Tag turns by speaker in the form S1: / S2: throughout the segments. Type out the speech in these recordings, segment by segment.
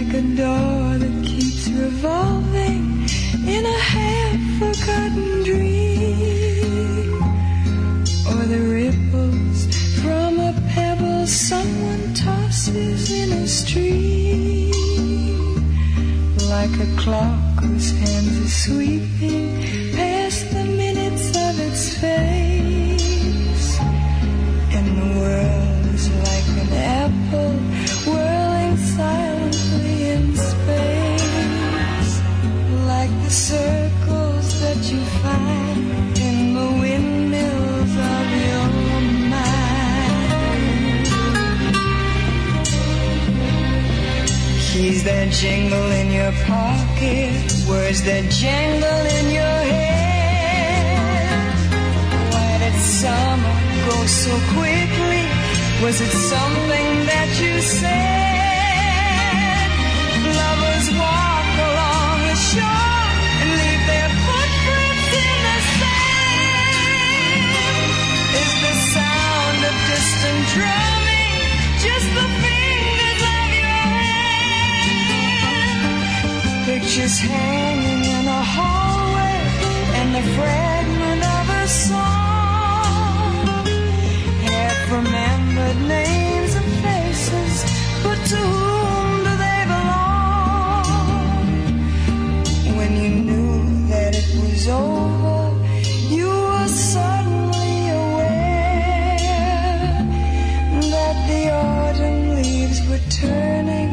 S1: door that keeps revolving in a half forgotten dream. Or the ripples from a pebble someone tosses in a stream. Like a clock whose hands are sweeping past the minutes of its face. And the world is like an apple whirling silently in space. Like the circles that you find in the windmills of your mind. Keys that jingle in your pocket, words that jangle in your head. Why did summer go so quickly? Was it something that you said? Lovers walk along the shore and leave their footprints in the sand. Is the sound of distant drumming just the fingers of your hand? Pictures hanging in a hallway and the fragment of a song. Half remembered names and faces, but to whom do they belong? When you knew that it was over, you were suddenly aware that the autumn leaves were turning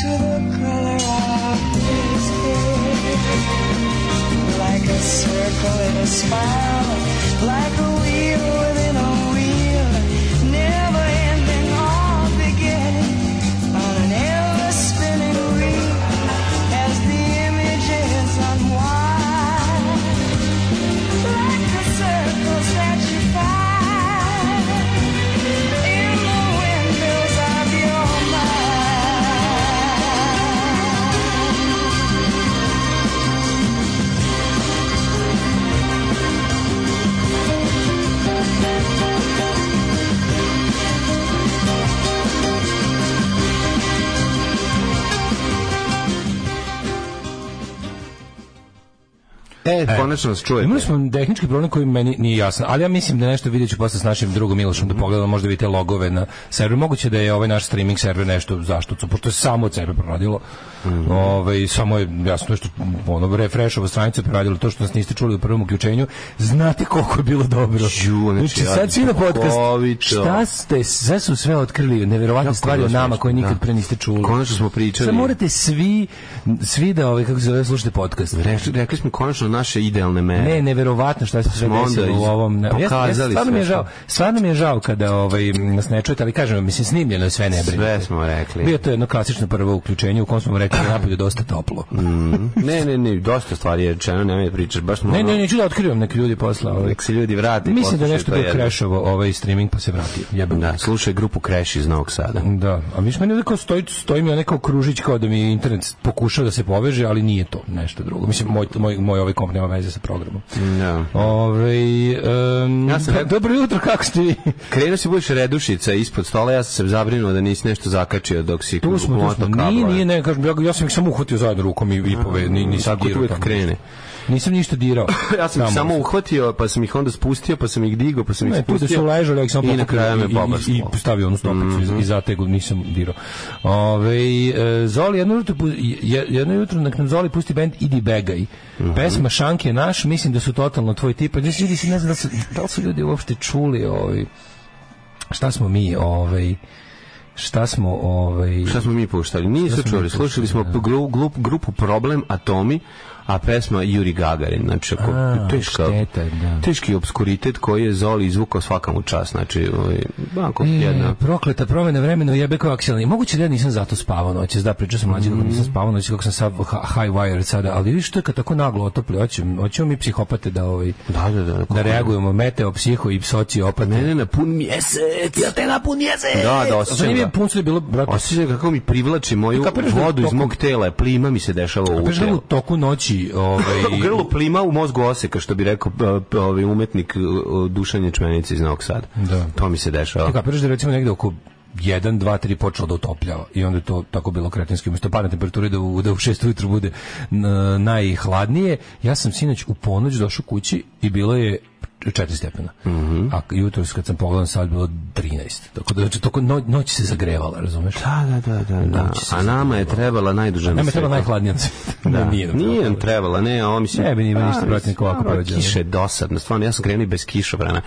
S1: to the color of his hair like a circle in a spiral, like a wheel within a wheel, never ending or beginning on an ever spinning wheel as the images unwind, like the circles that you find in the windmills of your mind.
S2: E, konačno nas čujete.
S3: Pa Imali smo tehnički problem koji meni nije jasan, ali ja mislim da nešto vidjet ću posle s našim drugom Milošom da pogledamo, možda vidite logove na serveru. Moguće da je ovaj naš streaming server nešto zaštucu, pošto je samo od sebe proradilo.
S2: Mhm.
S3: Ovaj, samo je jasno je što ono refreshova stranica proradilo to što nas niste čuli u prvom uključenju. Znate koliko je bilo dobro.
S2: Ju, znači,
S3: sad svi na podcast.
S2: strahovito.
S3: Šta ste, sve su sve otkrili, neverovatne stvari o
S2: bilo
S3: nama
S2: smešno,
S3: koje nikad
S2: da.
S3: pre niste čuli.
S2: Konačno smo pričali.
S3: Sad morate svi, svi da, ovaj, kako se zove, slušate podcast.
S2: Rekli, rekli smo konačno naše idealne mere.
S3: Ne, neverovatno šta se sve
S2: Smo onda
S3: desilo u
S2: iz-
S3: ovom. Ja, ja,
S2: pokazali
S3: stvarno mi je
S2: sve
S3: žao. Stvarno mi je žao kada ovaj nas ne čujete, ali kažem, vam, mislim snimljeno je sve ne brinite.
S2: Sve smo rekli.
S3: Bio je to jedno klasično prvo uključenje u kom smo rekli da napolju je dosta toplo.
S2: Mhm. Ne, ne, ne, dosta stvari je rečeno, nemoj da pričaš, baš smo
S3: Ne,
S2: ono-
S3: ne, neću da otkrivam neki ljudi posla. Ovaj.
S2: Nek se ljudi vrati.
S3: Mislim da je
S2: poslušaj
S3: nešto
S2: to
S3: bio
S2: jedno.
S3: krešovo ovaj streaming pa se vratio. Jebem.
S2: Da, slušaj grupu Crash iz Novog Sada.
S3: Da, a miš meni neko stoji, stoji mi onaj kao kružić kao da mi je internet pokušao da se poveže, ali nije to nešto drugo. Mislim, moj, moj, moj ovaj komp nema veze sa programom.
S2: Da.
S3: Ove, um,
S2: Ja sam
S3: pa,
S2: rekao-
S3: dobro jutro, kako ste vi?
S2: Krenuo si budeš redušica ispod stola, ja sam se zabrinuo da nisi nešto zakačio dok si
S3: Tu smo, tu
S2: kumotao
S3: smo. Nije,
S2: kablove.
S3: nije, ne, kažem, ja, ja sam ih samo uhvatio zajedno rukom i, i pove, ni, nisam
S2: Tako to
S3: dirao
S2: uvek
S3: tamo.
S2: krene.
S3: Nisam ništa dirao.
S2: Ja sam ih
S3: Tamo.
S2: samo uhvatio, pa sam ih onda spustio, pa sam ih digao, pa sam ih
S3: Ne, tu
S2: spustio.
S3: da su ležali, ja sam
S2: I na
S3: pokupio
S2: kraju me Mhm.
S3: i- i-
S2: pobrskalo.
S3: I, stavio onu stopicu i, i zategu, nisam dirao. Ove, e, Zoli, jedno jutro, pu- je- jedno jutro nek nam Zoli pusti band Idi Begaj.
S2: Mhm.
S3: Pesma Šank je naš, mislim da su totalno tvoj tip. Pa ljudi se ne znam da, li su, da li su ljudi uopšte čuli ovaj, šta smo mi, ovaj, šta smo, ovaj,
S2: Šta smo mi puštali? Da. Nisu
S3: mi
S2: čuli,
S3: puštali,
S2: slušali smo gru- glup- grupu Problem Atomi, a pesma Juri Gagarin, znači ako
S3: A,
S2: teška,
S3: šteta, da.
S2: teški obskuritet koji je Zoli izvukao svakamu čast, znači ovaj, onako
S3: E,
S2: jedna...
S3: Prokleta promena vremena jebe kao akselni. Moguće da ja nisam zato spavao noćas, da pričao sam mlađi da nisam spavao noćas kako sam sav high wire sada, ali vidiš to je kad tako naglo otopli, hoćemo, hoćemo mi psihopate da ovaj
S2: Da, da, da.
S3: da reagujemo meteo, psiho i sociopate.
S2: Ne, ne, na pun mjesec. Ja te na pun mjesec. Da, da,
S3: Za
S2: osjećam
S3: njim je
S2: ga.
S3: puncu je bilo, brate,
S2: Osjećam kako mi privlači moju
S3: Kapiraš da
S2: vodu iz
S3: tokom-
S2: mog tela, plima mi se dešava u
S3: Kažem da u
S2: telu.
S3: toku noći ovaj,
S2: U grlu plima, u mozgu oseka, što bi rekao p- p- ovaj umetnik uh, uh, Dušan Ječmenici iz Novog Sada.
S3: Da.
S2: To mi se dešava.
S3: Ti kapiraš da recimo negde oko jedan, dva, tri počelo da utopljava i onda je to tako bilo kretenski umjesto padne temperature da u, da u šest ujutru bude n- najhladnije ja sam sinoć u ponoć došao kući i bilo je 4 stepena.
S2: Mhm.
S3: A jutro kad sam pogledao sad bilo 13. Tako da znači toko no, noć se zagrevala, razumeš?
S2: Da, da, da, da, da.
S3: Noć se
S2: A nama je trebala najduža
S3: Nama
S2: na
S3: je trebala
S2: svetu.
S3: najhladnija na svijetu.
S2: Da.
S3: Nije nam
S2: Nije
S3: trebala.
S2: nam trebala, ne, a ovo mislim...
S3: Ne bi ni imao ništa
S2: A,
S3: protiv neko ovako
S2: dobro,
S3: prođe, ali-
S2: Kiša je dosadna, stvarno, ja sam krenuo i bez kišobrana.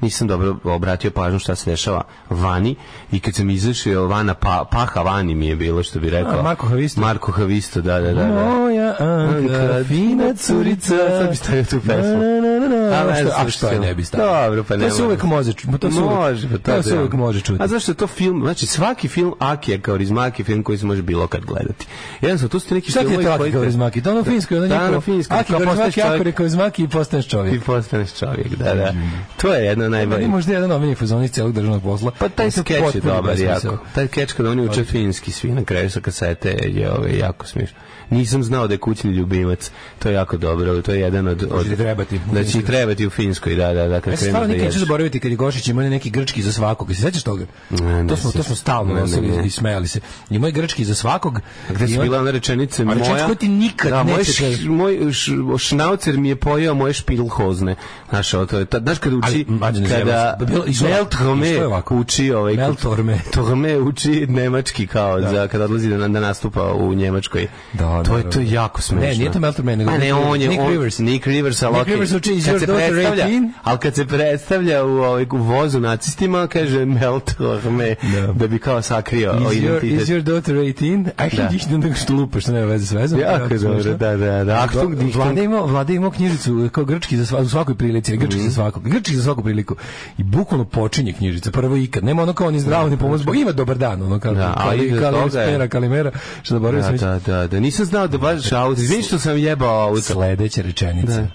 S2: Nisam dobro obratio pažnju šta se dešava vani i kad sam izašao vana, pa, paha vani mi je bilo, što bi rekao.
S3: A, Marko Havisto.
S2: Marko Havisto, da, da, da. da.
S3: Moja Anka, fina curica.
S2: Sad bi stavio tu pesmu.
S3: Na, na, na, na, na.
S2: A, ne,
S3: Što- A
S2: zašto
S3: što je ne bi stavio?
S2: Dobro, pa ne
S3: To se
S2: mora.
S3: uvek može čuti. To se uvek-
S2: može, pa
S3: to se
S2: da.
S3: uvek može čuti.
S2: A zašto je to film? Znači, svaki film Aki je kao Rizmaki film koji se može bilo kad gledati. Jedan su, tu su ti neki
S3: Šta ti je
S2: filmovi
S3: to
S2: koji
S3: Aki
S2: te-
S3: Kaurizmaki? To ono finsko, ono
S2: Da, ono
S3: njihovo.
S2: finsko,
S3: Aki
S2: kao postaješ
S3: Kaurizmaki,
S2: čovjek.
S3: Aki Kaurizmaki i postaneš
S2: Ti
S3: čovjek.
S2: postaneš čovjek, da, da.
S3: Mm.
S2: To je jedna
S3: Meni
S2: najbolja.
S3: je možda jedan omiljen fazon iz celog državnog posla.
S2: Pa taj
S3: On se
S2: skeč je
S3: potpuno
S2: dobar
S3: besmisao.
S2: jako. Taj skeč kada oni uče finski svi na kraju sa kasete je ovaj, jako smiješno. Nisam znao da je kućni ljubimac. To je jako dobro. To je jedan od...
S3: će
S2: od
S3: Znači, ti trebati u
S2: Da će
S3: Finskoj.
S2: ti trebati u Finskoj, da, da, da. Kad
S3: Ja
S2: kreneš
S3: se stvarno
S2: da
S3: nikad neću
S2: jedeš.
S3: zaboraviti kad je Gošić imao neki grčki za svakog. Se sećaš toga?
S2: ne
S3: to, smo, to
S2: sjećam.
S3: smo stalno
S2: Ne, ne,
S3: nosili
S2: ne.
S3: i smejali se. I moj grčki za svakog.
S2: A Gde
S3: i
S2: su
S3: on-
S2: bila ona rečenica
S3: A
S2: moja...
S3: rečenica koju ti nikad
S2: da, moj,
S3: neće
S2: š,
S3: da-
S2: moj š, šnaucer mi je pojeo moje špilhozne. Znaš, ovo to je... ta- Znaš kada uči...
S3: Ali, mlađe, ne
S2: kada
S3: zajebam se. Bilo- izvoli,
S2: Melthome
S3: što je ovako?
S2: uči ovaj...
S3: Meltorme.
S2: Torme uči nemački kao za kada odlazi da, da nastupa u Njemačkoj.
S3: Da,
S2: to je
S3: naravno.
S2: to je jako smešno.
S3: Ne, nije to Meltorme, nego
S2: A ne, on je
S3: Nick
S2: on,
S3: Rivers.
S2: Nick Rivers, ali
S3: Nick
S2: okej.
S3: Rivers uči Is
S2: Kad
S3: your
S2: se
S3: daughter
S2: predstavlja-
S3: 18?
S2: Ali kad se predstavlja u, ovaj, u vozu nacistima, kaže Meltorme
S3: Da.
S2: da. bi kao sakrio
S3: Is your,
S2: identitet.
S3: is your daughter 18? A
S2: Da.
S3: ih ne nego što lupa, što nema veze s vezom.
S2: Jako
S3: Jako
S2: dobro,
S3: smešno.
S2: da, da, da. Achtung, Dichtung.
S3: Vlada je imao, vlada je imao knjižicu e, kao grčki za sva, u svakoj prilici, grčki
S2: Mhm.
S3: za svakog, grčki za svaku priliku. I bukvalno počinje knjižica, prvo ikad. Nema ono kao ni zdravo, ni pomoć Bogu. Ima dobar dan, ono kao,
S2: Da, a
S3: kali,
S2: iza
S3: kali,
S2: toga je-
S3: spera, kalimera, što zaboravio
S2: Da,
S3: sam. Da,
S2: da, da, da. Nisam znao da baš auto. Izvini što sam jebao auto.
S3: Sledeća rečenica.
S2: Da.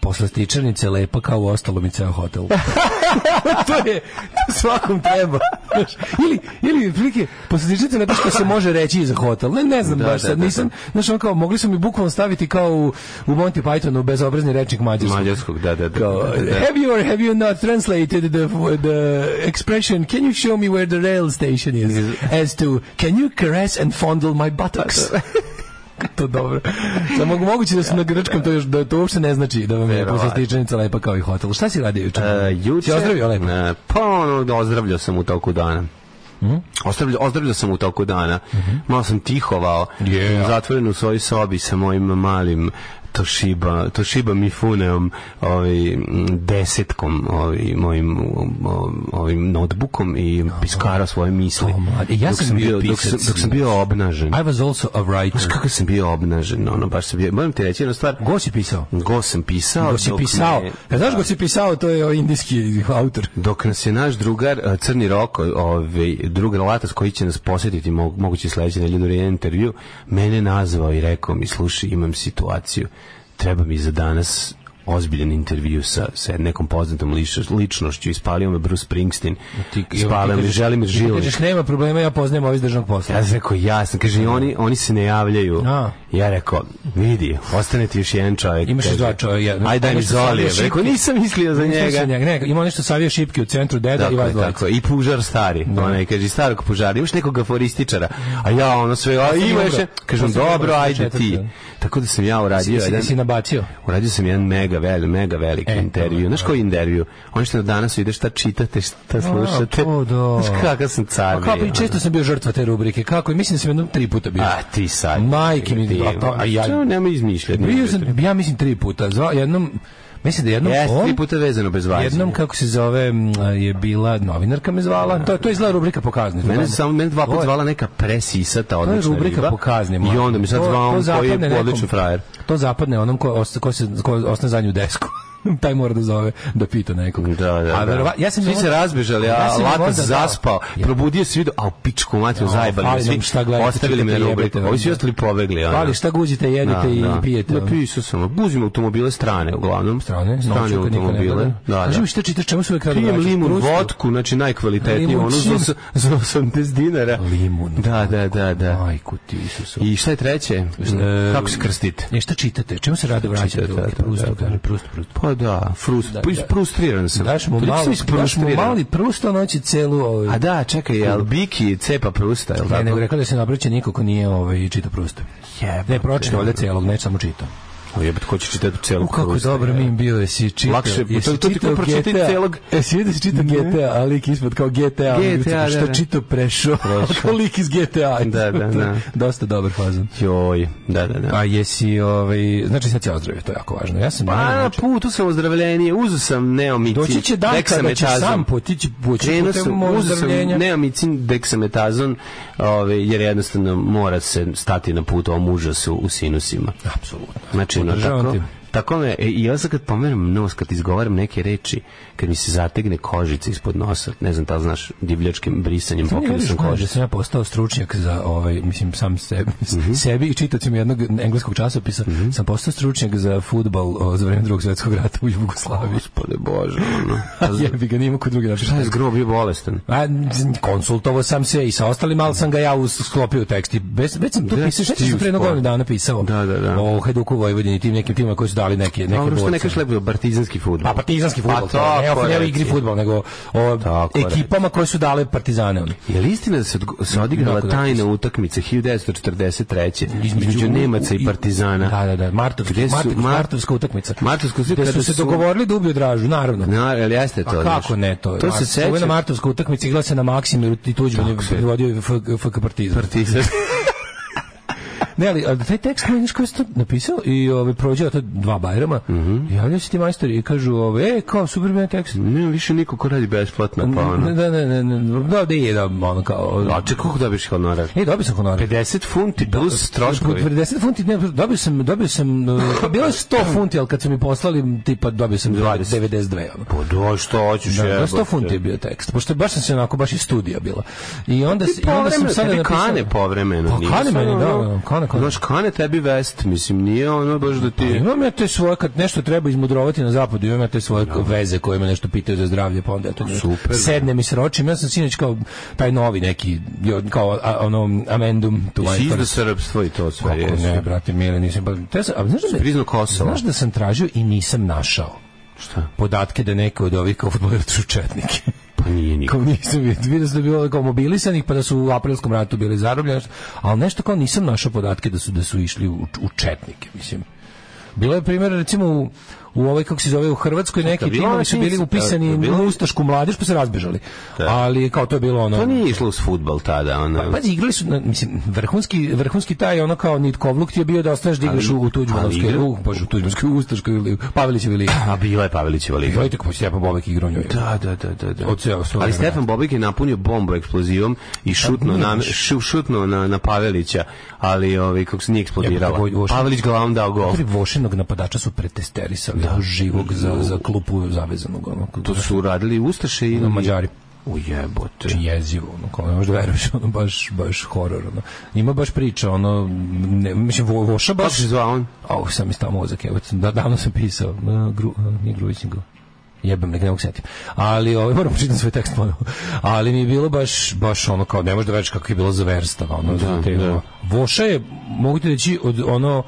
S3: Posle stičarnice lepa kao u ostalom i ceo hotel. to je to svakom treba. Znaš, ili ili otprilike posle stičarnice lepa što se može reći i za hotel. Ne, ne znam
S2: Da,
S3: baš
S2: da,
S3: sad
S2: da,
S3: nisam. Znaš, on kao mogli su mi bukvalno staviti kao u, u Monty Pythonu bezobrazni rečnik mađarskog.
S2: Mađarskog, da, da, da.
S3: Kao, e,
S2: da, da, da.
S3: have you or have you not translated the the expression can you show me where the rail station is as to can you caress and fondle my buttocks
S2: Da.
S3: to dobro. Samo moguće da su na grčkom to još da to uopšte ne znači da vam je
S2: Verovatno.
S3: posle stičenica lepa kao i hotel. Šta si radio juče?
S2: E, juče-
S3: Si ozdravio lepo?
S2: E, pa ono, ozdravljao sam u toku dana.
S3: Mhm.
S2: Ozdravljao, ozdravljao sam u toku dana. Malo sam tihovao.
S3: Je.
S2: Zatvoren u svojoj sobi sa mojim malim Toshiba, Toshiba Mifuneom ovaj, m, desetkom ovaj, mojim o- ovim notebookom i piskarao svoje misli.
S3: O, mlade, ja
S2: Dok
S3: sam bio
S2: dok, sam,
S3: pisac.
S2: dok sam bio obnažen.
S3: I was also a
S2: Znaš
S3: writer.
S2: kako sam bio obnažen, ono, baš sam bio... Moram ti reći jednu stvar.
S3: Go si pisao?
S2: Go sam pisao.
S3: Go si
S2: Pa, dok Da.
S3: pisao.
S2: me- Da.
S3: E, znaš go si pisao, to je ovaj indijski autor.
S2: Dok nas je naš drugar eh, Crni Roko, ovaj drugar Latas koji će nas posjetiti mo- moguće sledeće nedelje u jedan intervju, mene nazvao i rekao mi slušaj, imam situaciju. Treba mi za danas ozbiljan intervju sa, sa nekom poznatom liš- ličnošću. Ispalio me Bruce Springsteen. Ispalio me Želimir
S3: Ti
S2: Žilić.
S3: Kažeš, nema problema, ja poznajem ovaj iz državnog posla.
S2: Ja sam rekao, jasno, kaže, i oni, oni se ne javljaju.
S3: A.
S2: Ja rekao, vidi, ostane ti još jedan čovjek.
S3: Imaš još
S2: Kaže,
S3: dva čovjeka, jedan.
S2: Ajde, daj mi
S3: Nešto sam
S2: Zolije.
S3: još
S2: Rekao,
S3: šipki.
S2: nisam mislio za
S3: Slušaj
S2: njega.
S3: njega. Ne, ima nešto savio šipke u centru deda i
S2: Tako
S3: vas
S2: je,
S3: dvojica.
S2: tako. I pužar stari.
S3: Da.
S2: Onaj, kaže, starog pužara. Imaš nekog aforističara. A ja, ono sve, a
S3: sam
S2: ima još...
S3: umro.
S2: je- Kažem,
S3: Ja sam
S2: dobro,
S3: umro,
S2: ajde ti.
S3: četvrti.
S2: Tako da sam ja uradio
S3: Jesi,
S2: jedan...
S3: jesi nabacio?
S2: Uradio sam jedan mega veli, mega veliki
S3: E,
S2: intervju. Znaš koji intervju? Ono što danas ide šta čitate, šta slušate.
S3: to da.
S2: Znaš kakav sam car.
S3: A kako
S2: bio,
S3: i često sam bio žrtva te rubrike. Kako? I mislim da sam jednom tri puta bio.
S2: ono. A ti sad.
S3: Majke mi, a pa- a ja-
S2: Čemu nemoj izmišljati?
S3: bio sam, ja mislim tri puta. Zva, jednom, mislim da jednom
S2: Jeste,
S3: on,
S2: tri puta vezano bez vađenja.
S3: jednom kako se zove m, je bila novinarka me zvala. To to je izla rubrika pokazni.
S2: Mene samo mene dva
S3: To
S2: puta
S3: je-
S2: zvala neka presisata
S3: To je
S2: odlična
S3: rubrika
S2: riba.
S3: po kazni.
S2: I
S3: mlađe.
S2: onda mi sad
S3: To-
S2: zvao
S3: to
S2: on koji
S3: zapadne
S2: je
S3: nekom-
S2: odličan frajer.
S3: To zapadne onom ko, os- ko se ko ostane zadnju desku. taj mora da zove da pita nekog.
S2: Da, da, da.
S3: A verova, ja sam
S2: svi
S3: imao-
S2: se razbežali, a
S3: Ja sam imao
S2: Lata
S3: da-
S2: zaspao.
S3: Ja.
S2: Probudio se video, a u pičku materiju zajebali me
S3: fali nam
S2: svi.
S3: šta gledate,
S2: Ostavili me na
S3: čitate,
S2: rubriku.
S3: jebete,
S2: Ovi svi
S3: ono.
S2: ostali pobegli. ono.
S3: Pali šta guđite, jedite
S2: Da,
S3: i
S2: da.
S3: pijete. ono.
S2: Napisao sam, uzim automobile strane, uglavnom.
S3: strane,
S2: strane
S3: naučio kad niko ne gleda.
S2: automobile. Da,
S3: Znaš,
S2: da.
S3: mi šta čitaš, čemu su uvek rado
S2: Pijem
S3: vraćaš?
S2: limun
S3: Prustu?
S2: vodku, znači najkvalitetniju,
S3: Limun
S2: ono za,
S3: čim?
S2: os- za 80 dinara.
S3: Limun.
S2: Da, da, da, da.
S3: Majku ti, Isusu.
S2: I šta je treće? E, Kako se krstite?
S3: Ne, šta čitate? Čemu se rado vraćate?
S2: Čitate,
S3: uvek?
S2: da, da,
S3: Prustu,
S2: da, da.
S3: kaže, Prustu, Prustu.
S2: Pa Pa da, frust,
S3: Da,
S2: da,
S3: da.
S2: frustriran sam.
S3: Daš mu
S2: Toliko
S3: malo,
S2: sam
S3: daš mu
S2: isfrustriran.
S3: mali prust, on hoće celu... Ovaj,
S2: A da, čekaj, jel Biki cepa prusta, jel
S3: Ne, nego
S2: tako?
S3: rekao da se ne obraća niko ko nije ovaj, čitao prust.
S2: Jebote.
S3: Ne, pročito ovdje celog, ne samo čitao.
S2: O jebate, ko će čitati celu
S3: U kako
S2: prusta,
S3: dobro
S2: je?
S3: mi im bio, jesi čitao...
S2: Lakše,
S3: jesi
S2: to- to ti
S3: čitao
S2: kao pročitaj
S3: GTA?
S2: celog-
S3: Jesi vidio da si čitao GTA, a lik ispod kao GTA, ono,
S2: GTA,
S3: što
S2: da, da.
S3: čitao prešao,
S2: Prešao.
S3: lik iz GTA.
S2: Da, da, da.
S3: Dosta dobar fazon.
S2: Joj, da, da, da.
S3: A jesi, ovaj, znači sad se ozdravio, to je jako važno. Ja sam naravno,
S2: Pa,
S3: znači,
S2: putu sam ozdravljenije, uzu sam neomicin.
S3: doći će dan kada ćeš
S2: deksametazon.
S3: sam potići poći
S2: Krenuo
S3: putem
S2: sam, uzeo sam
S3: ozdravljenja.
S2: neomicin deksametazon, ovaj, jer jednostavno mora se stati na put ovom užasu u sinusima.
S3: Apsolutno.
S2: Znači, ono,
S3: Podržavam
S2: tako,
S3: te.
S2: tako me, e, i ja sad kad pomeram nos, kad izgovaram neke reči, kad mi se zategne kožica ispod nosa, ne znam, da li znaš, divljačkim brisanjem
S3: Ti ne
S2: pokrio
S3: veriš,
S2: sam
S3: mlađe,
S2: kožicu.
S3: da sam ja postao stručnjak za ovaj mislim sam sebi,
S2: Mhm.
S3: sebi i čitacima jednog engleskog časopisa sam postao stručnjak za fudbal za vreme drugog svjetskog rata u Jugoslaviji.
S2: Gospode Bože, ono.
S3: A jebi ga nima kod drugi način.
S2: Šta je zgrob bio bolestan?
S3: A, konsultovo sam se i sa ostalim, ali sam ga ja us- sklopio u tekst. i Bez, već sam to
S2: Gde si
S3: pisao, što
S2: ti
S3: sam pre jednog
S2: uspao?
S3: godinu dana pisao.
S2: Da, da, da.
S3: O Hajduku Vojvodini, tim nekim tima koji su dali neke, neke
S2: Dobro, što ne
S3: borce.
S2: kažeš lepo, partizanski futbol.
S3: Pa partizanski fudbal, to je, ne,
S2: tako
S3: o- ne o
S2: reci.
S3: igri fudbal, nego o
S2: Tako
S3: ekipama koje su dale Partizane. oni.
S2: Je li istina da se, odgo- se odigrala
S3: Jako da,
S2: tajna utakmica 1943. između Nemaca i Partizana?
S3: Da, da, da. Martovska,
S2: Gde su-
S3: Martovska,
S2: Mar-
S3: Martovska utakmica.
S2: Martovska utakmica
S3: Gde su
S2: kada
S3: se
S2: su-
S3: dogovorili da ubiju Dražu, naravno.
S2: Na, jel jeste to?
S3: A kako
S2: znaš?
S3: ne to? je
S2: To se
S3: Mart- Čuvena
S2: seća.
S3: Martovska utakmica igrala se na Maksimiru i Tuđman je
S2: Tako se-
S3: predvodio F- FK Partizan.
S2: Partizan.
S3: Ne, ali a taj tekst meni ko je to napisao i ovaj prođeo to dva bajrama. I javljaju se ti majstori i kažu, ovaj, e, kao super bio tekst.
S2: Nema više niko ko radi besplatno, pa ono.
S3: Da, ne, ne, ne, da, da je da, ono kao...
S2: A čekaj, kako dobiješ honorar?
S3: E, dobio sam honorar.
S2: 50 funti
S3: Da,
S2: plus troškovi.
S3: 40 funti, ne, dobio sam, dobio sam, e, pa bilo je 100 funti, ali kad su mi poslali, tipa, dobio sam
S2: 20.
S3: 92. ono.
S2: Pa do, što hoćeš?
S3: Da, da, 100
S2: jebote.
S3: funti je bio tekst, pošto je baš sam se onako, baš iz studija bila. I onda, se-
S2: I
S3: i onda sam
S2: povremeno,
S3: sada
S2: tebi
S3: napisao...
S2: kane povremeno.
S3: Pa
S2: nije
S3: kane
S2: sad
S3: meni, da,
S2: ono-
S3: da, Pa kane, kane.
S2: Znaš, kane tebi vest, mislim, nije ono baš da ti...
S3: Imam ja te svoje, kad nešto treba izmudrovati na zapadu, imam ja te svoje veze koje me nešto pitaju za zdravlje, pa onda ja to
S2: Super, da.
S3: sednem i sročim. Ja sam sinoć kao taj novi neki, jo- kao a, ono, amendum to my
S2: Si izda
S3: first.
S2: srpstvo i to sve.
S3: Kako
S2: Pa jesu.
S3: ne, brate, mile, nisam... Pa, te, sam- a, znaš, da,
S2: Priznao Kosovo.
S3: znaš da sam tražio i nisam našao
S2: Šta?
S3: podatke da neke od ovih kao fudbalera su četnike.
S2: Pa nije niko.
S3: kao nisam vidio, vidio sam da je bilo kao mobilisanih pa da su u aprilskom ratu bili zarobljeni, ali nešto kao nisam našao podatke da su da su išli u, u četnike, mislim. Bilo je primjer recimo u, u ovoj kako se zove u Hrvatskoj neki
S2: bilo
S3: timovi
S2: ono
S3: su bili
S2: činjenica-
S3: upisani
S2: je bilo-
S3: u ustašku mladež pa se razbežali. Ali kao to je bilo ono
S2: To Pa nije išlo uz futbal tada, ono.
S3: Pa, pazi, igrali su, na- mislim, vrhunski, vrhunski taj ono kao nitkovluk ti je bio da ostaneš da igraš u, u
S2: ali
S3: Tuđmanovskoj,
S2: igra-
S3: u, Da. bože, u Tuđmanovskoj, u Ustaškoj ili Pavelićevi ligi.
S2: A bila je Pavelićeva liga.
S3: Gledajte kako Stjepan Bobek igra u njoj.
S2: Da, da, da, da. da.
S3: Od ceo svog
S2: Ali
S3: vremena.
S2: Stefan Bobik je napunio bombu eksplozivom
S3: Pa,
S2: i šutno na šu- šutno na na Pavelića, ali ovaj kako se nije eksplodirala.
S3: Jebote, Voj- Vošin-
S2: Pavelić glavom dao gol.
S3: Tri vošenog napadača su pretesterisali da. živog za, za klupu zavezanog. Ono,
S2: To su uradili Ustaše i
S3: na Mađari.
S2: U jebote.
S3: Znači, jezivo, ono, kao ne možeš da veruješ, ono, baš, baš horor, ono. Ima baš priča, ono, ne, mislim, vo, voša
S2: Kako
S3: baš...
S2: se zvao on?
S3: Au, sam mi stao mozak, evo, da, davno sam pisao, na, gru, a, nije Grujić, nego jebem, nek ne mogu setim. Ali, ovaj, moram pročitati svoj tekst ponovo. Ali mi je bilo baš, baš ono, kao, ne možeš da veruješ kako je bilo zaverstava, ono, da, te,
S2: da.
S3: ono. Voša je, mogu ti reći, od, ono,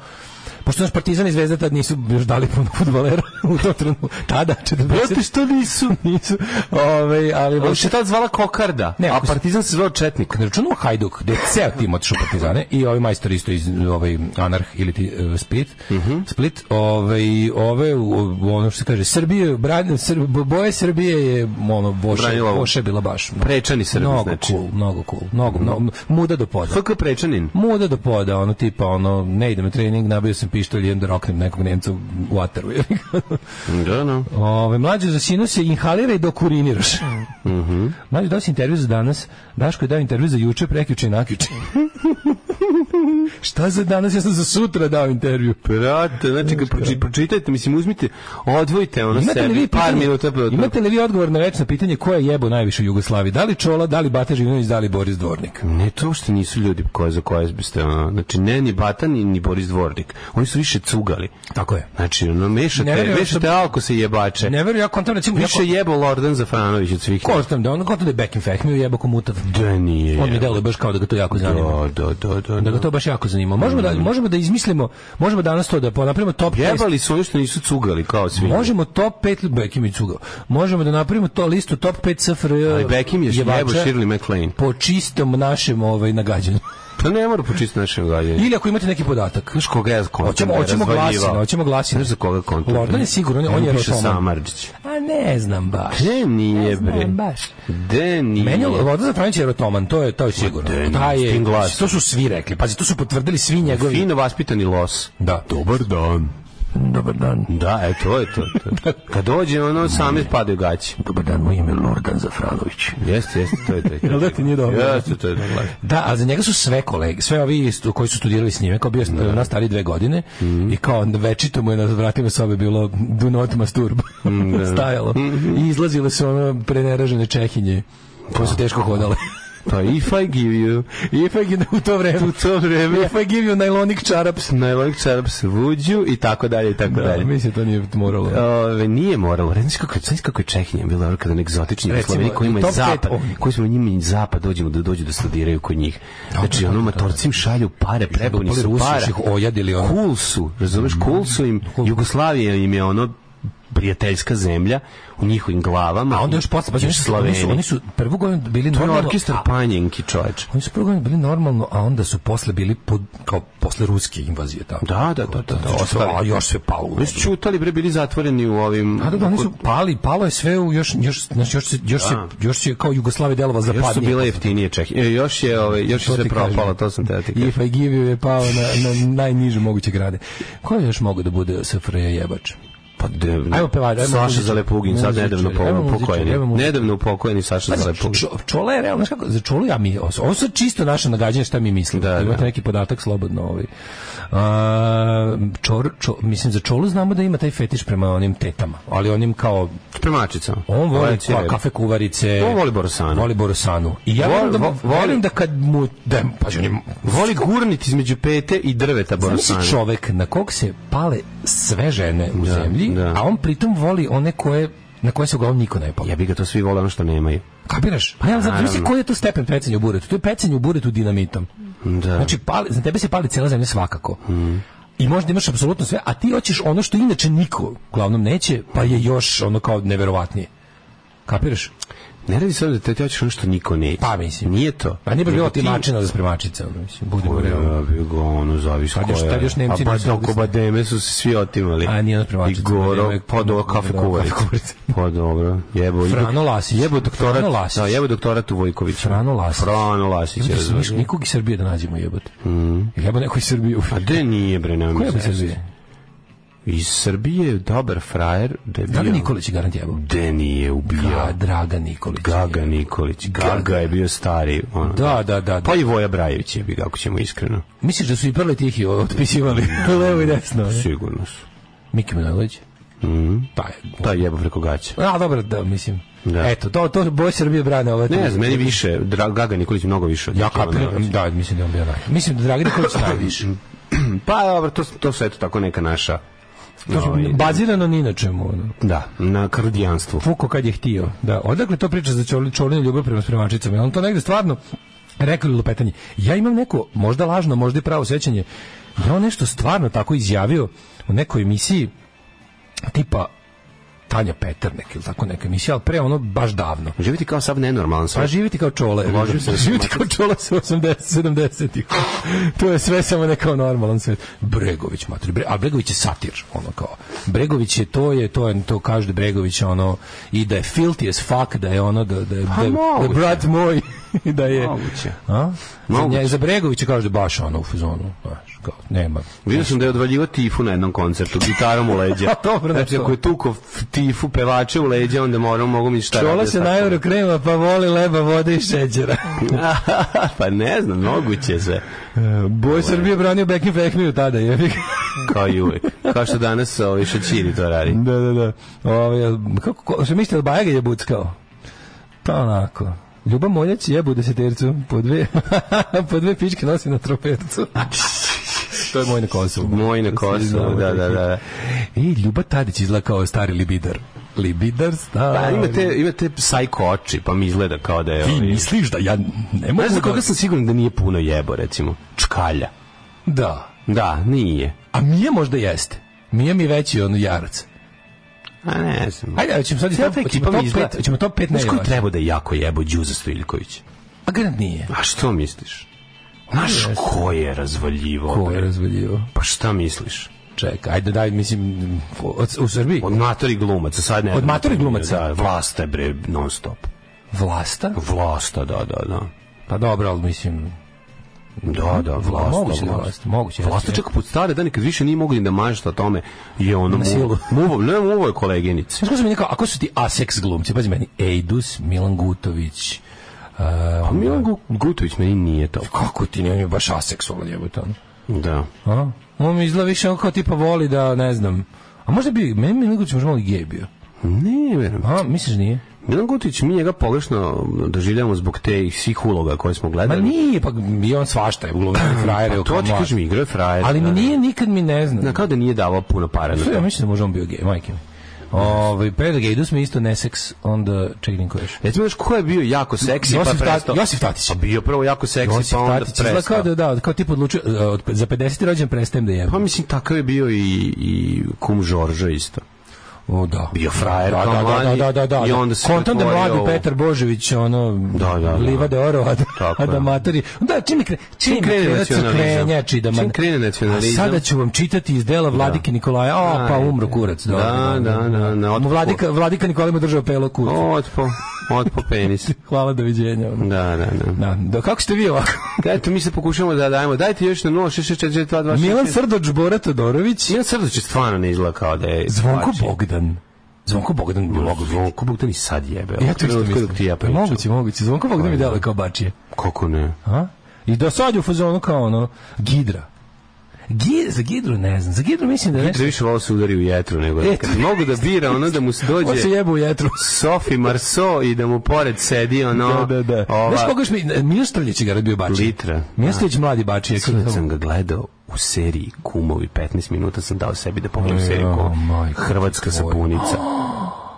S3: Pošto naš Partizan i Zvezda tad nisu još dali puno fudbalera u tom trenutku. Tada, 40.
S2: što nisu?
S3: nisu. Ovaj, ali
S2: On
S3: baš
S2: se tad zvala Kokarda,
S3: Ne,
S2: a
S3: ako se-
S2: Partizan se zvao Četnik.
S3: ne računamo Hajduk, gde je ceo tim otišao u Partizane i ovaj majstor isto iz ovaj Anarh ili ti e, Split,
S2: Mhm.
S3: Split, ovaj ove u- u- ono što se kaže Srbije, bran, Srb, boje Srbije je ono boše,
S2: Branila ovo.
S3: boše bila baš.
S2: Prečani Srbi,
S3: mnogo
S2: znači. Mhm.
S3: cool, mnogo cool, mnogo, mnogo muda do poda.
S2: FK Prečanin.
S3: Muda do poda, ono tipa, ono, ne idem na trening, nabio sam pištolj, idem da roknem nekog Nemca u u ataru. jebi ga.
S2: Da, no.
S3: Ove, mlađe za sinuse inhaliraj dok uriniraš. Mm
S2: Mhm.
S3: -hmm. Mlađe, dao si intervju za danas. Daško je dao intervju za juče, prekjuče i nakjuče. Šta za danas? Ja sam za sutra dao intervju.
S2: Brate, znači kad proči- pročitajte, mislim uzmite, odvojite ono
S3: Imate li, vi
S2: sebi par
S3: pitanje-
S2: minuta pa
S3: imate li vi odgovor na večno pitanje ko je jebo najviše u Jugoslaviji? Da li Čola, da li Bate Živinović, da li Boris Dvornik?
S2: Ne, to uopšte nisu ljudi koje, za koje biste, ono, znači ne ni Batan ni, ni Boris Dvornik. Oni su više cugali.
S3: Tako je.
S2: Znači, ono, mešate,
S3: Ne verujem
S2: mešate
S3: što-
S2: alko se jebače.
S3: Ne verujem, ja kontam recimo...
S2: više
S3: Više
S2: jebo Lordan Zafranović od svih.
S3: Kontam da on kontam da je Bekim Fehmiju jebo komutav.
S2: Da nije.
S3: On mi
S2: jebo.
S3: deluje baš kao da ga to jako zanima.
S2: Da, da, da, da,
S3: da ga to baš jako zanima. Možemo da možemo da izmislimo, možemo danas to da napravimo top 10.
S2: Jebali su oni što nisu cugali kao svi.
S3: Možemo top 5 Bekim i Cugao. Možemo da napravimo to listu top 5 SFRJ.
S2: Ali Beckham je
S3: jebača
S2: jebo Shirley MacLaine.
S3: Po čistom našem ovaj nagađanju.
S2: Pa ne mora počistiti naše gađanje.
S3: Ili ako imate neki podatak.
S2: Znaš koga je kontam?
S3: Hoćemo hoćemo glasine, hoćemo glasine.
S2: Znaš za koga kontam?
S3: Lordan je sigurno, on je- on je
S2: piše
S3: Rotoman.
S2: Samarđić.
S3: A ne znam baš.
S2: Gde nije,
S3: Ne
S2: bre?
S3: znam baš.
S2: Gde nije?
S3: Meni je voda za Frančić je rotoman, to je, to je sigurno.
S2: Ma, de,
S3: Taj
S2: s tim
S3: je,
S2: glasom.
S3: to su svi rekli, pazi, to su potvrdili svi njegovi.
S2: Fino vaspitani los.
S3: Da.
S2: Dobar dan.
S3: Dobar dan.
S2: Da, e, to je to. to. Kad dođe, ono, sami padaju gaći.
S3: Dobar dan, moje ime je Lordan Zafranović.
S2: Jeste, jeste, to je to. je to.
S3: Jel da ti nije dobro?
S2: Jeste, to je dobro.
S3: Da, a za njega su sve kolege, sve ovi isto koji su studirali s njime, kao bio da. na stari dve godine
S2: Mhm.
S3: i kao večito mu je na vratima sobe bilo do not masturb
S2: Mhm, da,
S3: stajalo i izlazile su ono preneražene čehinje koje su teško hodale.
S2: Da. Pa if I give you,
S3: I pa je u to vreme.
S2: u to vreme,
S3: If I give you nailonik čaraps.
S2: najlolik čaraps vuđu i tako dalje, i tako
S3: Da,
S2: dalje.
S3: mislim to nije moralo.
S2: Ove, nije moralo. Re, Znaš kako, znaš kako je Čehinja bila dobro kada na egzotični
S3: Recimo,
S2: Jugoslaviji koji imaju
S3: top pet,
S2: zapad,
S3: o.
S2: koji smo njima zapad dođemo da dođu da studiraju kod njih. Znači, ono matorcim šalju pare, prepuni
S3: Upali
S2: su
S3: Rusi
S2: para.
S3: su ih ojadili ono.
S2: Cool su, razumeš,
S3: Mhm.
S2: cool su im. Jugoslavija im je ono prijateljska zemlja u njihovim glavama.
S3: A onda još posle, pa
S2: Još
S3: oni su, oni su,
S2: Slaveni.
S3: oni su prvu godinu bili
S2: To je
S3: normalno.
S2: orkestar
S3: a-
S2: panjenki, čoveč.
S3: Oni su prvu godinu bili normalno, a onda su posle bili pod, kao posle ruske invazije. Tako.
S2: Da, da, da, da, da, ostali.
S3: a još sve palo. u
S2: Oni su čutali, bre, bili zatvoreni u ovim...
S3: A da, da, oni su pali, palo je sve u još još znači još se još se još se kao Jugoslavija delovala zapadnije.
S2: Da. Još su bile jeftinije Čehinje. E, Još je, ove, još je
S3: To
S2: sve
S3: ti kažem.
S2: propalo, to sam te da ti kažem.
S3: If I give you je pao na, na najniže moguće grade. Ko je još mogu da bude SFRJ jebač?
S2: Pa de,
S3: Ajmo pevač, ajmo
S2: Saša
S3: muzičar,
S2: Zalepugin, sad
S3: muzičar,
S2: nedavno po-
S3: ajmo muzičar,
S2: pokojni.
S3: ajmo muzičar.
S2: Nedavno upokojeni Saša
S3: Pazi,
S2: Zalepugin.
S3: čo- Čola je realno, znaš kako, za Čolu ja mi, ovo su čisto naše nagađanje šta mi mislimo.
S2: Da,
S3: Da, imate
S2: da.
S3: neki podatak slobodno ovaj. A, čor, čo, mislim, za Čolu znamo da ima taj fetiš prema onim tetama, ali onim kao,
S2: Premačica.
S3: on
S2: Ovo
S3: voli
S2: je cijelo.
S3: ka, kafe kuvarice.
S2: Ovaj On voli Borosanu.
S3: Voli Borosanu. I ja
S2: Voli-
S3: voli, da, mu-
S2: vo- voli-
S3: verujem da kad mu, da, pazi, on je,
S2: Voli gurniti između pete i drveta Borosanu.
S3: Zamisli čovek na kog se pale sve žene u
S2: Da,
S3: zemlji,
S2: da.
S3: a on pritom voli one koje na koje se uglavnom niko ne pali.
S2: Ja bi ga to svi vole ono što nemaju.
S3: Kapiraš? Pa ja znam,
S2: naravno.
S3: koji je to stepen pecanja u buretu? To je pecanje u buretu dinamitom.
S2: Da.
S3: Znači, pali, za tebe se pali cijela zemlja svakako. I možda imaš apsolutno sve, a ti hoćeš ono što inače niko uglavnom neće, pa je još ono kao neverovatnije. Kapiraš?
S2: ne radi se o da te ti hoćeš ono što niko neće.
S3: Pa, mislim.
S2: Nije to.
S3: Pa nije baš
S2: Nego
S3: bilo ti načina za spremačice, ono, mislim, budemo realni.
S2: Ja bi ga ono zavis
S3: Tad još-
S2: koja.
S3: tad Pa, još Nemci
S2: A
S3: nisu
S2: pa oko Bademe su se svi otimali.
S3: A, nije ono
S2: I
S3: spremačica,
S2: Goro,
S3: Bademe-
S2: pa do kafe
S3: Goro,
S2: kuvarice.
S3: kafe kuvarice.
S2: Pa dobro, jebo.
S3: Frano Lasić.
S2: Jebo doktorat.
S3: Frano Lasić.
S2: Da, jebo doktorat u Vojkoviću.
S3: Frano Lasić.
S2: Frano Lasić.
S3: Jebote,
S2: razumeš?
S3: smiješ nikog iz Srbije da nađemo jebote. Mm. Pa, Jebo neko iz Srbije.
S2: A gde nije bre, nema
S3: Ko je
S2: mi
S3: iz
S2: se.
S3: Srbije?
S2: Iz Srbije je dobar frajer, da je bio.
S3: Dragan Nikolić je garant jebo.
S2: Gde nije
S3: Ga,
S2: ubija?
S3: Da. Dragan Nikolić.
S2: Gaga Nikolić. Gaga je bio stari. Ono,
S3: Da, da, da. da.
S2: Pa i Voja Brajević je bi, ako ćemo iskreno.
S3: Misliš da su i prle tihi otpisivali levo i desno? ne?
S2: Sigurno su.
S3: Miki Manojlović? Mm. Pa,
S2: Da, jebo preko gaća.
S3: a dobro, da, mislim.
S2: Da.
S3: Eto, to, to boj Srbije brane ove.
S2: Ne znam, meni više, Dra- Gaga Nikolić mnogo više. od
S3: Ja
S2: Nikole
S3: kapiram,
S2: Manojlovića.
S3: da, mislim da je on bio naj. Mislim da Dragan Nikolić najviše.
S2: Pa dobro, to, to su eto tako neka naša.
S3: To su
S2: ovaj,
S3: bazirano ni na čemu. Ono.
S2: da, na kardijanstvu.
S3: Fuko kad je htio. Da, odakle to priča za čoli, čolinu ljubav prema spremačicama? Je li On to negde stvarno rekao ili lupetanje. Ja imam neko, možda lažno, možda i pravo sećanje, da je on nešto stvarno tako izjavio u nekoj emisiji tipa Tanja Peternek ili tako neka emisija, ali pre ono baš davno.
S2: Živiti kao sav nenormalan
S3: Pa
S2: sam.
S3: živiti kao čole.
S2: Ložim se na
S3: živiti kao čole sa 80 70 To je sve samo ne kao normalan svet. Bregović mater, Bre, a Bregović je satir, ono kao. Bregović je to je to je to kaže da Bregović je ono i da je filthy as fuck, da je ono da da da, da,
S2: moguće.
S3: da brat moj i da je
S2: Moguće.
S3: A? Za,
S2: Moguće.
S3: nje, za Bregovića kaže da je baš ono u fazonu, znaš, kao nema.
S2: Vidio sam da je odvaljivo tifu na jednom koncertu, gitarom u leđa.
S3: A, Pa dobro,
S2: znači,
S3: nešto.
S2: ako je tuko f- tifu pevače u leđa, onda moram, mogu mi šta
S3: Čola
S2: radi
S3: se
S2: da tako-
S3: najuro krema, pa voli leba, vode i šećera.
S2: pa ne znam, moguće je sve.
S3: Boj Srbije branio Bekim Fehmiju tada, jebi ga.
S2: Kao i uvek. Kao što danas ovi šačiri to radi.
S3: Da, da, da. Ove, kako, ko, se mislite da Bajaga je buckao? Pa onako. Ljuba Moljać jebu desetercu, po dve, po dve pičke nosi na tropetu. to je moj na Kosovu.
S2: Moj na Kosovu, da, da, da. da.
S3: E, Ljuba Tadić izgleda kao stari libidar. Libidar stari.
S2: Pa imate, imate psycho oči, pa mi izgleda kao da je...
S3: Ti
S2: ovaj-
S3: misliš da ja ne mogu
S2: Znaš za koga
S3: da...
S2: sam siguran da nije puno jebo, recimo? Čkalja.
S3: Da.
S2: Da, nije.
S3: A Mija možda jeste. Mija mi je veći on jarac. Pa,
S2: A ne znam.
S3: Ajde, hoćemo sad i
S2: Cijela
S3: top-
S2: ta ekipa
S3: hoćemo
S2: mi
S3: top
S2: izgleda-
S3: pet- hoćemo top pet
S2: Znaš ko
S3: najvažnijih?
S2: treba da je jako jebo Đuza Stojiljković?
S3: A Grant nije.
S2: A što misliš? Znaš
S3: Jeste.
S2: ko je razvaljivo?
S3: Ko je razvaljivo?
S2: Pa šta misliš?
S3: Čekaj, ajde daj, mislim, od, u Srbiji?
S2: Od matori glumaca, sad ne.
S3: Od
S2: znam.
S3: matori glumaca?
S2: Da, vlasta je, bre, non stop.
S3: Vlasta?
S2: Vlasta, da, da, da.
S3: Pa dobro, ali mislim...
S2: Da, da, vlasta.
S3: moguće da je Vlasta, moguće, jeste,
S2: Vlasta
S3: je.
S2: čak pod stare dane kad više nije mogli da mažete o tome je ono
S3: Na silu.
S2: muvo. Muvo, ne muvo je koleginice.
S3: Znaš ko sam mi rekao, ako su ti aseks glumci, pazi meni, Ejdus, Milan Gutović, uh,
S2: A Milan Gu- Gutović meni nije to.
S3: kako ti ne, on je baš aseksualan jebote ono.
S2: Da.
S3: A? On mi izgleda više on kao tipa voli da, ne znam, a možda bi, meni Milan Gutović možda malo i gej bio.
S2: Ne, verujem.
S3: A, misliš da nije?
S2: Milan Gutović, mi njega pogrešno doživljavamo zbog te svih uloga koje smo
S3: Ma
S2: gledali.
S3: nije, pa i on svašta je glumio frajere.
S2: Da. Pa to ti kažem, igra je frajer.
S3: Ali mi
S2: da.
S3: nije, nikad mi ne znam.
S2: Na, kao da nije davao puno para na
S3: Sve, ja
S2: to.
S3: mislim da možda on bio gej, majke mi. Ovaj Pedro Gaydus mi je isto neseks, onda čekaj niko još.
S2: Recimo, znaš ko je bio jako seksi, pa
S3: Josif,
S2: prestao?
S3: Tati, Josif Tatić.
S2: Pa bio prvo jako seksi,
S3: Josif
S2: pa onda
S3: Tatić, izgleda
S2: prestao.
S3: kao da, da, kao tip odlučio, e, od, za 50. rođen prestajem da jebam.
S2: Pa mislim, takav je bio i, i kum Žorža isto.
S3: O, da.
S2: Bio frajer
S3: da,
S2: kao
S3: da, da,
S2: mladi
S3: da, da, da,
S2: i onda se
S3: Kontam da
S2: pretvorio
S3: mladu
S2: u-
S3: Petar Božović, ono,
S2: Da, da, da.
S3: livade orova, da,
S2: Tako
S3: a da
S2: je.
S3: matori. Da, čim, je kre, čim,
S2: krene
S3: krene
S2: nacionalizam?
S3: crkvenjači, da man-
S2: Čim krene nacionalizam? Da.
S3: A sada ću vam čitati iz dela Vladike Nikolaja, o, pa
S2: Ajde.
S3: umro kurac.
S2: Da, da, da, na otpo.
S3: Vladika, Vladika Nikolaj mu držao pelo kurac.
S2: Otpo, otpo penis.
S3: Hvala, doviđenja. ono.
S2: Da, da, da.
S3: Da, da, kako ste vi ovako?
S2: Eto, mi se pokušamo da dajemo. Dajte još na 0664226.
S3: Milan Srdoč, Bora Todorović,
S2: Znači- Milan Srdoć je stvarno ne izgleda kao da je...
S3: Zvonko
S2: Pači.
S3: Bogdan. Zvonko Bogdan bi mogao biti.
S2: Zvonko Bogdan i sad jebe.
S3: Ja to isto
S2: Od kada
S3: mislim. Pa
S2: Ti ja pričam.
S3: moguće, moguće. Zvonko Bogdan mi deluje kao bačije.
S2: Kako ne?
S3: A? I do sad je u fazonu kao ono, Gidra. Gi, za Gidru ne znam. Za Gidru mislim da je
S2: Petra
S3: nešto...
S2: više volao se udari u jetru nego da.
S3: E,
S2: Kad
S3: to-
S2: mogu da bira ono da mu se dođe
S3: On se jebe u jetru.
S2: Sofi Marceau i da mu pored sedi ono
S3: Da, da, da.
S2: ova
S3: Znaš koga još mi... Milostrljić je garant bio bačije.
S2: litra.
S3: Milostrljić mladi bačije.
S2: Mislim da sam ga gledao u seriji Kumovi 15 minuta sam dao sebi da pogledam seriju
S3: Jo,
S2: Kumovi.
S3: majko
S2: Hrvatska
S3: tvoja.
S2: sapunica.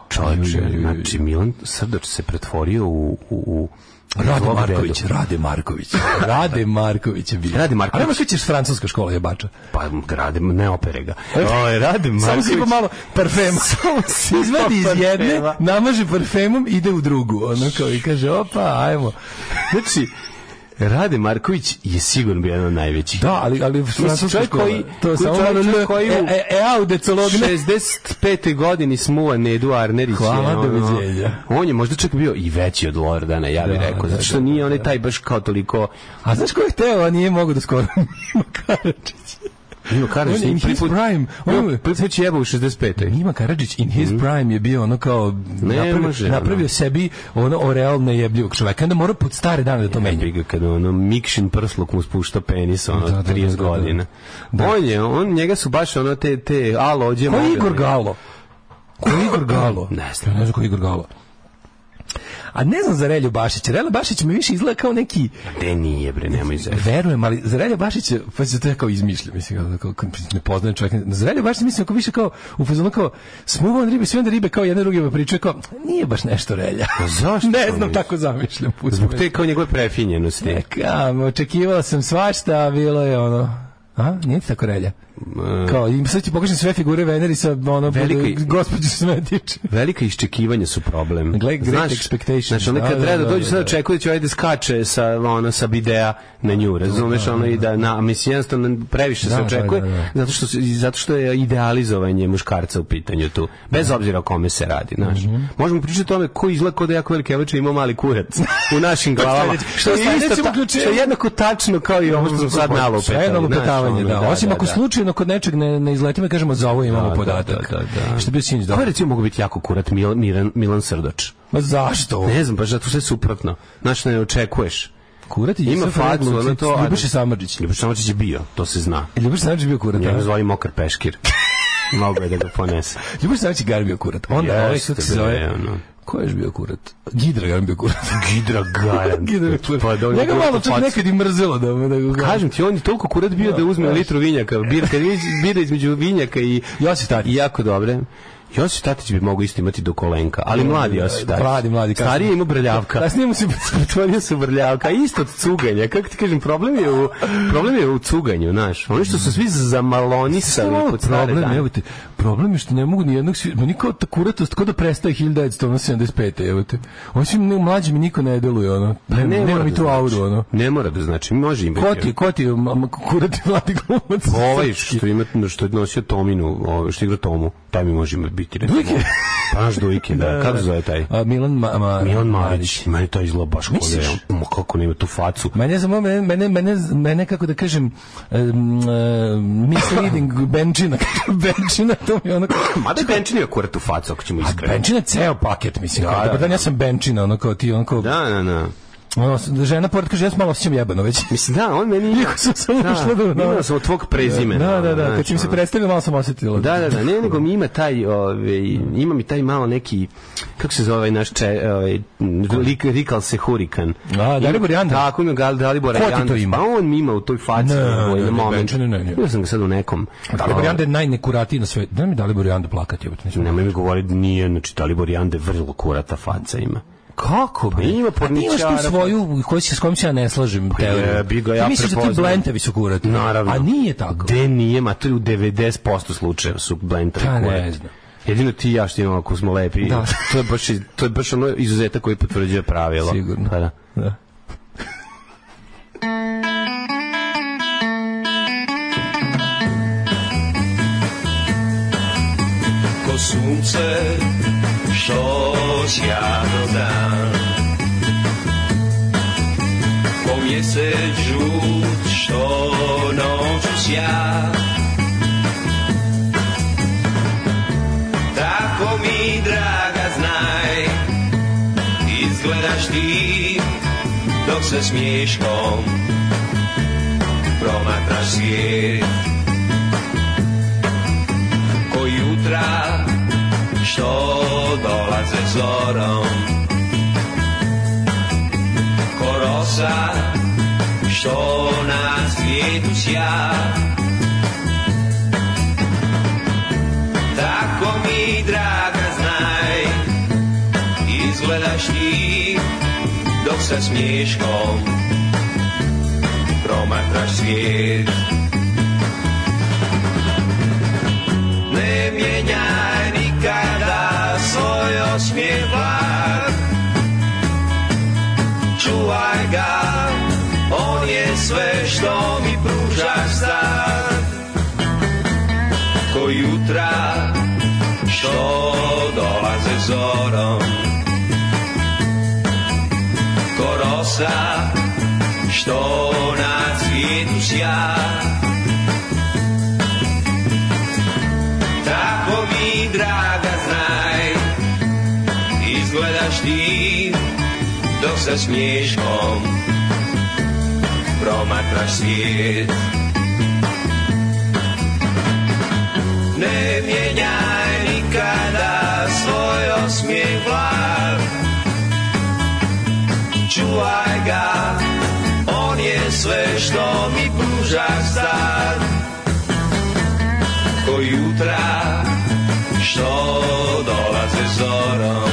S2: Čovječe,
S3: Ju, ju, ju, ju.
S2: znači Milan Srdoč se pretvorio u, u, u
S3: Rade
S2: zlog
S3: Marković,
S2: dedu.
S3: Rade Marković. Rade Marković je bio.
S2: Rade Marković.
S3: A nema što ćeš francuska škola je bača.
S2: Pa rade, ne opere ga. Oj, rade
S3: Samo sipa
S2: Marković.
S3: malo parfema. Izvadi iz
S2: parfema.
S3: jedne, namaže parfemom, ide u drugu. Ono kao i kaže, opa, ajmo.
S2: Znači, Rade Marković je sigurno bio jedan od najvećih.
S3: Da, ali ali francuska
S2: čovjek
S3: škola.
S2: koji-
S3: to
S2: koji
S3: je samo
S2: čovjek
S3: malo l-
S2: koji u-
S3: e, e, e, au, decologne.
S2: 65. godini smuva Nedu Arnerić.
S3: Hvala,
S2: je, ono,
S3: doviđenja.
S2: On je možda čak bio i veći od Lordana, ja bih
S3: Da,
S2: rekao.
S3: da,
S2: Zato što
S3: da,
S2: nije onaj taj baš kao toliko...
S3: A znaš ko je hteo, a nije mogo da skoro Mima Karadžić.
S2: Milo Karadžić
S3: On
S2: nije
S3: je in
S2: prvi
S3: his
S2: put-
S3: prime. On je-
S2: Milo- prvi put je jebao u 65.
S3: Mima Karadžić in his prime je bio ono kao napravio,
S2: Mhm. može, ono.
S3: napravio sebi ono oreal nejebljivog čoveka. Onda morao pod stare dane da to menja.
S2: Jebi ga kad ono Mikšin prsluk mu spušta penis ono
S3: Da, da,
S2: 30
S3: da, da, da.
S2: godina. On je, on njega su baš ono te te alo ođe da-
S3: Ko je
S2: mobilne.
S3: Igor Galo? Ko je Igor Galo?
S2: Ne znam.
S3: Ja Ne znam ko je Igor Galo. A ne znam za Relju Bašića. Relja Bašić mi više izgleda kao neki...
S2: Gde nije bre, nemoj zezati.
S3: Verujem, ali Zrelja Bašić je, pa se to ja kao izmišljam, mislim, kao, kao, kao, ne poznajem čovjeka. Zrelja Bašić mislim kao više kao, u fazonu kao, smuva on ribe, sve onda ribe kao jedne drugima pričaju, kao, nije baš nešto Relja.
S2: Pa zašto
S3: ne
S2: to
S3: znam,
S2: misliš?
S3: tako zamišljam. Put
S2: Zbog te kao njegove prefinjenosti.
S3: Kam, očekivala sam svašta, a bilo je ono... A, nije ti tako relja?
S2: E.
S3: Kao, im sad ti pokažem sve figure Venerisa, ono,
S2: Veliki-
S3: bude- gospođu Smetić.
S2: Velika iščekivanja su problem.
S3: Gle- great expectations.
S2: Znači, onda
S3: Da,
S2: kad
S3: da,
S2: treba da
S3: da,
S2: dođe,
S3: da,
S2: sad
S3: da.
S2: očekuje da će ovaj da skače sa, ono, sa bidea na nju, razumeš? Ono i da, na, mislim, jednostavno previše se
S3: Da,
S2: očekuje,
S3: da, da, da.
S2: zato što, se- i zato što je idealizovanje muškarca u pitanju tu. Bez obzira o kome se radi, znaš.
S3: Mhm.
S2: Možemo pričati o tome ko izgleda kao da je jako velike evače ima mali kurac u našim
S3: Da,
S2: glavama.
S3: sledeće-
S2: što, je
S3: sledeće
S2: isto, ta-
S3: uključenje.
S2: što je jednako tačno kao i ovo što sam sad nalupetali.
S3: Sve je nalupetavanje,
S2: znaš,
S3: da.
S2: ono,
S3: Osim ako slučajno kod nečeg ne, ne izletimo i kažemo za ovo imamo
S2: Da,
S3: podatak.
S2: da, da, da.
S3: Što bi sinjić
S2: Ko je
S3: dobro.
S2: recimo mogu biti jako kurat Milan, Miran, Milan Srdoč?
S3: Ma zašto?
S2: Ne znam, baš zato sve suprotno. Znaš, ne očekuješ.
S3: Kurati
S2: Ima facu, ono to... a-
S3: Ljubiša Samardžić.
S2: Ljubiša Samardžić je bio, to se zna.
S3: Ljubiša Samardžić bio kurat.
S2: Ja
S3: a?
S2: ga zvali Mokar Peškir. Mogu je da ga ponese.
S3: Ljubiša Samardžić je bio kurat. Onda ovaj
S2: Jeste,
S3: kako se
S2: bre,
S3: zove...
S2: ono.
S3: Ko je još bio kurat? Gidra je bio kurat.
S2: Gidra Gajan.
S3: Gidra je
S2: Pa da
S3: kurat.
S2: on
S3: Njega
S2: ima
S3: malo
S2: tu
S3: čak
S2: facu.
S3: nekad i mrzelo da me da ga
S2: Kažem ti, on je toliko kurat
S3: Da,
S2: bio da uzme litru vinjaka. Bir, kad vidi- bira između vinjaka i...
S3: Josip Tadić.
S2: I jako dobre. Josip Tatić bi mogao isto imati do kolenka, ali mladi Josip Tatić.
S3: Da, Mladi, mladi, kasnije. Da,
S2: Stariji ima brljavka.
S3: Kasnije mu se
S2: Pretvorio se u brljavka, isto od cuganja. Kako ti kažem, problem je u, problem je u cuganju, znaš. Oni što su svi zamalonisali
S3: Samo
S2: pod stare
S3: problem,
S2: dane.
S3: evo te, problem je što ne mogu ni jednog svi, ma niko ta kuratost, ko da prestaje 1975. evo te. Osim ne, mlađi mi niko ne deluje, ono. Ne, ne, nema
S2: mora
S3: mi
S2: da
S3: tu
S2: znači.
S3: auru, ono.
S2: Ne mora da znači, može im biti.
S3: Ko ti, ko ti, ma- ma- kurati mladi glumac?
S2: Ovaj što ima što je nosio Tominu, ovaj što igra Tomu, taj mi može biti. recimo.
S3: Dujke?
S2: Pa naš Dujke, da. Kako se zove taj?
S3: A, Milan Ma, Ma,
S2: Milan Marić, meni to izgleda baš kao da je,
S3: Misliš?
S2: ma kako nema tu facu.
S3: Mene samo mene mene mene mene kako da kažem um, uh, misleading benčina benčina to mi je ono
S2: Ma da je Benčini akurat tu facu, ako ćemo iskreno.
S3: benčina ceo paket mislim
S2: Da,
S3: kao,
S2: da,
S3: dobar
S2: da.
S3: dan, pa ja sam benčina ono kao ti ono kao
S2: Da, da, da.
S3: ono, žena pored kaže ja sam malo osjećam jebano već
S2: Mislim, da, on meni...
S3: Iako sam samo
S2: Da,
S3: ušla do- da.
S2: imao sam od tvog prezimena.
S3: Da, da, da,
S2: znaš,
S3: kad si mi se
S2: Znači, ono.
S3: predstavio, malo sam osetila.
S2: Da, da, da, ne, nego mi ima taj, ovaj, ima mi taj malo neki, kako se zove ovaj naš če, ovaj, lik, rikal se hurikan.
S3: A, Dalibor Janda.
S2: Tako ima Gal, Dalibor
S3: Ko ti to
S2: Janda.
S3: ima?
S2: Pa on mi ima u toj faci.
S3: Ne,
S2: ovaj,
S3: ne,
S2: na
S3: ne,
S2: moment.
S3: Benče, ne, ne, ne.
S2: Bio sam ga sad u nekom.
S3: Dalibor Janda da, je najnekuratiji na svetu. Da mi Dalibor Janda plakati, ovo neću.
S2: Ovaj, Nemoj mi govoriti, nije, znači Dalibor Janda je vrlo kurata faca ima. Kako bi? Ima
S3: Pa A ti imaš
S2: porničara. pa-
S3: tu svoju, koji se, s kojom se ja ne slažem, teoriju.
S2: jebi ga, ja
S3: Ti misliš da ti
S2: prepoznajem.
S3: blentevi su kurati.
S2: Naravno.
S3: A nije tako.
S2: Gde nije, ma to je u 90% slučajeva su blentari
S3: Pa ne
S2: kurati.
S3: znam.
S2: Jedino ti i ja što imamo ako smo lepi.
S3: Da.
S2: to, je baš, iz- to je baš ono izuzetak koji potvrđuje pravilo.
S3: Sigurno.
S2: Pa da.
S3: Da.
S4: ko sunce što sjajno dan po mjesec žut što noću sja tako mi draga znaj izgledaš ti dok se smiješkom promatraš svijet ko jutra što dolaze zorom ko rosa što na svijetu sja tako mi draga znaj izgledaš ti dok sa smiješkom promatraš svijet ne mijenjaj nikada svoj osmijeh blag. Čuvaj ga, on je sve što mi pružaš sad. Ko jutra što dolaze zorom. Ko rosa što na cvijetu sja. Tako mi, draga, znaj Izgledaš ti Dok sa smiješkom Promatraš svijet Ne mijenjaj nikada Svoj osmijeh vlak Čuvaj ga On je sve što mi pružaš sad ko jutra što dolaze zorom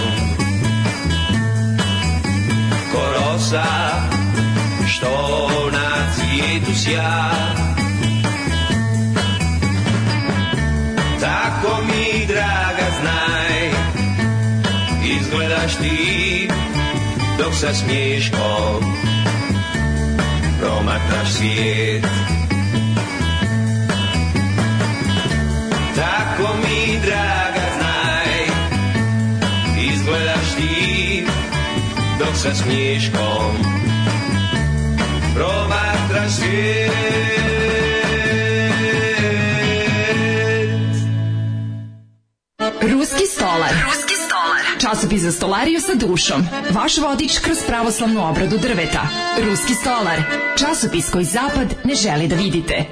S4: ko rosa što na cvijetu sja tako mi draga znaj izgledaš ti dok sa smiješkom promatraš svijet Tako mi, draga, znaj Izgledaš ti Dok sa smiješkom Promatraš svijet
S5: Ruski stolar. Ruski stolar. Časopis za stolariju sa dušom. Vaš vodič kroz pravoslavnu obradu drveta. Ruski stolar. Časopis koji zapad ne želi da vidite.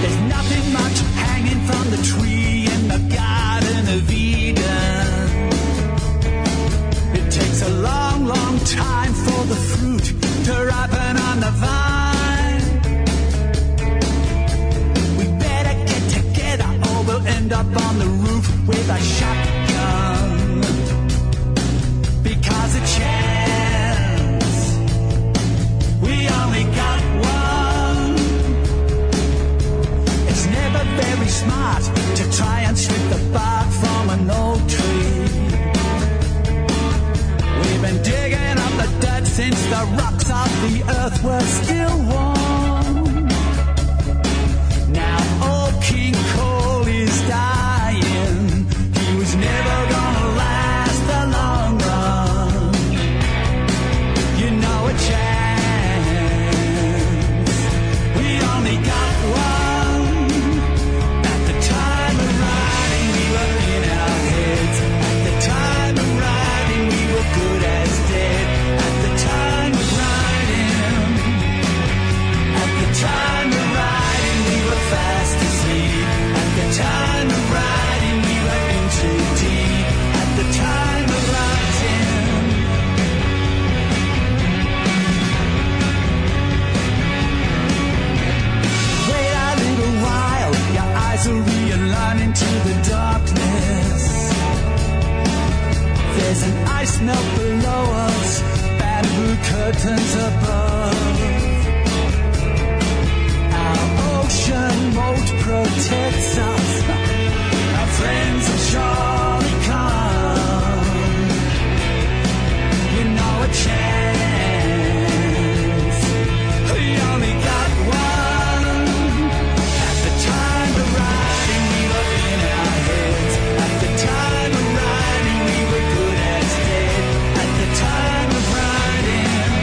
S6: There's nothing much hanging from the tree in the garden of Eden. with a shotgun because a chance we only got one. It's never very smart to try and strip the bark from an old tree. We've been digging up the dirt since the rocks of the earth were still warm. Now old King Cole is dying. He was never gonna last the long run. You know a chance. We only got one. At the time of writing, we were in our heads. At the time of writing, we were good as dead. At the time of writing. At the time of riding, we were fast asleep. At the time of riding, we were in too deep. At the time of writing. Wait a little while, your eyes will realign into the darkness. There's an ice melt below us, bamboo curtains above. Our ocean moat protects us. Our friends are surely come. You know a chance. We only got one. At the time of riding, we were in our heads. At the time of riding, we were good as dead. At the time of riding.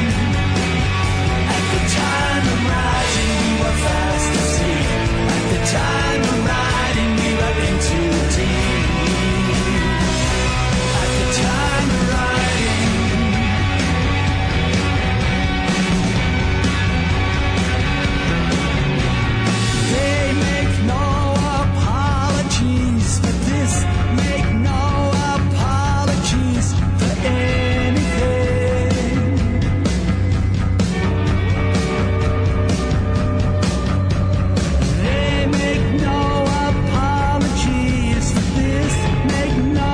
S6: At the time of riding, we were fast asleep. At the time of riding, we were in too deep. At the time of riding. They make no apologies for this. Make no apologies for anything. They make no apologies for this. Make no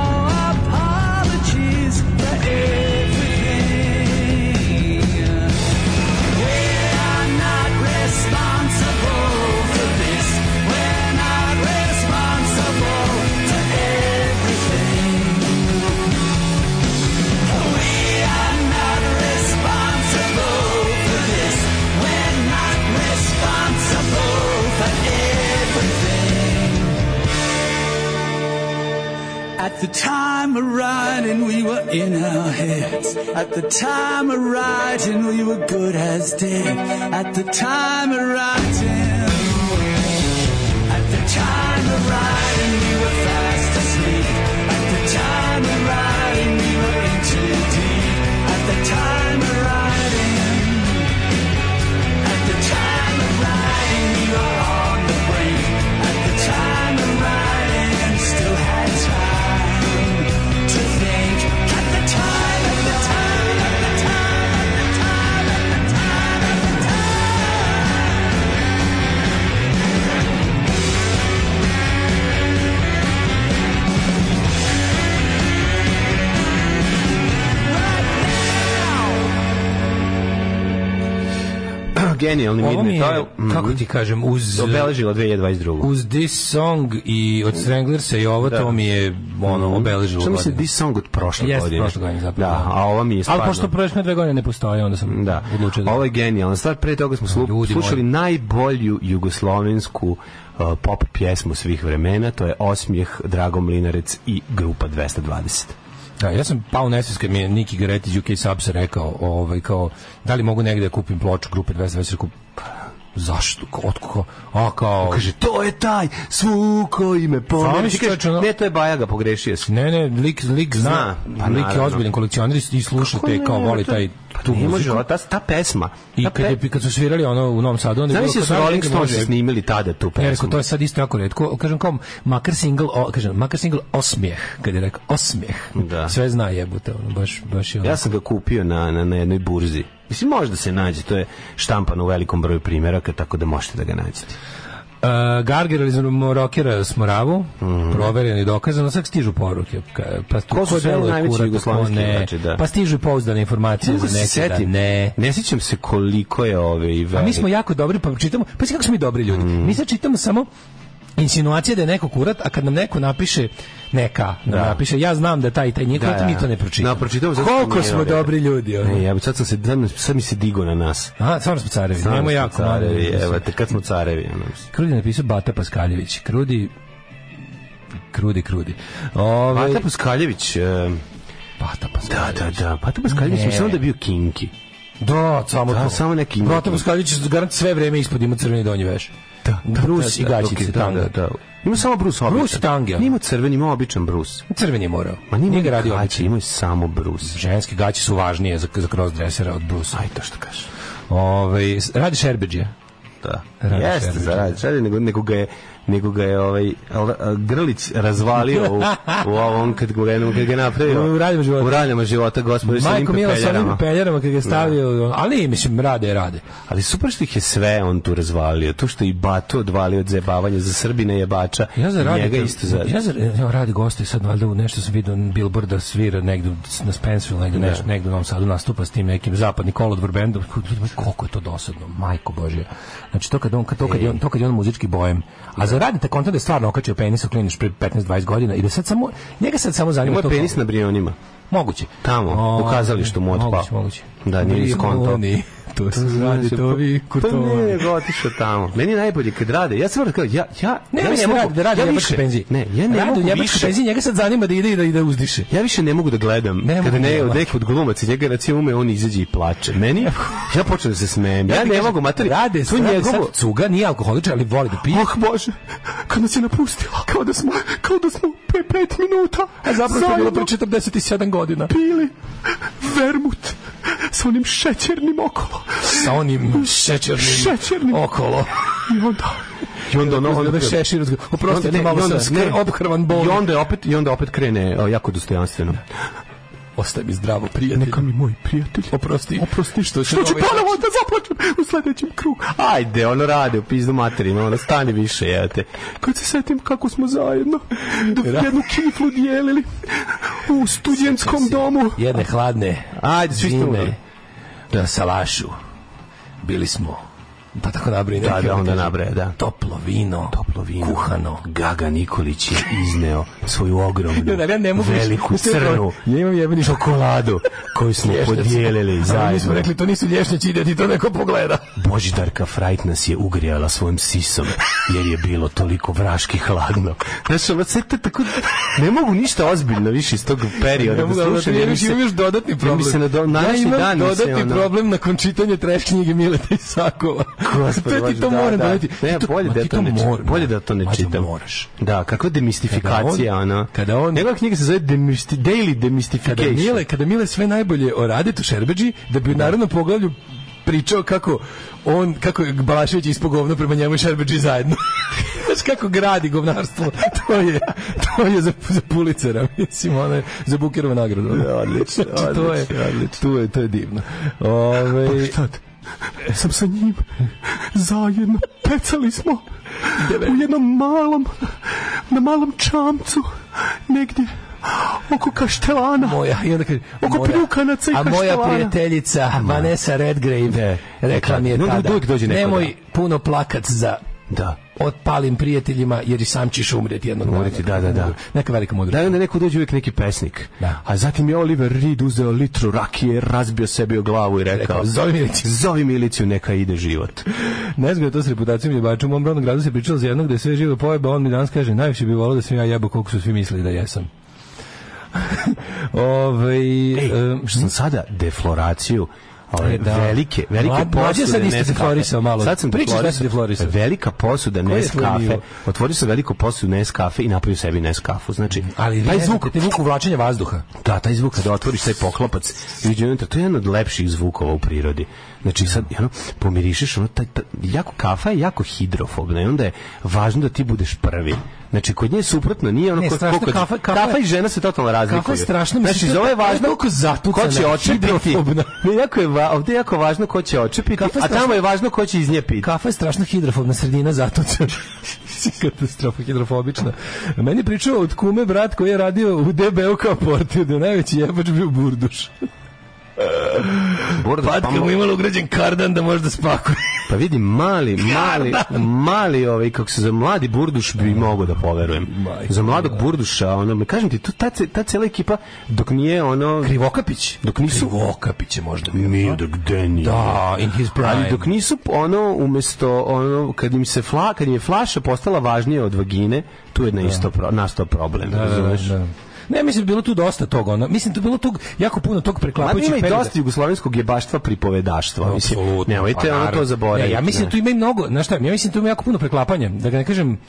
S6: apologies for everything. We are not responsible for this. We're not responsible to everything. We are not responsible for this. We're not responsible for everything. At the time of writing, we were in our heads. At the time of writing, we were good as dead. At the time of writing, at the time of writing, we were fast asleep. At the time of writing, we were in too deep. At the time of writing, at the time of writing, we were on the brink. At the time of writing, still had time to think. At the time, at the time, at the time, at the time, at the time, at the time.
S2: Genijalni
S3: Ovo mi
S2: Midnight
S3: je,
S2: Oil. mhm.
S3: kako ti kažem, uz...
S2: Obeležila 2022.
S3: Uz this song i od Stranglersa i ovo,
S2: Da.
S3: to mi je
S2: Mhm.
S3: ono, obeležilo
S2: Što mislim,
S3: godinu.
S2: da this song od prošle
S3: Jeste,
S2: godine.
S3: prošle godine zapravo.
S2: Da, a ova mi je stvarno...
S3: Ali pošto prošle dve godine ne postoje, onda sam
S2: Da,
S3: odlučio da...
S2: ovo je genijalna stvar. Pre toga smo slu-
S3: Ljudi
S2: slušali
S3: moji.
S2: najbolju jugoslovensku uh, pop pjesmu svih vremena. To je Osmijeh, Drago Mlinarec i grupa 220.
S3: Da, ja sam pao u nesvijest kad mi je Niki Garetić UK Subs rekao, ovaj, kao, da li mogu negde da kupim ploču grupe 20 večer, kao, pa, zašto, kao, otko, kao, a kao,
S2: Kaže, to je taj svu koji me
S3: Samo mi
S2: pomeri.
S3: se
S2: Kaže,
S3: čoveče, ono-
S2: Ne, to je Bajaga, pogrešio si.
S3: ne, ne, lik, lik zna,
S2: Zna, pa
S3: pa, lik je
S2: naravno.
S3: ozbiljan kolekcioner i- i sluša
S2: Kako
S3: te,
S2: ne,
S3: kao, voli
S2: to-
S3: taj,
S2: Pa
S3: tu
S2: ne može,
S3: muziku.
S2: ova- ta, ta pesma.
S3: I
S2: ta
S3: kad, je, kad su svirali ono u Novom Sadu, onda je
S2: Znaš
S3: bilo
S2: si su
S3: kao, da,
S2: Rolling
S3: neka može.
S2: Stones snimili tada tu
S3: Ja
S2: pesmu?
S3: rekao, to je sad isto jako redko. Kažem kao, makar single, o, kažem, makar single osmijeh, kad je rekao, osmijeh.
S2: Da.
S3: Sve zna jebote, ono, baš, baš je ono.
S2: Ja sam ga kupio na, na, na jednoj burzi. Mislim, može da se nađe, to je štampano u velikom broju primjeraka, tako da možete da ga nađete.
S3: Uh, Gargerali za Morokera s Moravu, provereno i dokazano, sad stižu poruke. ka- Pa
S2: Mhm. Ko su sve
S3: deluje
S2: najveći
S3: kurat, ko
S2: jugoslovenski
S3: ne.
S2: igrači, da.
S3: Pa stižu i pouzdane informacije
S2: Mogu
S3: za
S2: se
S3: neke da
S2: setim.
S3: ne.
S2: Ne sjećam se koliko je ove i
S3: A mi smo
S2: velik.
S3: jako dobri, pa čitamo, pa si kako smo mi dobri ljudi.
S2: Mhm.
S3: Mi sad čitamo samo insinuacije da je neko kurat, a kad nam neko napiše neka, nam
S2: Da.
S3: napiše, ja znam da taj i taj nije kurat,
S2: da,
S3: mi
S2: da.
S3: to ne pročitamo.
S2: Da, pročitamo zato što
S3: Koliko
S2: nije
S3: smo
S2: dobro.
S3: dobri ljudi. ono.
S2: Ne, ja bi sad sam se sad mi- sad mi se digo na nas.
S3: Aha, stvarno smo carevi,
S2: Stvarno
S3: nemamo
S2: smo
S3: jako.
S2: carevi,
S3: malo.
S2: evo te, kad smo carevi. ono, mislim.
S3: Krudi je napisao Bata Paskaljević. Krudi Krudi, krudi. Ove,
S2: Bata Paskaljević, e,
S3: Bata Paskaljević.
S2: da, da, da, Bata Paskaljević,
S3: Ne.
S2: mislim da je bio kinki.
S3: Da, samo
S2: Da,
S3: to.
S2: samo neki-
S3: Bata Paskaljević garant sve vreme ispod ima crveni donji veš. Da, Brus i gaćice
S2: dok je-
S3: tamo.
S2: Da, da, da. Ima samo brus običan.
S3: Brus tange, ono.
S2: Nije imao crveni, imao običan brus.
S3: Crven je morao.
S2: Ma nije
S3: Nije ga
S2: imao
S3: radio
S2: gaće,
S3: običan.
S2: imao je samo brus.
S3: Ženske gaće su važnije za, za crossdressera od Brusa.
S2: Aj to što kažeš.
S3: Ove, radi Šerbeđe.
S2: Da.
S3: Radi
S2: Jeste,
S3: Šerlić.
S2: zaradi. Šerlić, nego, nego ga je nego ga je ovaj al- a, Grlić razvalio u, u ovom kad ga je, kad ga je napravio
S3: U raljama života.
S2: U raljama života, gospodin, sa njim
S3: Majko Milo sa onim
S2: pepeljarama.
S3: peljarama kad ga
S2: Da.
S3: je stavio, ali mislim, rade, rade.
S2: Ali super što ih je sve on tu razvalio. To što je i Batu odvalio od zajebavanja za Srbina jebača.
S3: Ja za radi,
S2: njega isto za...
S3: ja za ja radi goste sad valjda u nešto sam vidio billboard da svira negde u- na Spenceville
S2: Da.
S3: negde nešto negde u Novom Sadu nastupa s tim nekim zapadni kolodvor bendom Ljudi moji, koliko je to dosadno majko božja znači to kad on kad to kad je on to kad je on muzički bojem a za radi tako da je stvarno okačio penis u kliniš pre 15 20 godina i da sad samo njega sad samo zanima
S2: Imao je
S3: to
S2: penis na Brionima.
S3: moguće
S2: Tamo,
S3: O,
S2: u kazalištu mu otpao.
S3: moguće moguće
S2: Da, nije ni skontao.
S3: Oni, to se radi to vi
S2: Pa ne,
S3: kurtovi
S2: nego otišao tamo. Meni je najbolje kad rade. Ja sam vrlo kao, ja, ja,
S3: Ne,
S2: ja
S3: mislim da radi, da radi
S2: ja
S3: u nemačkoj
S2: više-
S3: penziji.
S2: Ne, ja ne
S3: Radi u
S2: mogu
S3: nemačkoj
S2: više.
S3: penziji, njega sad zanima da ide i da, i da uzdiše.
S2: Ja više ne mogu da gledam.
S3: Ne
S2: Kada
S3: mogu
S2: ne,
S3: da
S2: od
S3: gledam.
S2: nekog glumac i njega recimo ume, on izađe i plače. Meni, ja počnem da se smijem. Ja,
S3: ti
S2: ne
S3: kažem,
S2: mogu, mater.
S3: Rade,
S2: to
S3: sad,
S2: njegovo-
S3: sad cuga, nije alkoholičar, ali voli da pije.
S2: Ah, Bože, kad nas je napustila, kao da smo, kao da smo pre pet minuta
S3: A zapravo je bilo
S2: zajedno
S3: pre 47 godina.
S2: pili vermut sa onim šećernim okolo.
S3: Sa onim šećernim,
S2: Šećernim.
S3: okolo.
S2: I onda... I onda ono...
S3: Ono da šešir uzgleda. Oprostite, malo sam skr- obhrvan bol.
S2: I onda opet, i onda opet krene o, jako dostojanstveno.
S3: Ostaje mi zdravo, prijatelj.
S2: Neka mi moj prijatelj.
S3: Oprosti.
S2: Oprosti što, što ću
S3: ovaj
S2: ponovo da zaplačem u sledećem krugu. Ajde, ono rade u pizdu materima, ono stani više, evo te. Kad se setim kako smo zajedno da jednu kiflu dijelili u studentskom domu.
S3: Jedne hladne
S2: Ajde, svi ste umrli.
S3: zime
S2: da,
S3: na salašu. Bili smo pa tako nabrije.
S2: Da,
S3: neki,
S2: da,
S3: ono
S2: onda
S3: kaže,
S2: nabraja, da.
S3: Toplo vino.
S2: Toplo vino.
S3: Kuhano.
S2: Gaga p***a Nikolić je izneo svoju ogromnu,
S3: Ja, da, ja ne mogu više-
S2: veliku, crnu
S3: Ja imam jebeni šok.
S2: čokoladu koju smo podijelili
S3: Ali mi smo
S2: zajedno.
S3: rekli, to nisu lješnjaci, ide ti to neko pogleda.
S2: Božidarka Frajt nas je ugrijala svojim sisom, jer je bilo toliko vraški hladno. Znaš, ono, sve to tako... Ne mogu ništa ozbiljno više iz tog perioda da slušam. jer mi se-
S3: imaš dodatni problem.
S2: mi se na do- na
S3: ja
S2: današnji
S3: imam
S2: dan mi se,
S3: dodatni
S2: ono-
S3: problem nakon čitanja trash knjige Mileta Isakova.
S2: Gospod
S3: to ti
S2: Bože,
S3: to
S2: da,
S3: moram
S2: da.
S3: doneti.
S2: Ne,
S3: Ti to-
S2: bolje
S3: ma,
S2: da
S3: ti
S2: to ne čitam.
S3: moram.
S2: Bolje da to ne
S3: Mađo,
S2: čitam.
S3: moraš.
S2: Da, kakva demistifikacija,
S3: Kada on-
S2: ono.
S3: kada on-
S2: Njegova knjiga se zove Demisti- Daily
S3: Kada
S2: Demystification.
S3: Mile, kada Mile sve najbolje o Radetu Šerbeđi, da bi u narodnom poglavlju pričao kako on, kako je Balašević ispao govno prema njemu i Šerbeđi zajedno. Znaš kako gradi govnarstvo. To je, to je za, za pulicera, mislim, ono je za Bukerovu nagradu.
S2: Da, Odlično,
S3: Znači, to je,
S2: odlično, odlično.
S3: To je, to je divno. Ove,
S2: Tad Pa sam sa njim zajedno pecali smo u jednom malom na malom čamcu negdje oko Kaštelana
S3: moja i onda kaže
S2: Oko
S3: moja-
S2: Pljukanaca i
S3: a moja
S2: Kaštevana.
S3: prijateljica
S2: Da.
S3: Vanessa Redgrave rekla mi je
S2: No,
S3: tada
S2: Da. uvijek dođe neko,
S3: nemoj
S2: da.
S3: puno plakat za
S2: da
S3: otpalim prijateljima jer i sam ćeš umreti jednog dana.
S2: Umreti, da, da, da.
S3: Neka velika mudrost.
S2: Da i onda neko dođe uvijek neki pesnik.
S3: Da.
S2: A zatim je Oliver Reed uzeo litru rakije, razbio sebi o glavu i rekao,
S3: Rekao, "Zovi miliciju."
S2: Zovi miliciju, neka ide život.
S3: Ne znam je to s reputacijom ljubača. U mom rodnom gradu se pričalo za jednog da je sve živo pojeba, on mi danas kaže, najviše bi volao da sam ja jebao koliko su svi mislili da jesam. Ovaj, Ove,
S2: Ej, što sam sada defloraciju ove
S3: mhm. E, da.
S2: velike, velike
S3: Mlad-
S2: posude.
S3: mlađe sad isto
S2: Nescafe.
S3: deflorisao malo.
S2: Sad sam
S3: Pričaš da
S2: deflorisao.
S3: si deflorisao.
S2: Velika posuda
S3: je
S2: Nes
S3: tvoj
S2: kafe.
S3: nivo?
S2: Otvorio sam veliku posudu Nes kafe i napravio sebi Nes kafu. Znači,
S3: ali
S2: taj
S3: ne,
S2: zvuk,
S3: te zvuk uvlačenja vazduha.
S2: da, taj zvuk kada otvoriš taj poklopac i uđe unutra, to je jedan od lepših zvukova u prirodi. Znači, sad, ono, pomirišeš, ono, taj, taj, jako, kafa je jako hidrofobna i onda je važno da ti budeš prvi. Znači, kod nje je suprotno, nije ono...
S3: Ne,
S2: ko-
S3: strašno,
S2: ko- kod-
S3: kafa- kafa je-
S2: i žena se totalno razlikuju.
S3: strašno, mislim,
S2: Znači,
S3: to-
S2: za ovo je
S3: to je
S2: važno
S3: toliko zatucana,
S2: ko će očepiti.
S3: hidrofobna.
S2: Ne, jako je va, ovde je jako važno ko će očepiti,
S3: Kafa
S2: a
S3: strašna-
S2: tamo je važno ko će iznjepiti.
S3: Kafa je strašno hidrofobna sredina, zato će katastrofa hidrofobična. Meni je pričao od kume brat koji je radio u DBU kao portir, da je najveći jebač bio burduš.
S2: Bordo,
S3: Patka mu imala ugrađen kardan da može da spakuje.
S2: Pa vidi, mali, mali,
S3: da.
S2: mali, ovaj, kako se za mladi burduš bi mogao da poverujem.
S3: Majko
S2: za mladog burduša, ono, me kažem ti, tu, ta, ce- ta cela ekipa, dok nije ono...
S3: Krivokapić?
S2: Dok nisu...
S3: Krivokapić je možda bio.
S2: Nije, dok gde nije.
S3: Da, in his prime.
S2: Ali dok nisu ono umesto ono kad im se fla, kad im je flaša postala važnija od vagine, tu je na isto pro, nastao problem,
S3: Da, da,
S2: razumeš?
S3: da. Ne, mislim, bilo tu dosta toga. Ono. Mislim, tu bilo tu jako puno tog
S2: Mada
S3: preklapajućih
S2: ima i
S3: perioda.
S2: dosta jugoslovenskog jebaštva pripovedaštva, mislim.
S3: Apsolutno,
S2: Nemojte
S3: pa
S2: ono to
S3: naravno.
S2: zaboraviti.
S3: Ne, ja mislim da
S2: ne.
S3: tu ima i mnogo, znaš šta, ja mislim tu ima jako puno preklapanja. Da ga ne kažem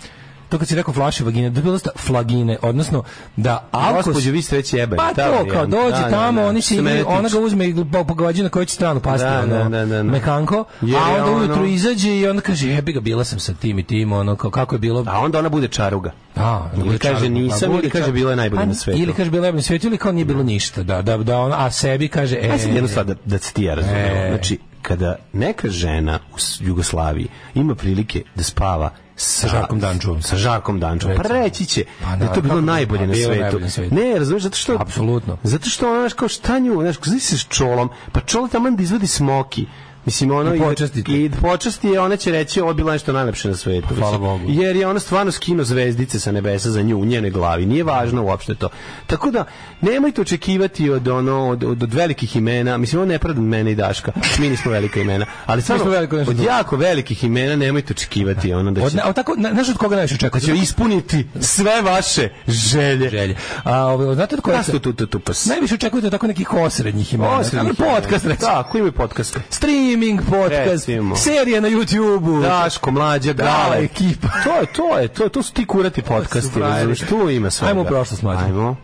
S3: to kad si rekao flaše vagine, da je bilo dosta flagine, odnosno da alko...
S2: Gospođo, vi ste već jebeni.
S3: Pa
S2: ta
S3: to, kao
S2: varijanta.
S3: dođe
S2: Da, da,
S3: tamo,
S2: da.
S3: oni
S2: Što
S3: se igraju,
S2: mene
S3: ona
S2: tiče.
S3: ga uzme i po- pogađa na koju će stranu pasti,
S2: Da,
S3: ono,
S2: da, da, da, da.
S3: mekanko,
S2: Jer
S3: a
S2: je
S3: onda
S2: ono-
S3: ujutru izađe i onda kaže, jebi ga, bila sam sa tim i tim, ono, kao, kako je bilo,
S2: A onda ona bude čaruga.
S3: a,
S2: Ili kaže
S3: čarobno,
S2: nisam,
S3: pa,
S2: ili kaže
S3: čar-
S2: bila je najbolja
S3: A,
S2: na svetu.
S3: Ili kaže bila je najbolja na svetu, ili kao nije bilo ništa. Da, da, da on, a sebi kaže... E,
S2: Ajde sad jednu stvar da, da se ti ja razumijem.
S3: E.
S2: Znači, kada neka žena u S- Jugoslaviji ima prilike da spava sa,
S3: Žarkom Dančovom.
S2: Sa Žarkom Dančovom. Pa
S3: Recimo.
S2: reći će
S3: Pa
S2: da je
S3: naravno,
S2: to bilo
S3: kako-
S2: najbolje
S3: pa
S2: na
S3: bilo
S2: svetu.
S3: najbolje na svetu.
S2: Ne, razumiješ, zato što...
S3: Apsolutno.
S2: Zato što ona, znaš, kao šta nju, znaš, kao znači se s čolom, pa čolo tamo da izvadi smoki. Mislim, ono...
S3: I počasti te.
S2: I počasti je, ona će reći, ovo je bilo nešto najlepše na svetu.
S3: Hvala
S2: Mislim,
S3: Bogu.
S2: jer je ona stvarno skino zvezdice sa nebesa za nju u njenoj glavi. Nije važno uopšte to. Tako da nemojte očekivati od ono od, od, od velikih imena, mislim on ne pravda mene i Daška. Mi nismo velika imena, ali samo
S3: smo veliko nešto
S2: od
S3: drugo.
S2: jako velikih imena nemojte očekivati ono da
S3: Od,
S2: će
S3: na- od tako, na- znaš od koga najviše
S2: da će
S3: očekujete?
S2: ispuniti sve vaše želje.
S3: Želje. A, ovaj, znate od koga?
S2: Nas tu tu pa tu tu pas.
S3: Najviše očekujete tako nekih osrednjih imena.
S2: Osrednjih
S3: Dobro, podcast,
S2: imena.
S3: recimo.
S2: Tako, Da, imaju podcast.
S3: Streaming podcast,
S2: Recimo.
S3: serija na YouTube-u.
S2: Daško, mlađa,
S3: Da,
S2: gale.
S3: ekipa.
S2: To je, to je, to, to su ti kurati podcasti,
S3: frajeri.
S2: razumiješ, tu ima svega.
S3: Ajmo u prošlost, mlađe.
S2: Ajmo.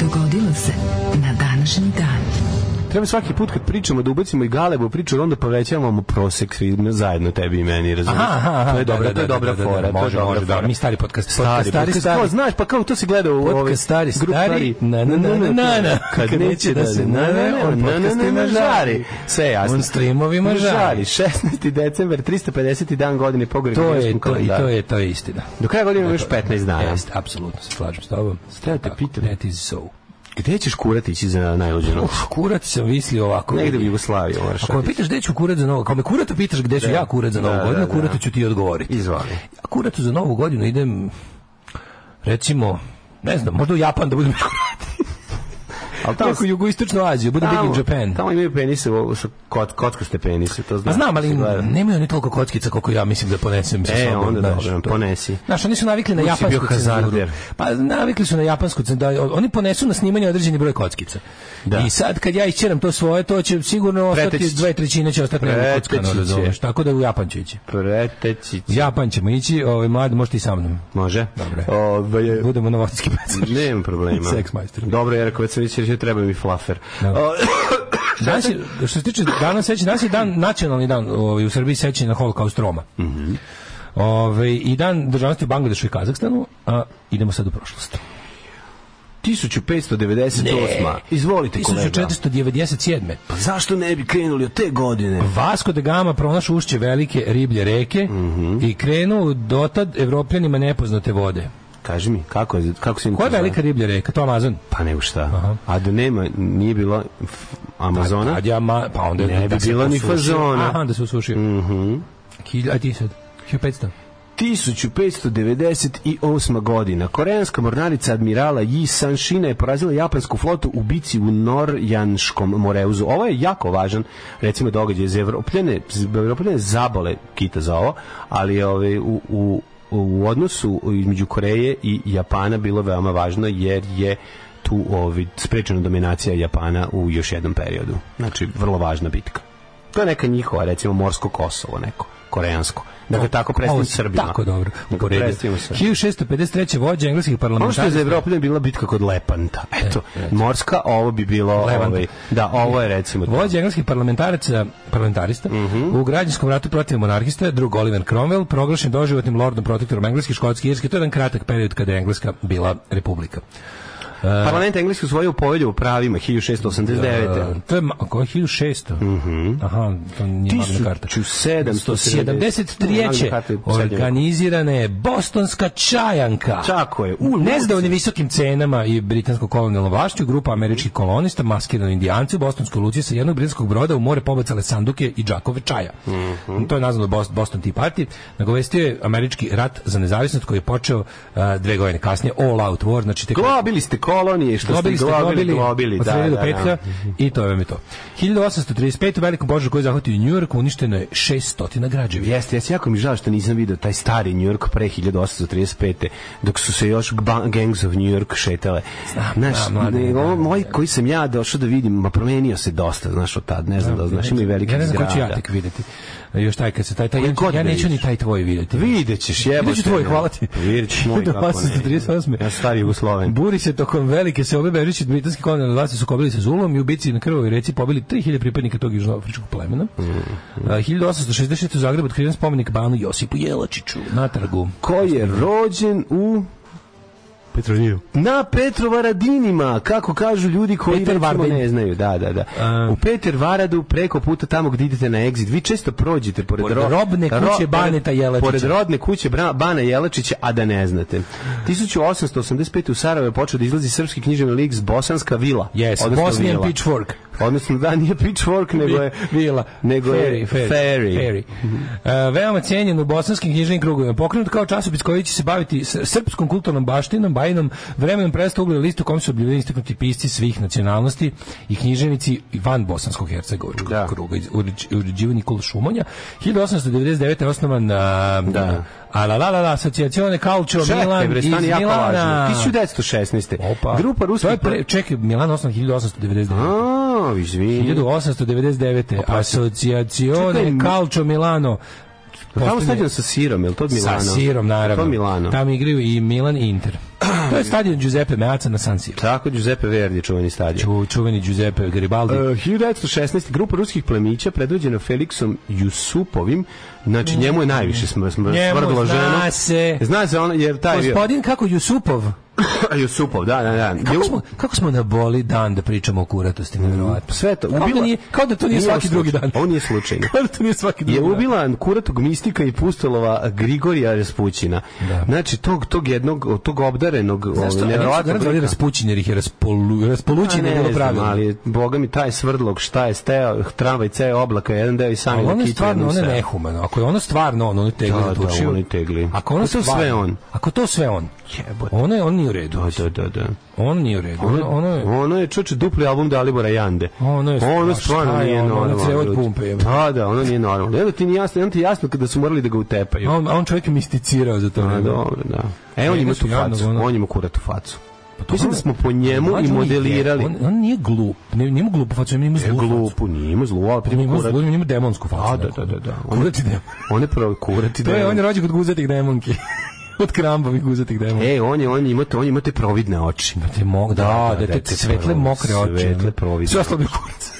S5: Dogodilo se na današnji dan.
S2: Treba svaki put kad pričamo da ubacimo i Galebu u priču, jer onda povećavamo prosek svi zajedno tebi i meni, razumiješ?
S3: Aha, aha, aha,
S2: to je dobra,
S3: da,
S2: to je
S3: da,
S2: dobra
S3: da, da, da,
S2: fora, to je
S3: može,
S2: dobra
S3: može, da,
S2: fora.
S3: mi stari podcast,
S2: Stari,
S3: podcast, stari,
S2: podcast,
S3: stari.
S2: To znaš, pa kao to si gledao u
S3: Podcast
S2: ovoj
S3: stari,
S2: grupi
S3: stari, na, na, na, na, na, na.
S2: kad neće da se na, na, on podcastima žari. Sve je jasno.
S3: On streamovima žari.
S2: 16. december, 350. dan godine po
S3: To je,
S2: Gregorijanskom
S3: to, i
S2: kalendaru.
S3: to je, to je istina.
S2: Do kraja godine ima još 15 dana.
S3: Jeste, apsolutno se slažem s tobom.
S2: Treba te
S3: Tako,
S2: pitam.
S3: That is so.
S2: Gde ćeš kurati ići za najluđenu?
S3: Uf, kurac sam mislio ovako.
S2: Negde u Jugoslaviju moraš
S3: Ako me
S2: otići.
S3: pitaš gde ću kurat za novo, ako me kuratu pitaš gde ću ja kurat za novu
S2: da,
S3: godinu,
S2: da.
S3: kuratu ću ti odgovoriti.
S2: Izvoli.
S3: Ja kuratu za novu godinu idem, recimo, ne znam, možda u Japan da budem
S2: Ali
S3: Neku jugoistočnu Aziju, budem big in Japan.
S2: Tamo imaju penise, u- sa kot, kockaste penise, to
S3: Pa
S2: znam.
S3: znam, ali
S2: Se gleda.
S3: nemaju oni toliko kockica koliko ja mislim da ponesem sa
S2: E,
S3: sobom.
S2: onda
S3: znaš,
S2: dobro,
S3: to.
S2: ponesi.
S3: Znaš, oni su navikli na
S2: Uvijek si
S3: japansku
S2: bio hazarder.
S3: cenzuru. Pa navikli su na japansku cenzuru. da, Oni ponesu na snimanje određeni broj kockica.
S2: Da.
S3: I sad kad ja isčeram to svoje, to će sigurno ostati,
S2: Preteći će.
S3: dve trećine će ostati negdje
S2: Preteći
S3: kockano,
S2: će.
S3: razumeš. Tako da u Japan ću ići.
S2: Preteći
S3: U
S2: će.
S3: Japan ćemo ići, ovaj, mlad, možete i sa mnom.
S2: Može?
S3: Dobre.
S2: Ove,
S3: Budemo na vodski pecar.
S2: Nemam problema.
S3: Seks majstor. Da.
S2: Dobro, jer ako već sam već rešio, treba mi flafer. O,
S3: Danas je, što se tiče dana sećanja, danas je dan, nacionalni dan ovaj, u Srbiji sećanja na holokaust Roma. Ovaj, I dan državnosti u Bangladešu i Kazahstanu, a idemo sad u prošlost.
S2: 1598. Izvolite, kolega.
S3: 1497.
S2: Pa zašto ne bi krenuli od te godine?
S3: Vasco da Gama pronašao ušće velike riblje reke i krenuo dotad evropljanima nepoznate vode.
S2: Kaži mi, kako, je- kako se im to
S3: Koja je
S2: zove?
S3: velika riblja reka? To Amazon.
S2: Pa nego šta. A da nema, nije bilo f- Amazona?
S3: Kad ja ma- pa onda
S2: Ne bi bilo ni fazona.
S3: Aha, da se usušio. Mhm. a ti sad? 1500.
S2: 1598. godina koreanska mornarica admirala Yi Sanshina je porazila japansku flotu u bici u Norjanškom moreuzu. Ovo je jako važan, recimo, događaj za Evropljane, Evropljane zabole kita za ovo, ali je, ovaj, u, u, u odnosu između Koreje i Japana bilo veoma važno jer je tu ovaj, sprečena dominacija Japana u još jednom periodu. Znači, vrlo važna bitka. To je neka njihova, recimo, morsko Kosovo neko koreansko. Dakle, tako predstavim
S3: Ovo je
S2: Srbima.
S3: Tako dobro.
S2: Tako
S3: Uporedio.
S2: predstavimo Srbima.
S3: 1653. vođa engleskih
S2: Ono što je za
S3: parlamentaraca.
S2: Evropu da je bila bitka kod Lepanta. Eto, morska, a ovo bi bilo...
S3: E, Levanta.
S2: Ovaj, da, ovo je recimo...
S3: Vođa engleskih parlamentaraca, parlamentarista,
S2: Mhm.
S3: u građanskom ratu protiv monarhista, drug Oliver Cromwell, proglašen doživotnim lordom protektorom engleske, škotske i irske, to je jedan kratak period kada je Engleska bila republika.
S2: Parlament engleski usvojio povelju o pravima 1689.
S3: E, to je ma- ako je 1600.
S2: Mhm.
S3: Aha, to nije magna karta. 73.
S2: 1773.
S3: organizirana je Bostonska čajanka.
S2: Tako je.
S3: U nezadovoljnim visokim cenama i britansko kolonijalno vlašću, grupa američkih kolonista, maskirani indijanci u Bostonskoj luci sa jednog britanskog broda u more pobacale sanduke i džakove čaja.
S2: Mhm.
S3: To je nazvano Bos- Boston Tea Party. Nagovestio je američki rat za nezavisnost koji je počeo a, dve godine kasnije, All Out War, znači tek
S2: Globili ste kolonije, što
S3: Globili
S2: ste
S3: ste
S2: globili,
S3: globili,
S2: globili,
S3: od
S2: da,
S3: srede
S2: da,
S3: do
S2: da.
S3: petka i to vam je to. 1835. u velikom božu koji je zahvatio New York uništeno je 600 građevi.
S2: Jeste, jeste, jako mi žao što nisam vidio taj stari New York pre 1835. dok su se još gba- Gangs of New York šetale. Znaš,
S3: da, mladi,
S2: ne,
S3: da,
S2: ovo
S3: da.
S2: moj koji sam ja došao da vidim, ma promenio se dosta, znaš, od tad, ne znam da, li znaš, ima i velike
S3: Ja ne znam
S2: zgrada.
S3: koji ću ja tek vidjeti. Još taj kad se taj, taj
S2: Koji
S3: ja,
S2: god
S3: ja
S2: da
S3: neću ni
S2: vidiš.
S3: taj tvoj vidjeti.
S2: Vidjet ćeš, jebote.
S3: Vidjet ću tvoj,
S2: ne.
S3: hvala ti.
S2: Vidjet ćeš moj, kako ne.
S3: 1838.
S2: Ja stari Jugosloven.
S3: Buri se tokom velike se obe Bežići britanski kolonijalni vlasti sukobili se Zulom i u bici na krvoj reci pobili 3000 pripadnika tog južnoafričkog plemena. A, 1860. u Zagrebu otkriven spomenik Banu Josipu Jelačiću na trgu.
S2: Ko je rođen u
S3: Petroniju.
S2: Na Petrovaradinima, kako kažu ljudi koji
S3: Peter
S2: recimo
S3: Vardin.
S2: ne znaju. Da, da, da.
S3: A.
S2: U Peter Varadu, preko puta tamo gdje idete na exit, vi često prođete pored,
S3: Pored
S2: ro-
S3: robne kuće
S2: ro-
S3: Baneta Jelačića.
S2: Pored rodne kuće Bra- Bana Jelačića, a da ne znate. 1885. u Sarajevo je počeo da izlazi srpski književni lik s Bosanska vila.
S3: Yes,
S2: odnosno
S3: Bosnian
S2: vila.
S3: Pitchfork.
S2: Odnosno, da, nije pitchfork, nego je...
S3: Vila.
S2: Nego je Mhm. Ferry.
S3: Ferry. E, veoma cijenjen u bosanskim knjižnim krugovima. Pokrenut kao časopis koji će se baviti s- srpskom kulturnom baštinom, bajinom, vremenom prestao ugled listu kom su objavljeni istaknuti pisci svih nacionalnosti i književnici i van bosanskog hercegovačkog
S2: Da.
S3: kruga. iz- uređ- Uređivani kul šumonja. 1899. je osnovan a,
S2: Da.
S3: a la la la la, asocijacione Calcio Milan
S2: bre,
S3: iz
S2: stani, jako
S3: Milana.
S2: važno. 1916.
S3: Opa.
S2: Grupa
S3: To
S2: ruskih...
S3: je pre, čekaj, Milan osnovan 1899.
S2: A, izvini.
S3: 1899.
S2: Pa Čekaj,
S3: Asociazione Calcio Milano.
S2: Tamo
S3: Postane-
S2: stadion sa sirom, je li to od Milano?
S3: Sa sirom, naravno.
S2: To Milano.
S3: Tamo igraju i Milan i Inter. to je stadion Giuseppe Meazza na San Siro.
S2: Tako, Giuseppe Verdi, čuveni stadion.
S3: Ču, čuveni Giuseppe Garibaldi.
S2: Uh, 1916. grupa ruskih plemića predvođena Feliksom Jusupovim, znači njemu je najviše sm sm
S3: Mm. Njemu
S2: svrdlo
S3: zna
S2: ženo.
S3: se.
S2: Zna se on, jer taj je bio-
S3: Gospodin kako Jusupov.
S2: Jusupov, da, da, da.
S3: Kako
S2: Ju-
S3: smo, kako smo naboli dan da pričamo o kuratosti, nevjerovatno.
S2: Sve to.
S3: Kao da,
S2: ubila-
S3: nije, kao da to nije, svaki drugi dan.
S2: slučajno. Ovo nije slučajno.
S3: Kao da to nije svaki drugi
S2: je
S3: dan.
S2: ubila kuratog mistika i pustolova Grigorija Raspućina.
S3: Da.
S2: Znači, tog, tog jednog, tog obdarenog, ovaj,
S3: Zašto?
S2: nevjerovatnog
S3: Nevjerovatno.
S2: lika.
S3: Raspućin jer ih je raspolu, raspolućin
S2: Pa
S3: je
S2: ne
S3: bilo
S2: znam,
S3: pravilno.
S2: ali je, boga mi taj svrdlog šta je steo, tramvaj ceo oblaka, jedan deo i sami
S3: Ali ono je
S2: nakitio
S3: stvarno,
S2: jednom
S3: ono je
S2: selu.
S3: nehumano. Ako je ono stvarno on, ono je
S2: Da,
S3: tegli
S2: da,
S3: natučio.
S2: ono je tegli. Pa
S3: Ako ono
S2: Ako to
S3: stvarno,
S2: sve on.
S3: Ako to sve on.
S2: Jebote.
S3: Ono je, on nije u redu.
S2: Da, da, da, da.
S3: On nije u redu.
S2: Ono,
S3: Ono, ono je...
S2: je čoče dupli album Dalibora Jande.
S3: E. Ono je
S2: ono
S3: stvarno,
S2: stvarno
S3: šta je
S2: nije
S3: ono, ono
S2: normalno.
S3: crevo od
S2: ljudi.
S3: pumpe, jebote.
S2: Da, da, ono nije normalno. Evo ti nije jasno, evo ti je jasno kada su morali da ga utepaju.
S3: a On, a on čovjek je misticirao za to.
S2: A,
S3: vreme.
S2: dobro, da. E, on
S3: Njega
S2: ima
S3: su
S2: tu
S3: jadnog,
S2: facu,
S3: ono-
S2: on ima kuratu facu.
S3: Pa to
S2: Mislim da
S3: ono-
S2: smo po njemu i
S3: Mlađe on je-
S2: modelirali.
S3: On, on nije glup. Ne, nije mu glupu facu, on ima
S2: E,
S3: zlu facu.
S2: glupu, nije ima zlu, ali
S3: On ima
S2: kurat-
S3: zlu, on ima demonsku facu.
S2: A, da,
S3: neku.
S2: da, da, da. On-
S3: Kurati demon.
S2: On je pravo kurati
S3: To je,
S2: demon.
S3: on je rođen kod guzatih demonki. od krambovih guzatih demonki.
S2: E, on je, on ima, te- on ima te providne oči.
S3: Te mog, da,
S2: Da,
S3: da,
S2: da,
S3: da,
S2: da,
S3: te, svetle
S2: provi-
S3: mokre oči.
S2: svetle
S3: ono.
S2: providne
S3: Sve oslabio kurac.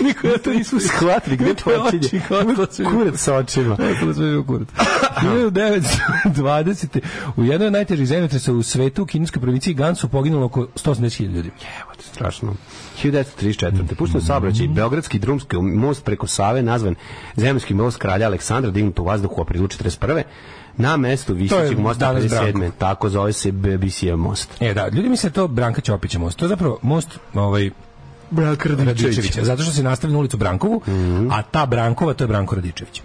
S3: Niko ja to nisam
S2: Shvatili, gde to
S3: Oči,
S2: očinje?
S3: kako to sve-
S2: Kurac sa očima.
S3: Kako to sve bio kurac. 1920. U jednoj od najtežih zemljotresa u svetu, u kineskoj provinciji Gansu, poginulo oko 180.000 ljudi.
S2: Evo, strašno. 1934. Pušten saobraćaj,
S3: Mm.
S2: Beogradski drumski most preko Save, nazvan Zemljski most kralja Aleksandra, dignut u vazduhu u aprilu 41. Na mestu Višećeg mosta
S3: danas
S2: 57. Tako zove se BBC most.
S3: E, da, ljudi misle da je to Branka Ćopića most. To je zapravo most ovaj,
S2: Brak
S3: Radičevića, zato što se nastavi na ulicu Brankovu, a ta Brankova, to je Branko Radičević.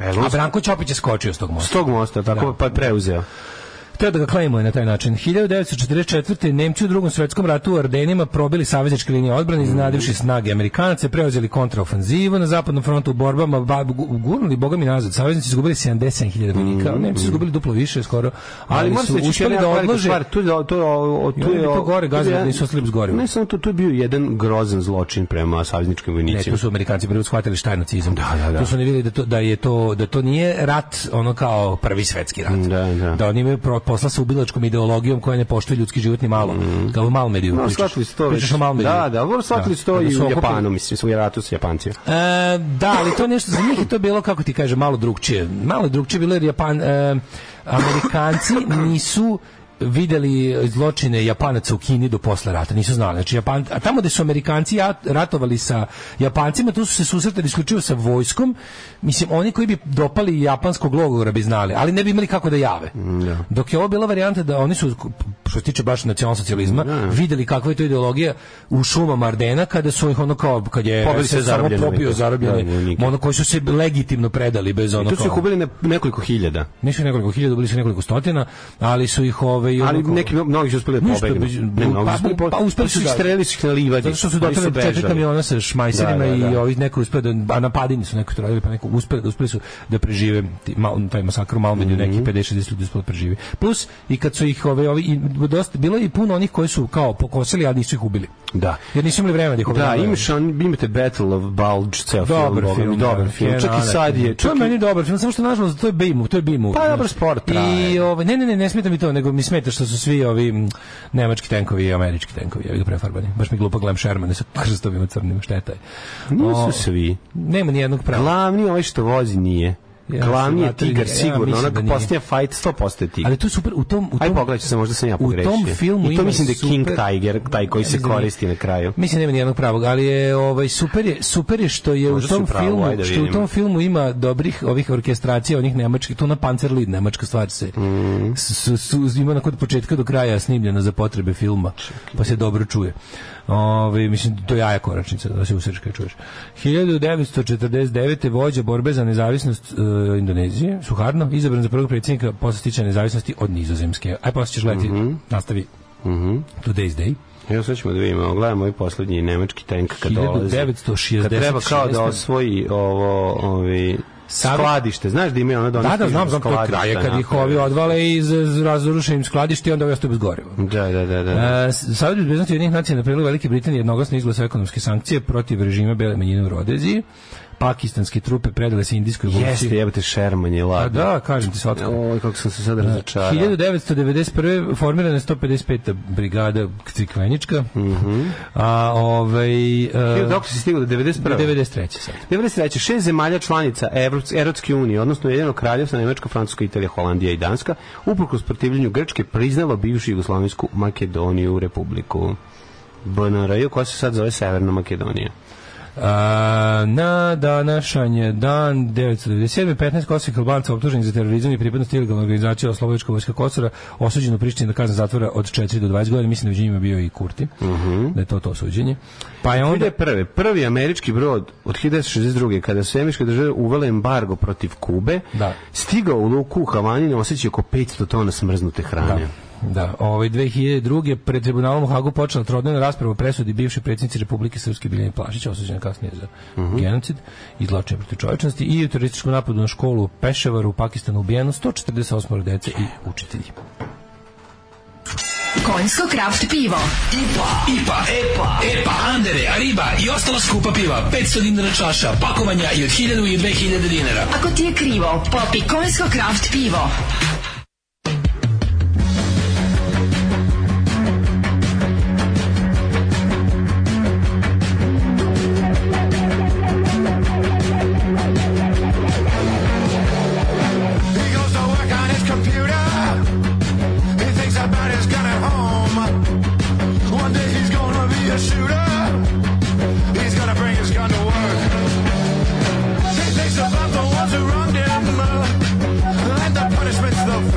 S2: Evo,
S3: A Branko Ćopić je skočio s tog mosta.
S2: s tog mosta, tako
S3: Da.
S2: pa je preuzeo.
S3: Hteo da ga klejmuje na taj način. 1944. Nemci u drugom svetskom ratu u Ardenima probili savezničke linije odbrane, iznadivši snage Amerikanaca, preuzeli kontraofanzivu na zapadnom frontu u borbama, ba, gu- gurnuli boga mi nazad. Saveznici izgubili 77.000 vojnika, Nemci su izgubili duplo više skoro, ali,
S2: moram
S3: su
S2: reći
S3: uspeli
S2: jedna
S3: da
S2: velika
S3: odlože
S2: stvar, tu je o- to je o- o-
S3: I
S2: tu
S3: oni
S2: je
S3: bi to
S2: o-
S3: gore
S2: tu je
S3: gazili,
S2: jedan-
S3: nisu ostali bez goriva.
S2: Ne samo to, tu je bio jedan grozan zločin prema savezničkim
S3: Ne,
S2: vojnicima.
S3: tu su Amerikanci prvo shvatili šta je nacizam.
S2: Da, da, da.
S3: Tu su oni vidjeli da to, da je to, da to nije rat ono kao prvi svetski rat.
S2: Da, da.
S3: oni imaju pro- posla sa ubilačkom ideologijom koja ne poštuje ljudski život ni malo. Kao u Malmeriju
S2: Mhm. No,
S3: pričaš.
S2: shvatili su to. već.
S3: Pričaš o Malmeriju.
S2: Da, da, dobro shvatili su to
S3: Kada
S2: i
S3: su
S2: u
S3: okupili-
S2: Japanu, mislim, su u ratu s Japancima.
S3: E, da, ali to je nešto za njih je to bilo kako ti kaže malo drugčije. Malo drugčije bilo jer Japan e, Amerikanci nisu videli zločine Japanaca u Kini do posle rata, nisu znali. Znači, Japan, a tamo gde su Amerikanci ja- ratovali sa Japancima, tu su se susretali isključivo sa vojskom. Mislim, oni koji bi dopali japanskog logora bi znali, ali ne bi imali kako da jave. Dok je ovo bila varijanta da oni su, što se tiče baš nacionalsocijalizma, videli kakva je to ideologija u šumama Ardena kada su ih ono kao, kad je
S2: Pobili
S3: SS
S2: sve
S3: samo
S2: zarobljene
S3: pobio
S2: vojnike.
S3: zarobljene,
S2: Da, vojnike.
S3: ono koji su se legitimno predali bez ono
S2: Tu su ih
S3: kao,
S2: ubili ne- nekoliko hiljada.
S3: nisu ih nekoliko hiljada, bili su nekoliko stotina, ali su ih ovaj, ove...
S2: Ali neki mnogi su uspeli da
S3: Ništa,
S2: pobegnu.
S3: bez-
S2: Ne, mnogi
S3: pa-
S2: su uspeli po-
S3: pa uspeli su
S2: ih
S3: da-
S2: strelili su ih na livadi.
S3: Zato što su
S2: Oni
S3: dotle četiri
S2: bežali.
S3: kamiona sa šmajserima
S2: Da, da,
S3: i
S2: da.
S3: ovih neko uspeo da, a napadini su neko trojili, pa neko uspeli, da uspeli su da prežive ti, mal, taj masakr u Malmediju,
S2: Mhm.
S3: neki 50-60 ljudi uspeli da prežive. Plus, i kad su ih, ove, ovi, i, dosta, bilo je i puno onih koji su kao pokosili, ali nisu ih ubili.
S2: Da.
S3: Jer nisu imali vremena da ih
S2: Da,
S3: obranjavaju.
S2: imaš on, imate Battle of Bulge, ceo Pa film.
S3: Dobar
S2: Boga mi,
S3: film,
S2: Dobar
S3: da.
S2: film. Čak i
S3: Keanu
S2: sad je.
S3: Reeves. To je
S2: čak i-
S3: meni dobar film, samo što nažalost to je B-movie, to je B-movie.
S2: Pa,
S3: znaš.
S2: dobar sport
S3: I
S2: traje.
S3: ovaj ne ne ne ne smeta mi to, nego mi smeta što su svi ovi m, nemački tenkovi i američki tenkovi, ja ga prefarbani. Baš mi glupo gledam Shermane sa krstovima crnim, šteta je. O,
S2: Nisu svi.
S3: Nema ni jednog prava.
S2: Glavni ovaj što vozi nije.
S3: Ja
S2: Glavni je
S3: mislim,
S2: tigar,
S3: ja
S2: sigurno.
S3: mislim
S2: Ona
S3: da nije.
S2: posljednja fight 100% je tigar.
S3: Ali tu je super u tom u
S2: Aj
S3: tom
S2: pogledaj se, možda sam ja
S3: u tom
S2: pogrešio.
S3: filmu
S2: I to
S3: ima
S2: mislim da je King
S3: super-
S2: Tiger, taj koji se
S3: Mislim da nije.
S2: koristi na kraju.
S3: Mislim nema ni jednog pravog, ali je ovaj super je super je što je
S2: Možda
S3: u tom
S2: su pravo,
S3: filmu
S2: ajde da
S3: što u
S2: vidim.
S3: tom filmu ima dobrih ovih orkestracija, onih nemačkih, tu na Panzerlied nemačka stvar se
S2: Mm.
S3: su, su, ima onako od početka do kraja snimljena za potrebe filma, pa se dobro čuje. Ovaj mislim to je jaja koračnica da se usreš kad čuješ. 1949. vođa borbe za nezavisnost e, Indonezije, Suharno, izabran za prvog predsjednika posle stiče nezavisnosti od Nizozemske. Aj posle ćeš gledati,
S2: Mhm.
S3: nastavi. Today's day.
S2: Evo sad ćemo da vidimo, gledamo ovaj poslednji nemački tank kad dolazi.
S3: 1966.
S2: Kad treba kao da osvoji ovo, ovi,
S3: Savez-
S2: skladište. Znaš da imaju ono da oni
S3: Da, da,
S2: stižu
S3: znam,
S2: do
S3: znam, to je
S2: skladišta
S3: kraje kad ih ovi
S2: naprave.
S3: odvale i razruše im skladište i onda ovi ostaju bez goriva.
S2: Da, da, da, da.
S3: E, Savjet bezbednosti jednih nacija na prilu Velike Britanije jednoglasno izglasa ekonomske sankcije protiv režima Bele manjine u Rodeziji. Pakistanske trupe predale se indijskoj vojsci.
S2: Jeste, jebate, Sherman je
S3: A
S2: ladno.
S3: da, kažem ti svatko.
S2: Oj, kako sam se sad razočarao.
S3: 1991. formirana je 155. brigada Crikvenička. A ovaj... e,
S2: Mhm. Hiljadu- Dok si stigao do 91.
S3: 93. sad.
S2: 93. šest zemalja članica Evrops- Evropske unije, odnosno Jedinog kraljevstva Nemačka, Francuska, Italija, Holandija i Danska, uprkos protivljenju Grčke priznalo bivšu Jugoslavijsku Makedoniju republiku. BNR, koja se sad zove Severna Makedonija.
S3: A, na današanje dan 997. 15 kosovih albanca optuženih za terorizam i pripadnost ilegalne organizacije Oslobojička vojska Kosora osuđeno u Prištini na kaznu zatvora od 4 do 20 godina. Mislim da među njima bio i Kurti. Da je to to suđenje. Pa je onda...
S2: Onda je prve, prvi američki brod od 1962. kada su američke države uvele embargo protiv Kube,
S3: Da.
S2: stigao u luku u Havani na osjećaj oko 500 tona smrznute hrane.
S3: Da, ovaj 2002. pred tribunalom u Hagu počela trodnevna rasprava o presudi bivše predsjednice Republike Srpske Biljane Plašić, osuđena kasnije za genocid i zločine protiv čovječnosti i u terorističkom napadu na školu u Peševaru u Pakistanu ubijeno 148 dece i učitelji.
S5: Konjsko kraft pivo.
S7: IPA, EPA, EPA, Andere, Ariba i ostala skupa piva. 500 dinara čaša, pakovanja i od 1000 i 2000 dinara.
S5: Ako ti je krivo, popi konjsko kraft pivo.
S4: He goes to work on his computer. He thinks about his gun at home. One day he's gonna be a shooter. He's gonna bring his gun to work. He thinks about the ones who wronged him. And the punishment's the
S8: oh,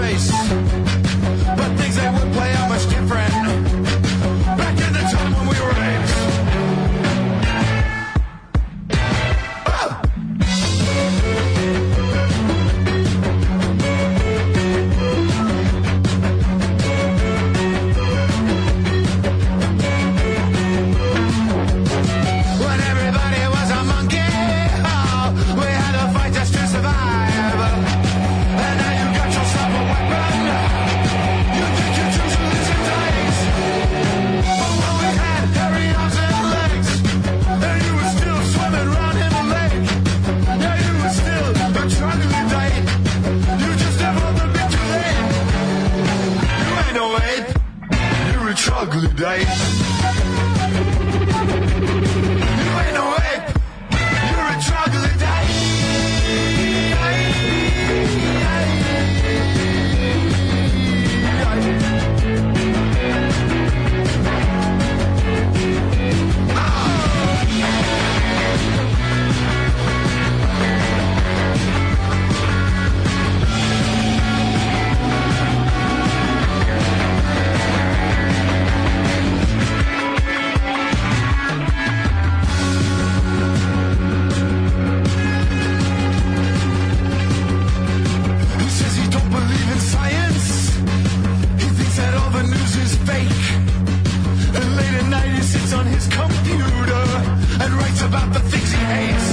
S4: ace.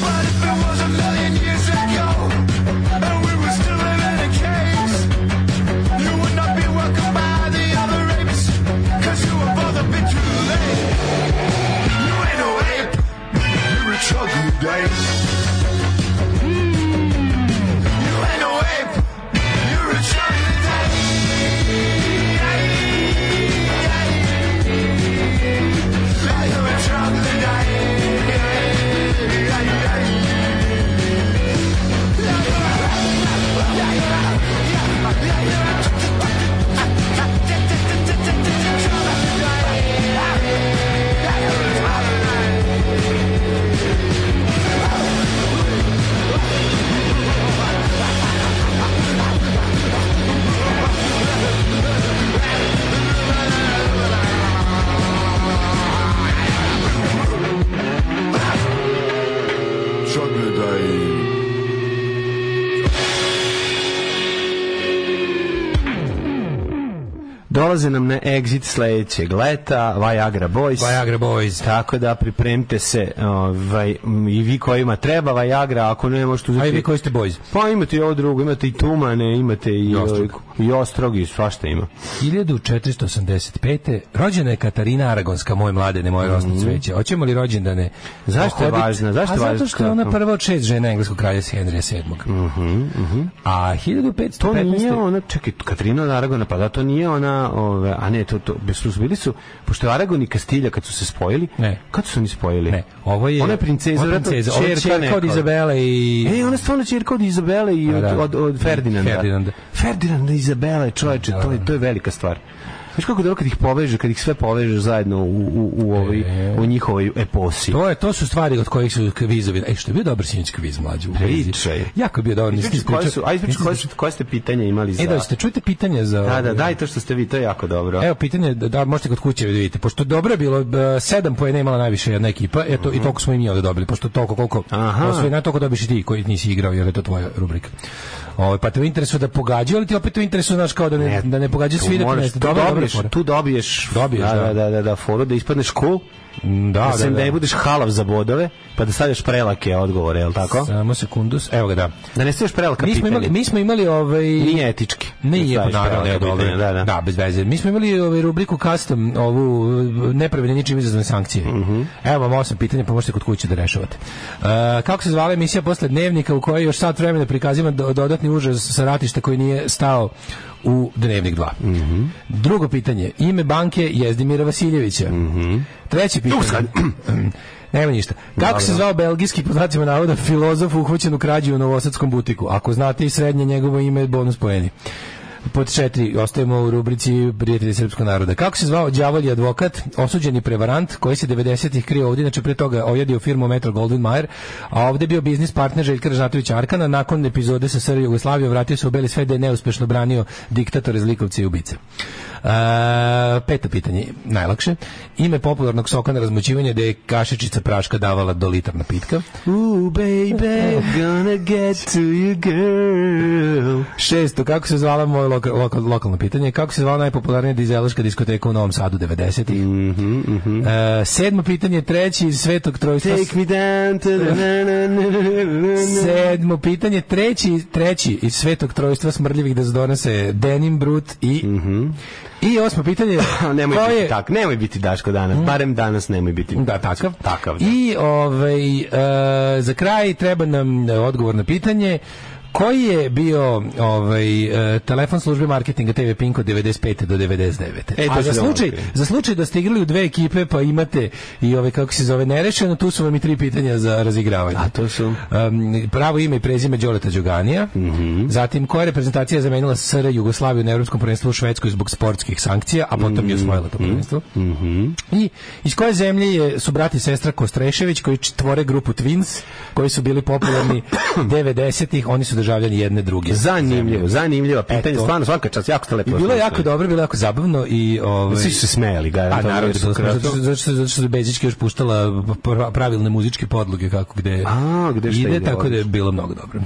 S4: But if it was a million years ago, and we were still living in caves, you would not be welcomed by the other apes, 'cause you were both a bit too late. You ain't no ape, you're a troglodyte. You ain't no ape, you're a troglodyte. You're a troglodyte. Troglodyte.
S2: Dolaze nam na exit sledećeg leta, Viagra Boys.
S3: Viagra Boys.
S2: Tako da pripremite se ovaj, m, i vi kojima treba Viagra, ako ne možete uzeti...
S3: A i vi koji ste boys.
S2: Pa imate i ovo drugo, imate i tumane, imate i, I,
S3: ostrog.
S2: i ostrog i svašta ima.
S3: 1485. Rođena je Katarina Aragonska, moj mladene, moje rosno cveće. Hoćemo li rođendane?
S2: Zašto je
S3: pohoditi?
S2: važna? Mhm. Zašto je
S3: A zato
S2: važna?
S3: što je ona prva od šest žena engleskog kralja s Henrija VII. A 1515.
S2: Mhm, To nije ona, čekaj, Katarina od Aragona, pa da, to nije ona, ove, a ne, to, to, bez su bili su, pošto je Aragon i Kastilja kad su se spojili,
S3: Ne.
S2: kad su se oni spojili?
S3: Ne, ovo je...
S2: Ona je princeza,
S3: ona je
S2: vjerojatno
S3: princeza. Ovo je
S2: ćerka
S3: čerka od
S2: neka.
S3: Izabele i...
S2: E, ona je stvarno čirka od Izabele i
S3: Pa
S2: od,
S3: da.
S2: od, od Ferdinanda.
S3: Ferdinanda. Da,
S2: Ferdinanda i Izabele, čoveče, to, je, to je velika stvar. Znaš kako je dobro kad ih poveže, kad ih sve poveže zajedno u, u, u, ovoj, u njihovoj eposi.
S3: E, To je to su stvari od kojih su kvizovi. Ej, što je bio dobar sinoć kviz mlađi. u vezi.
S2: Pričaj.
S3: Jako je bio dobar. nisi
S2: Ispričaj, koje su,
S3: ispričao-
S2: a ispričaj,
S3: nisi
S2: koje, su,
S3: ispričao-
S2: koje ste pitanja imali za...
S3: da- E, da, ste čujte pitanje za...
S2: da, da, daj to što ste vi, to je jako dobro.
S3: Evo pitanje da, da možete kod kuće da vidite. Pošto dobro je bilo b- sedam poena je imala najviše jedna ekipa, eto i toliko smo i mi ovde dobili. Pošto toliko koliko
S2: Mhm. Aha.
S3: osvoji na toliko dobiš i ti koji nisi igrao jer je to tvoja rubrika. Ovaj pa te u interesu da pogađaju, ali ti opet u interesu znaš kao da ne, da ne pogađaju
S2: tu
S3: svi da ti
S2: moraš- tu
S3: nešto. Dobro, dobra
S2: dobiješ,
S3: fora.
S2: tu dobiješ,
S3: Dobiješ,
S2: da,
S3: da.
S2: da, da, da, da, foru, da ispadneš cool,
S3: Da,
S2: da,
S3: da,
S2: da,
S3: da.
S2: ne budeš halav za bodove, pa da stavljaš prelake odgovore, je li tako?
S3: Samo sekundus. Evo ga da.
S2: Da ne stavljaš prelaka
S3: Mi smo
S2: pitanja.
S3: imali mi smo imali ovaj
S2: Nije etički.
S3: Ne, je,
S2: Da
S3: pa
S2: staviš
S3: naravno, je
S2: prelaka
S3: dobro.
S2: pitanja, Da, da.
S3: bez veze. Mi smo imali ovaj rubriku custom, ovu eh, nepravedne ničim izazvane sankcije. Evo vam osam pitanja, pa možete kod kuće da rešavate. E, kako se zvala emisija posle dnevnika u kojoj još sat vremena prikazima do- dodatni užas sa ratišta koji nije stao u Dnevnik 2. Drugo pitanje. Ime banke Jezdimira Vasiljevića. Treće pitanje. Nema ništa. Kako se zvao belgijski pod znacima navoda filozof uhvaćen u krađi u novosadskom butiku? Ako znate i srednje njegovo ime je bonus poeni. Pod četiri, ostajemo u rubrici Prijatelji srpskog naroda. Kako se zvao đavolji advokat, osuđeni prevarant koji se 90-ih krio ovdje, znači pre toga ojadio firmu Metro Goldwyn Mayer, a ovdje je bio biznis partner Željka Ražnatovića Arkana. Nakon epizode sa SR Jugoslavijom vratio se u Beli sve da je neuspešno branio diktatore, zlikovce i ubice. E, peto pitanje, najlakše. Ime popularnog soka na razmoćivanje da je kašičica praška davala do litar napitka.
S2: Ooh, baby, I'm gonna get to you, girl.
S3: Šesto, kako se zvala moje loka- loka- lokalno pitanje? Kako se zvala najpopularnija dizelaška diskoteka u Novom Sadu 90-ih?
S2: Mhm,
S3: E, sedmo pitanje, treći iz Svetog Trojstva.
S2: Take me down to the... Na, na, na, na, na, na.
S3: Sedmo pitanje, treći, treći iz Svetog Trojstva smrdljivih da se Denim Brut i... I osmo pitanje,
S2: nemoj
S3: ko
S2: Mhm. biti
S3: je-
S2: tak, nemoj biti Daško danas, barem danas nemoj biti.
S3: Da, takav.
S2: Mm. Takav, da.
S3: I ovaj, e, za kraj treba nam e, odgovor na pitanje koji je bio ovaj, e, telefon službe marketinga TV Pink od 95. do 99.
S2: E, to se
S3: A za
S2: da
S3: slučaj,
S2: otkrije.
S3: za slučaj da ste igrali u dve ekipe pa imate i ove kako se zove nerešeno, tu su vam i tri pitanja za razigravanje.
S2: A to su?
S3: Um, pravo ime i prezime Đoleta Đoganija. Zatim, koja je reprezentacija zamenila SR Jugoslaviju na Europskom prvenstvu u Švedskoj zbog sportskih sankcija, a potom je osvojila to prvenstvo. I iz koje zemlje je, su brati i sestra Kostrešević koji č- tvore grupu Twins, koji su bili popularni 90-ih, oni su državljani jedne druge.
S2: Zanimljivo, zanimljivo pitanje,
S3: Eto.
S2: stvarno svaka čast, jako Pa, ste lepo.
S3: I bilo je
S2: osmislili.
S3: jako dobro, bilo je jako zabavno i... Ovaj,
S2: Svi su se smejali, ga.
S3: A naravno, Pa, zato, što- zato, što- zato što je Bezićka još puštala pra- pravilne muzičke podloge kako gde,
S2: A, gde šta
S3: ide,
S2: ide,
S3: tako da je
S2: odlično. Mhm.
S3: bilo mnogo dobro.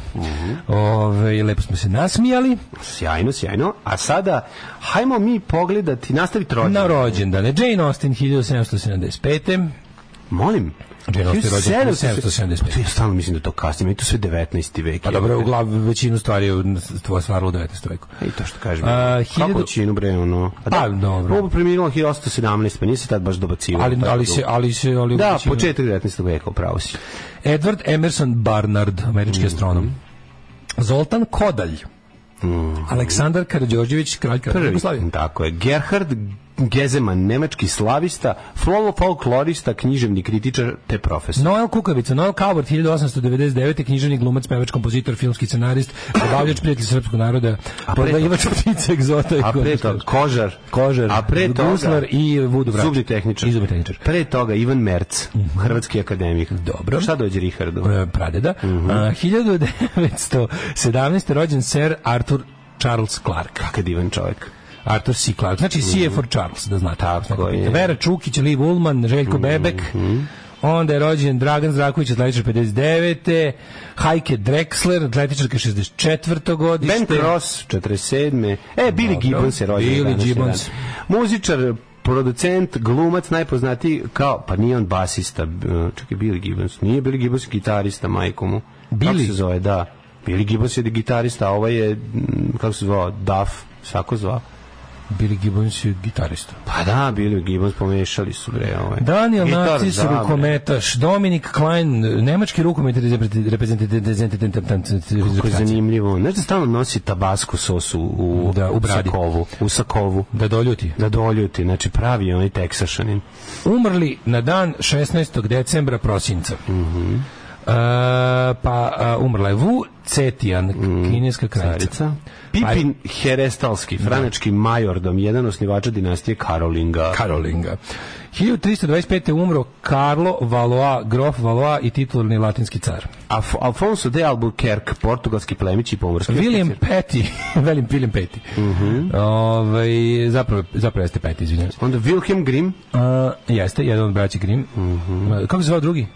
S3: Ove, lepo smo se nasmijali
S2: Sjajno, sjajno. A sada, hajmo mi pogledati, nastavi trođe.
S3: na rođendane. Jane Austen 1775.
S2: Molim,
S3: Jane Austen je rođena
S2: 1775.
S3: 1775.
S2: Pa ja stalno mislim da je to kasnije, meni je to sve 19. vek.
S3: Pa dobro, uglavnom većinu stvari je tvoja stvarala u 19. veku.
S2: Pa I to što kažem.
S3: A,
S2: Kako
S3: hiljadu-
S2: većinu bre, ono? A da,
S3: Pa, dobro.
S2: Ovo preminilo 1817, pa nije se tad baš dobacivo.
S3: Ali, ali se, ali se, ali u
S2: Da,
S3: većinu-
S2: početak 19. veka, upravo si.
S3: Edward Emerson Barnard,
S2: Mhm.
S3: američki astronom. Zoltan Kodalj. Aleksandar Karađorđević, kralj kralj Jugoslavije.
S2: Mhm. Prvi, tako je. Gerhard Gezeman, nemački slavista, folo- folklorista, književni kritičar, te profesor.
S3: Noel Kukavica, Noel Coward, 1899. književni glumac, pevač, kompozitor, filmski scenarist, obavljač prijatelj srpskog naroda,
S2: A pre
S3: prodavač ptica egzota i
S2: A pre toga,
S3: košarkaš.
S2: kožar,
S3: Kožar,
S2: a pre toga,
S3: guslar i vudu vrač.
S2: zubni tehničar.
S3: I zubni tehničar. Mhm.
S2: Pre toga Ivan Merc, hrvatski akademik.
S3: Dobro.
S2: Šta dođe Richardu?
S3: E, pradeda.
S2: Mhm.
S3: A, 1917. rođen Sir Arthur Charles Clark.
S2: Kakav divan čovjek.
S3: Arthur C. Clarke. Znači, C je for Charles, da znate.
S2: Mhm. Tako je. Mhm.
S3: Vera Čukić, Liv Ullman, Željko Bebek. Onda je rođen Dragan Zraković, atletičar 59. Hajke Drexler, atletičarka 64. godište.
S2: Ben Cross, 47. E, Billy
S3: Dobro.
S2: Gibbons je rođen.
S3: Billy
S2: danas,
S3: Gibbons.
S2: jedan. Muzičar, producent, glumac, najpoznatiji kao, pa nije on basista, b- čekaj, Billy Gibbons, nije Billy Gibbons gitarista, majko mu. Kako
S3: Billy?
S2: se zove, da. Billy Gibbons je gitarista, a ovaj je, mm, kako se zvao, Duff, svako zvao.
S3: Billy Gibbons je gitarista.
S2: Pa da, Billy Gibbons pomešali su bre ovaj.
S3: Daniel
S2: Gitar
S3: Nacis,
S2: za, bre.
S3: rukometaš. Dominik Klein, nemački rukomet
S2: Kako je
S3: reprezentativ.
S2: zanimljivo. Znaš da stalno nosi tabasku sos u, u,
S3: Da, u bradi.
S2: sakovu. U sakovu.
S3: Da doljuti.
S2: Da doljuti, znači pravi je onaj teksašanin.
S3: umrli na dan 16. decembra prosinca.
S2: Mhm.
S3: E, pa a, umrla je Wu Cetian, kineska kraljica.
S2: Mhm. Carica. Pipin Herestalski, franački majordom, jedan osnivača dinastije Karolinga.
S3: Karolinga. 1325. umro Karlo Valois, grof Valois i titularni latinski car.
S2: Af Alfonso de Albuquerque, portugalski plemić i pomorski.
S3: William
S2: oficir.
S3: Petty, velim William Petty.
S2: Mhm.
S3: Ovaj, zapravo, zapravo jeste Petty, izvinjavam se.
S2: Onda Wilhelm Grimm.
S3: A, jeste, jedan od braća Grimm.
S2: Mhm.
S3: A, Kako se zvao drugi?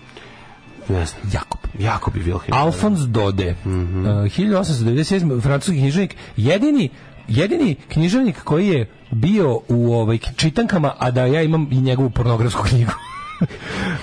S2: Ne znam.
S3: Jakob.
S2: Jakob i Wilhelm.
S3: Alfons Dode,
S2: Mhm.
S3: Uh, 1897. francuski književnik, jedini jedini književnik koji je bio u ovaj čitankama, a da ja imam i njegovu pornografsku knjigu.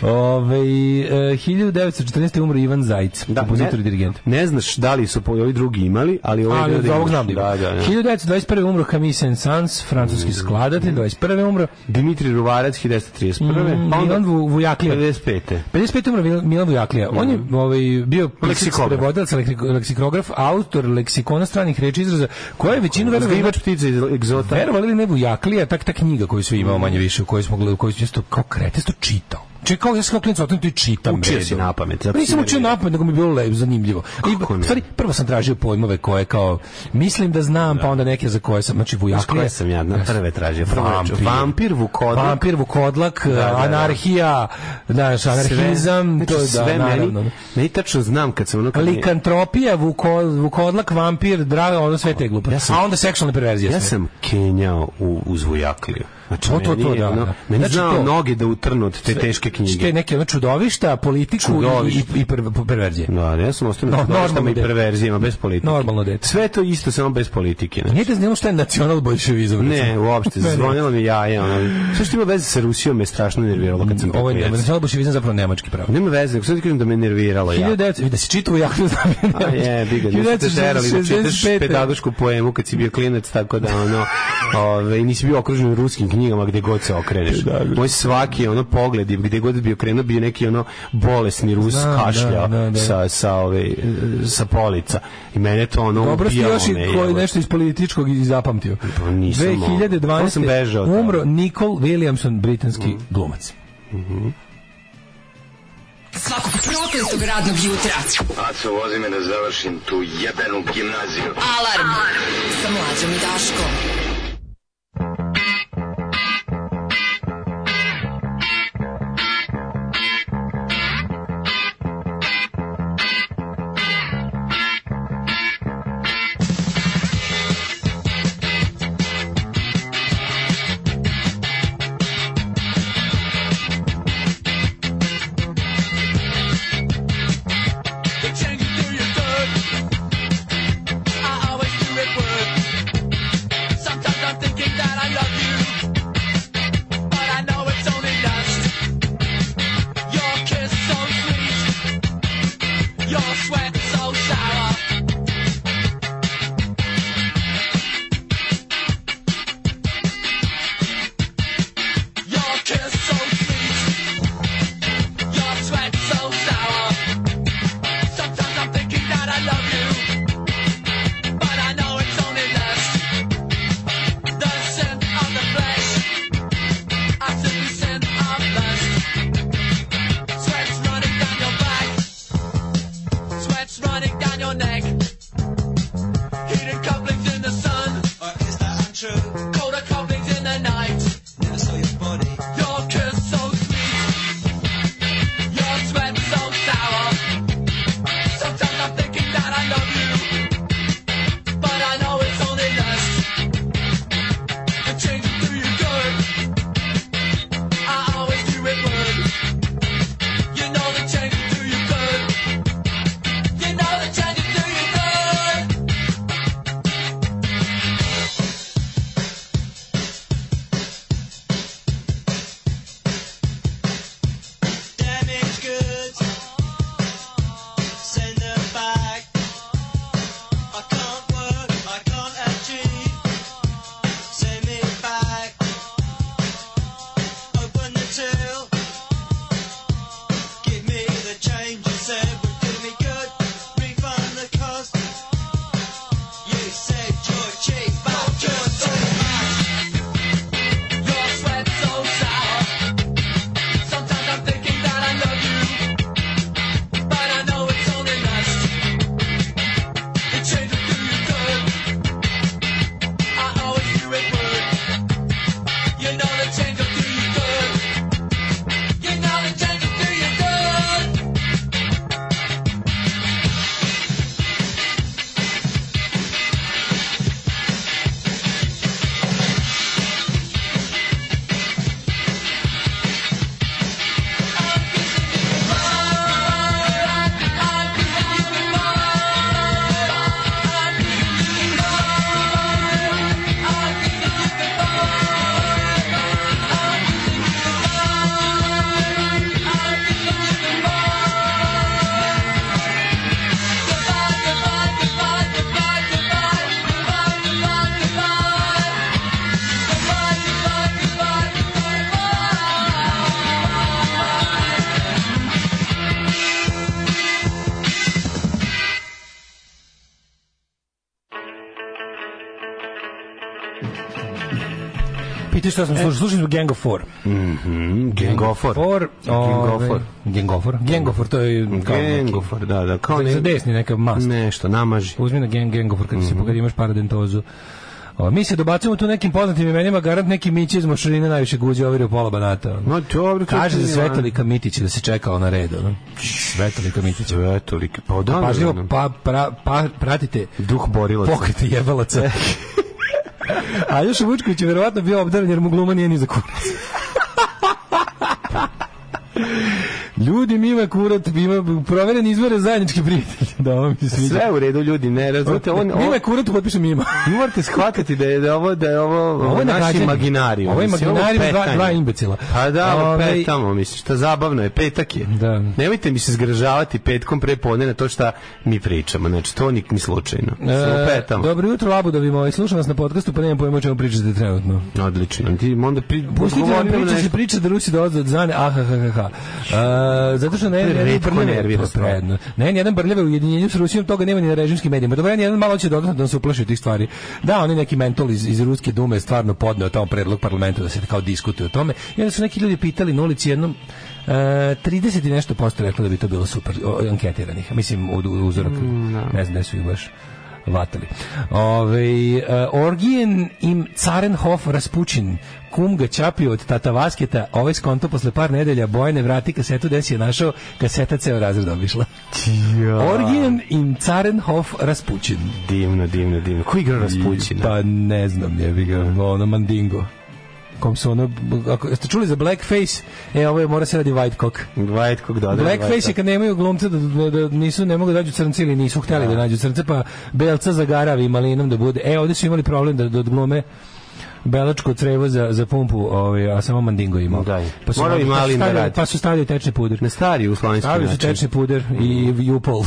S3: Ovaj, e, Ove, 1914. umro Ivan Zajc, kompozitor i dirigent.
S2: Da, Ne znaš da li su po- ovi drugi imali, ali ovaj
S3: Ali
S2: je
S3: od
S2: da
S3: ovog
S2: imaš.
S3: znam da ima.
S2: da, da, Mhm. da.
S3: 1921. umro Camille Saint-Saëns, francuski skladatelj, 21. umro
S2: Dimitri Ruvarac 1931.
S3: Mm,
S2: pa onda
S3: Milan Vu- Vujaklija.
S2: 55.
S3: 55. umro Mil- Milan Vujaklija. On
S2: Mhm.
S3: je ovaj, bio
S2: Leksikograf.
S3: prevodalac, leksik- leksikograf, autor leksikona stranih reči i izraza, koja je većinu verovali
S2: Zgivač ptice iz egzota.
S3: verovali ili ne Vujaklija, tak ta knjiga koju svi
S2: Mhm.
S3: imamo manje više, u kojoj smo gledali, koju sam isto kao kretesto čitao. Čekaj, kao ja sam kao klinac, otim to i čitam.
S2: Učio
S3: bre,
S2: si
S3: dobro.
S2: na pamet, zato
S3: Pa Nisam
S2: si
S3: učio
S2: nervirao.
S3: na pamet, nego mi je bilo lepo, zanimljivo.
S2: Kako
S3: I,
S2: ne?
S3: u stvari, prvo sam tražio pojmove koje kao, mislim da znam, pa onda neke za koje sam, znači
S2: Iz
S3: Vujaklija.
S2: koje sam ja na prve tražio? Prvo je
S3: Vampir.
S2: vampir, vukodak.
S3: Vampir, vukodlak,
S2: da, da.
S3: anarhija, znaš, anarhizam,
S2: znači,
S3: to je da,
S2: sve
S3: naravno.
S2: meni, meni tačno znam kad sam ono... Kad mi-
S3: Likantropija, vuko, vukodlak, vampir, draga, ono sve te glupo.
S2: Ja sam-
S3: A onda seksualne perverzije.
S2: ja
S3: sve.
S2: sam kenjao u, uz vujakliju. Znači,
S3: To, to,
S2: meni
S3: to,
S2: je
S3: da,
S2: ono-
S3: da.
S2: Meni
S3: Znači,
S2: znao
S3: to-
S2: noge da utrnu od te teške
S3: Te
S2: knjige.
S3: neke ono čudovišta, politiku
S2: Čudovišta.
S3: i, i, i per- perverzije.
S2: Da, ja sam ostao
S3: No,
S2: na no,
S3: normalno
S2: i
S3: dete.
S2: perverzijama, bez politike.
S3: Normalno dete.
S2: Sve to isto, samo bez politike. znači.
S3: Nije da znamo šta je nacional bolševizam.
S2: Ne,
S3: recimo.
S2: uopšte,
S3: Ne, ne.
S2: zvonilo mi jaje. Ono. Sve što ima veze sa Rusijom me strašno nerviralo kad sam
S3: Ovo je
S2: bio
S3: ne-
S2: klinac.
S3: nacional bolševizam zapravo nemački pravo.
S2: Nema veze, nego sad ti kažem da me nerviralo ja.
S3: 1900, vidi da si čitao u jaknu znam.
S2: A Pa je, bi ga, nisu te terali da čitaš
S3: 1965.
S2: pedagošku poemu kad si bio klinac, tako da ono, ove, nisi bio okružen ruskim knjigama gde god se okreneš. Moj svaki ono pogled, i gde god bi okrenuo, bio neki ono bolesni rus
S3: Znam,
S2: kašlja
S3: da, da, da.
S2: Sa, sa, ove, e, sa polica. I mene to ono
S3: Dobro si
S2: ubijalo
S3: još
S2: me,
S3: i koji
S2: jebote.
S3: nešto iz političkog i zapamtio.
S2: Pa nisam, ono, to sam bežao, Mm. da.
S3: 2012. umro Nicole Williamson, britanski glumac.
S5: Svakog prokletog radnog jutra.
S9: Aco, vozi me da završim tu jebenu gimnaziju.
S5: Alarm, sa mlađom i Daškom.
S4: They change it to your third. I always do it work. Sometimes
S3: Pitaš šta smo
S2: E.
S3: slušali? Slušali smo Gang of Four.
S2: Gengofor.
S3: For,
S2: Gengofor.
S3: ove, Gengofor. Gengofor, to je kao neki-
S2: Gengofor, da, da. Kao
S3: za desni neka mast.
S2: Nešto, namaži.
S3: Uzmi na Gang Gengofor kad
S2: Mhm.
S3: se pokad imaš paradentozu. O, mi se dobacujemo tu nekim poznatim imenima, garant neki Mići iz Mošarine najviše guđe ovire u pola banata. ono.
S2: No, dobro, to
S3: Kaže
S2: ti
S3: za
S2: je-
S3: Svetolika Mitića da se čekao na red. Ono. Svetolika Mitića.
S2: Sve, toliko. Pa odavno.
S3: Pažljivo
S2: ono,
S3: pa, pra, pa, pratite
S2: Duh borilaca.
S3: pokrete jebalaca. A Joša Vučković je verovatno bio obdaren jer mu gluma nije ni za kurac. Ljudi, mi ima kurat, mi ima proveren izvore zajednički prijatelj. Da, ovo mi se sviđa.
S2: Sve u redu ljudi, ne razumete, on,
S3: Mima
S2: on,
S3: je kurat, potpišem mima.
S2: vi morate shvatiti da je da je ovo da je ovo, ovo naš
S3: nagađanje.
S2: imaginarijum.
S3: Ovo je
S2: mislim,
S3: imaginarijum dva,
S2: petanje.
S3: dva imbecila.
S2: Pa da, ovo
S3: Ovaj,
S2: petamo, mislim, šta zabavno je, petak je.
S3: Da.
S2: Nemojte mi se zgražavati petkom pre podne na to šta mi pričamo, znači to nik ni slučajno. Samo
S3: e,
S2: petamo.
S3: Dobro jutro, labudovi moji. Slušam vas na podcastu, pa nemam pojma o čemu pričate trenutno.
S2: Odlično. Ti onda pri...
S3: Pustite nam
S2: govorim
S3: priča, se
S2: nešto.
S3: priča da Rusi dolaze od Zane, aha, ha, ha, ha. E, zato što ne,
S2: To je
S3: ne,
S2: retko nervira stvar.
S3: ne, ne, jedan brljave u ujedinjenju s Rusijom, toga nema ni na režimskim medijima. Dobro, jedan malo će dodatno da se uplaši od tih stvari. Da, oni neki mentol iz, iz Ruske dume je stvarno podneo tamo predlog parlamenta da se kao diskutuje o tome. I onda su neki ljudi pitali na ulici jednom, e, 30 i nešto posto reklo da bi to bilo super o, anketiranih. Mislim, u, u uzorak,
S2: Mm,
S3: ne znam da su ih baš vatali. Ove, e, Orgijen im Carenhof Raspućin, kum ga čapio od Tata Vasketa, ovaj skonto posle par nedelja Bojane vrati kasetu gde si je našao, kaseta ceo razred obišla.
S2: Da.
S3: Orgijen im Carenhof Raspućin.
S2: Divno, divno, divno. Ko igra Raspućina?
S3: Pa ne znam, je bi ga, ono mandingo. Kom su ono, ako jeste čuli za blackface, e, ovo je mora se radi white cock.
S2: White kog dodaje.
S3: Blackface je
S2: White Cock.
S3: kad nemaju glumca da, da, da nisu, ne mogu da nađu crnci ili nisu hteli da nađu crnce, pa belca zagaravi i malinom da bude. E, ovdje su imali problem da, da odglume belačko crevo za, za pumpu, ovaj, a samo mandingo imao. Pa
S2: Da.
S3: su-
S2: Morao i malim da
S3: stavljali-
S2: radi.
S3: Pa su stavljali tečni puder.
S2: Na stari jugoslovenski
S3: Stavili su
S2: način. Mm.
S3: tečni puder i jupol.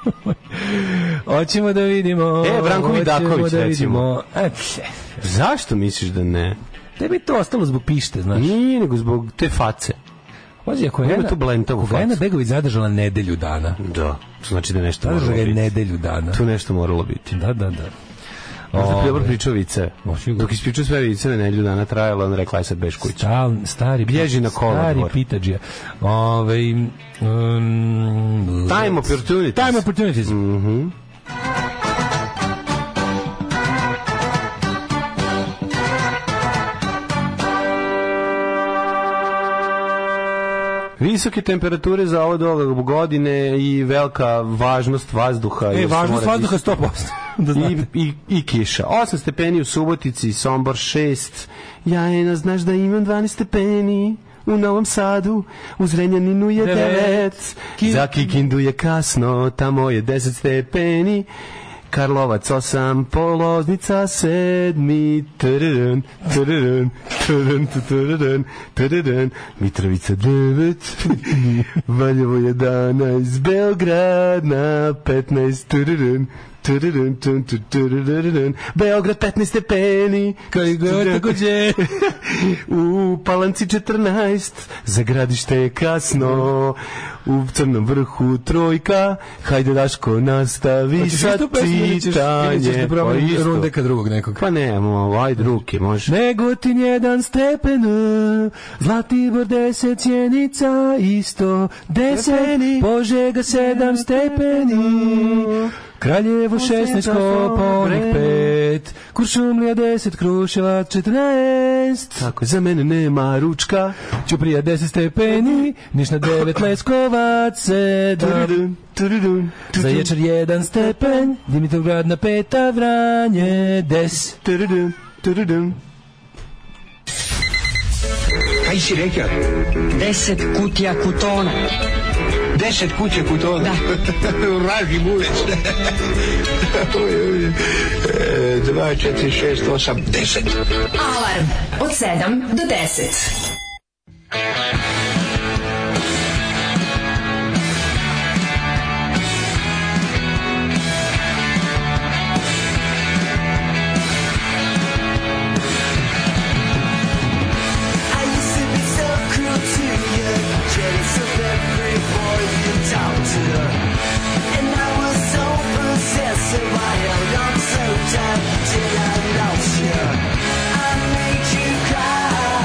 S3: Hoćemo da vidimo.
S2: E, Branko
S3: hoćemo
S2: Vidaković, recimo.
S3: vidimo. E, pff,
S2: Zašto misliš da ne?
S3: tebi je to ostalo zbog pište, znaš.
S2: Nije, nego zbog te face.
S3: Pazi, ako je
S2: Nema
S3: Vena-
S2: tu blentovu
S3: ako je Vena
S2: facu.
S3: Begović zadržala nedelju dana.
S2: Da. To znači da je nešto moralo
S3: Zadržala ga je
S2: biti.
S3: nedelju dana.
S2: Tu nešto moralo biti.
S3: Da, da, da.
S2: Možda ti
S3: Ove.
S2: dobro pričao vice.
S3: Ma, sigurno.
S2: Dok ispričao sve vice na nedelju dana trajalo, on rekla je sad beš kuća.
S3: Stal, stari,
S2: Bježi na kolodvor.
S3: Stari pitađija. Ove, um,
S2: Time opportunities.
S3: time opportunities.
S2: Mm, Visoke temperature za ovo doba godine i velika važnost vazduha.
S3: E,
S2: jer se
S3: važnost
S2: mora
S3: vazduha
S2: disati.
S3: 100%. da znate.
S2: I, i, I kiša. 8 stepeni u Subotici, Sombor 6. Jajena, znaš da imam 12 stepeni u Novom Sadu, u Zrenjaninu je
S3: Devet.
S2: 9,
S3: Ki-
S2: za Kikindu je kasno, tamo je 10 stepeni, Karlovac 8, Poloznica 7, trrrn, trrrn, trrrn, trrrn, trrrn, Mitrovica 9, Valjevo 11, Beograd na 15, trrrn, trrrn, trrrn, trrrn, Beograd 15 stepeni,
S3: Koji govor takođe.
S2: u Palanci 14, za gradište je kasno, u Crnom vrhu trojka, hajde Daško nastavi
S3: Hoćeš
S2: sa
S3: istu pesmu ili ćeš- ili ćeš
S2: čitanje. Pa
S3: da probam
S2: isto.
S3: runde kad drugog nekog?
S2: Pa nemo, ajde ruke, može.
S3: Negotin jedan stepen, e, Zlatibor deset, Sjenica isto deset, Požega sedam stepeni, Kraljevo šestnaest, Koponik pet, Kuršumlija deset, Kruševac četrnaest,
S2: Tako, za mene nema ručka.
S3: Ćuprija 10 stepeni, Niš na 9 Leskovac 7,
S2: Turudun, turudun,
S3: za
S2: turudun,
S3: Ječar 1 stepen, Dimitrovgrad na 5, Vranje 10.
S2: turudun, turudun.
S7: Kaj si reka?
S10: 10 kutija kutona.
S7: Deset kuće kutona. Da. Raži bulec. Uj, uj. E, Dva, četiri, šest, osam, deset.
S5: Alarm od 7 do 10.
S6: I used to be so cruel to you, jealous of every boy you talked to. And I was so possessive, I held on so tight till I lost you. I made you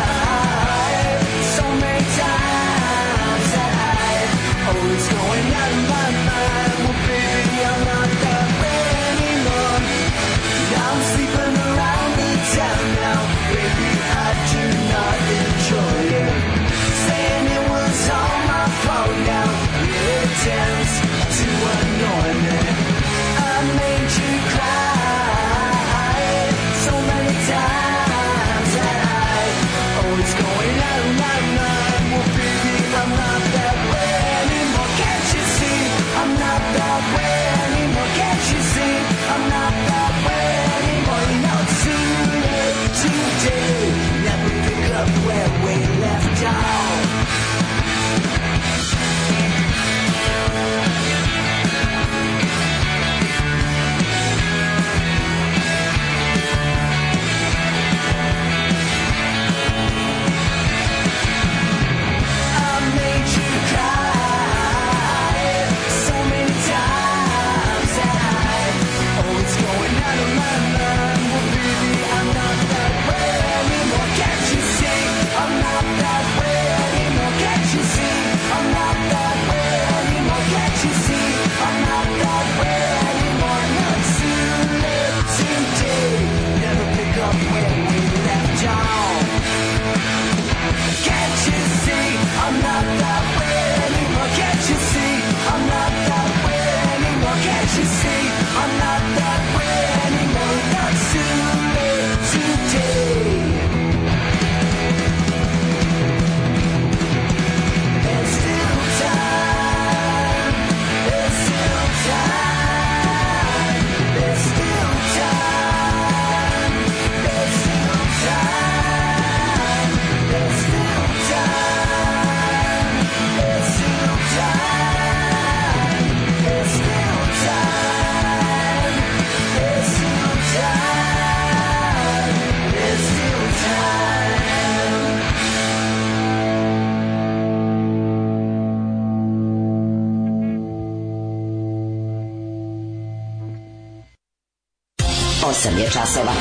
S11: Osam je časova.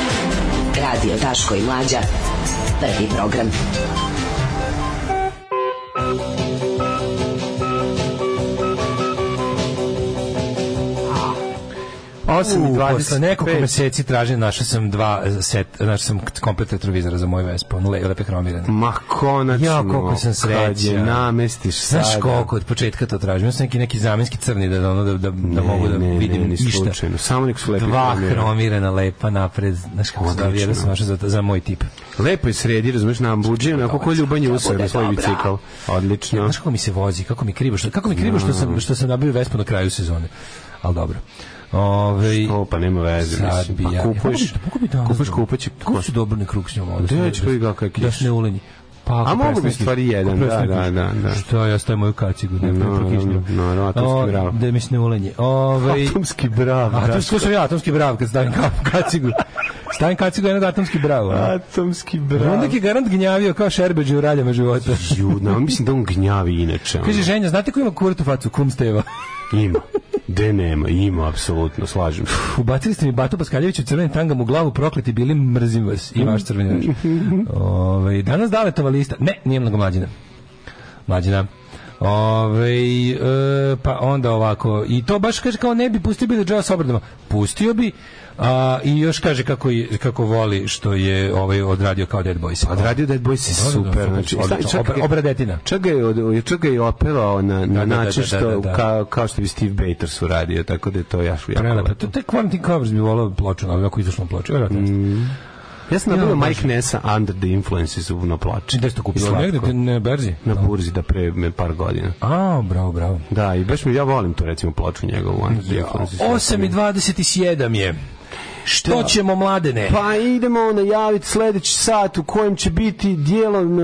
S11: Radio Daško i Mlađa. Prvi program.
S3: U, posle
S2: 8.25.
S3: nekoliko meseci tražim, našao sam dva e, set, našao sam komplet retrovizora za moj Vespa, on le, lepe hromirane.
S2: Ma konačno.
S3: Ja, koliko sam
S2: Kad je
S3: srećan.
S2: namestiš sada.
S3: Znaš koliko od početka to tražim? Ja sam neki, neki zamenski crni da, ono, da, da, da
S2: Ne,
S3: mogu da
S2: ne,
S3: vidim
S2: ne, ni
S3: ništa.
S2: slučajno. Samo nek su lepi
S3: Dva
S2: hromirani.
S3: hromirana lepa napred, znaš kako se
S2: Odlično.
S3: da vjera sam našao za, za moj tip.
S2: Lepo je sredi, razumiješ, nam buđe, onako ko ljubanje usao na svoj bicikl.
S3: Ja,
S2: Odlično.
S3: znaš kako mi se vozi, kako mi krivo što, kako mi krivo što sam, što sam nabio Vespu na kraju sezone. Ali dobro. Ove,
S2: O, pa nema veze,
S3: Sad bi
S2: mislim. Pa
S3: ja. da-
S2: kupuješ, kupuješ kupaći.
S3: Kako su dobro da na krug s njom? ovo,
S2: Da,
S3: sad
S2: ja ću poigrati kak
S3: Da
S2: ješ.
S3: se ne ulenji. Pa, ako
S2: A mogu bi
S3: prestane-
S2: stvari
S3: ako
S2: jedan, da,
S3: prestane
S2: da,
S3: kući.
S2: da, da.
S3: Što ja stavim moju kacigu, ne,
S2: No,
S3: no,
S2: no, no, no, atomski brav.
S3: Da mi se ne ulenji. Ove,
S2: Atomski da. brav.
S3: atomski,
S2: Daško.
S3: slušam ja, atomski brav kad stavim ka- kacigu. Stavim kacigu jednog atomski brava.
S2: Atomski brav.
S3: Onda je garant gnjavio kao šerbeđe u raljama života.
S2: Judna, mislim da on gnjavi inače. ono.
S3: Kaže, ženja, znate ko ima kurtu facu? Kum Steva.
S2: Ima. De nema, ima, apsolutno, slažem se.
S3: Ubacili ste mi Batu Paskaljeviću crvenim tangam u glavu, prokleti bili, mrzim vas. I vaš crveni rež. Ove, danas daletova lista. Ne, nije mnogo mlađina. Mlađina. Ove, e, pa onda ovako. I to baš kaže kao ne bi pustio Billy Joe s obradama. Pustio bi. A, I još kaže kako, je- kako voli što je ovaj odradio kao Dead Boys.
S2: A Radio Dead Boys je
S3: Dobro,
S2: Pa da,
S3: dobro,
S2: super, znači,
S3: odlično.
S2: znači, čak-
S3: Obra- obradetina.
S2: Čak ga je, od- čak ga je opevao na, na
S3: da, da,
S2: način
S3: da,
S2: što,
S3: da, da.
S2: Kao, kao što bi Steve Bators uradio, tako da je to jaš, jako
S3: Prelepo.
S2: lepo.
S3: To, to je Quarantine Covers bi volao ploču, ali ako izašlo na ploču. Vjerojatno jeste.
S2: Mm. Ja Da, sam nabavio
S3: Ja,
S2: Mike Nessa Under the Influences u na plači.
S3: Gde ste to
S2: I
S3: kupili?
S2: slatko.
S3: Negde na berzi?
S2: Na burzi da pre me par godina.
S3: A, bravo, bravo.
S2: Da, i baš mi, ja volim tu recimo ploču njegovu. Under the Influences.
S3: 8 i 27 je. Što ćemo, mladene?
S2: Pa idemo najaviti sledeći sat u kojem će biti dijelom,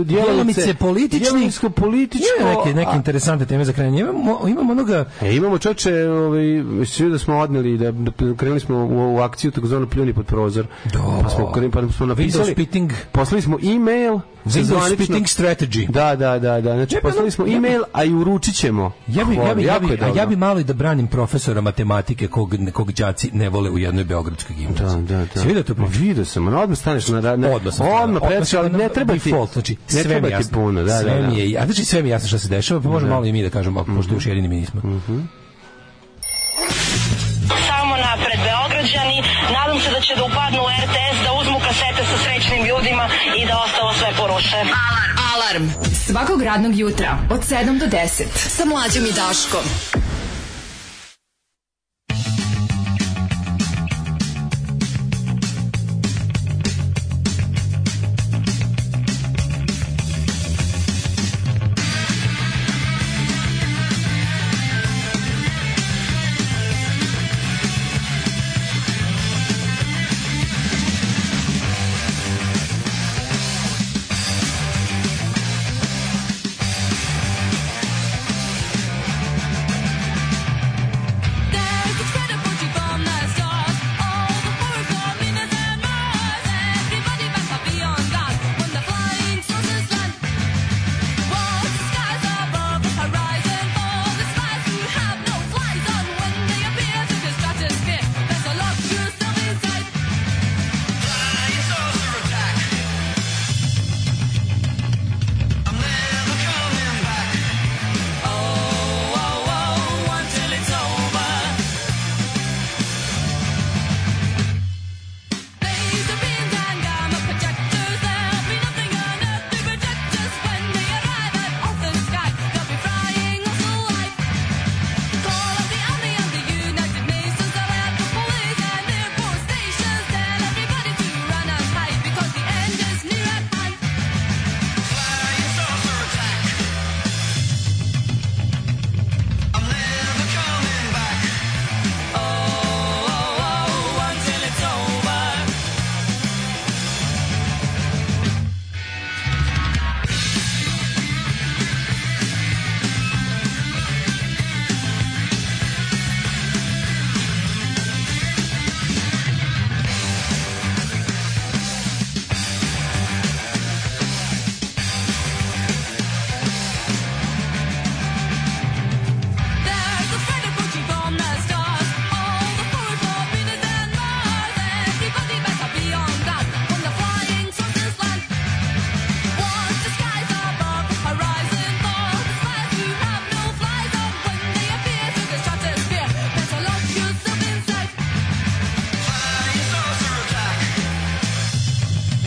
S2: e,
S3: Djelomice politički.
S2: političko
S3: Ima neke, neke interesante teme za krajanje. Imamo, imamo onoga...
S2: E, imamo čoče, ovaj, svi da smo odneli, da, da krenuli smo u, u akciju takozvanu pljuni pod prozor.
S3: Do.
S2: Pa smo, krenuli, pa smo
S3: Window
S2: napisali,
S3: spitting,
S2: poslali smo e-mail. sa
S3: window
S2: zvanično-
S3: spitting strategy.
S2: Da, da, da, da. Znači,
S3: Ja bi
S2: poslali
S3: ono-
S2: smo
S3: ja bi-
S2: e-mail, a i uručit ćemo.
S3: Ja bi, ja,
S2: Hvala,
S3: bi, ja,
S2: jako
S3: bi,
S2: je
S3: a
S2: dobro.
S3: ja bi malo i da branim profesora matematike kog, kog đaci ne vole u jednoj beogradskoj
S2: Da,
S3: gimnaziji.
S2: da, da.
S3: Si vidio tu
S2: Ma,
S3: priču?
S2: Vidio sam, ono, odmah staneš na... na
S3: Odmah sam
S2: odmah preći,
S3: sam
S2: ali ne
S3: na
S2: treba ti...
S3: default, znači,
S2: ne
S3: sve mi
S2: treba
S3: je
S2: ti
S3: jasno.
S2: puno, da,
S3: sve
S2: da, Mhm. da.
S3: Mi je, a znači sve mi je jasno šta se dešava, pa možemo malo i mi da kažemo, ako pošto još jedini mi nismo.
S12: Samo napred Beograđani, nadam se da će da upadnu u RTS, da uzmu kasete sa srećnim ljudima i da ostalo sve poruše.
S5: Alarm. Alarm. Svakog radnog jutra od 7 do 10. Sa Mlađom i Daškom.
S4: Thank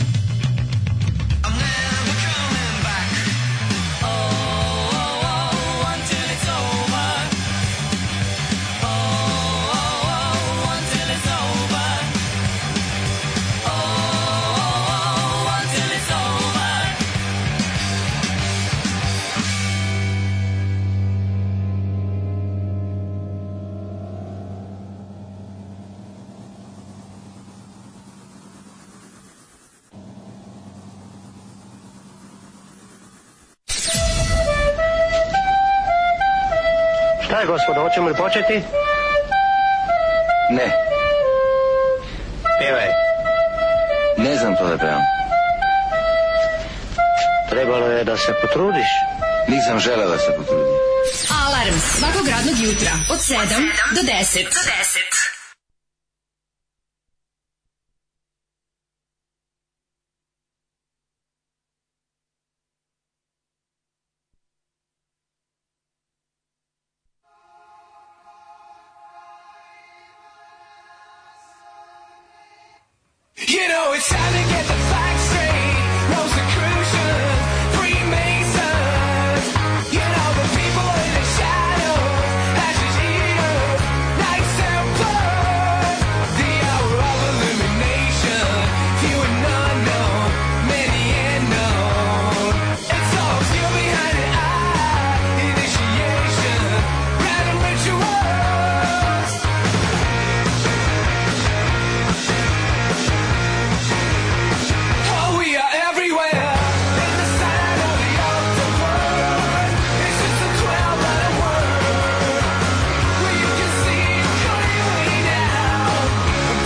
S12: Oh, Oh, Oh,
S13: Šta je, gospodo, hoćemo li početi?
S14: Ne.
S13: Pevaj.
S14: Ne znam to da pevam.
S13: Trebalo je da se potrudiš.
S14: Nisam želeo da se potrudim.
S5: Alarm svakog radnog jutra od 7 do 10. Do 10.
S4: You know it's time to get the facts straight. Rosicrucians, Freemasons. You know the people in the shadows, ashes eaters, knights templars. The hour of illumination. Few and unknown, many and known. It's all still behind an eye. Initiation, random rituals. Oh, we are everywhere. In the sign of the outer world. It's just a twelve-letter word. Well, you can see it coming way down,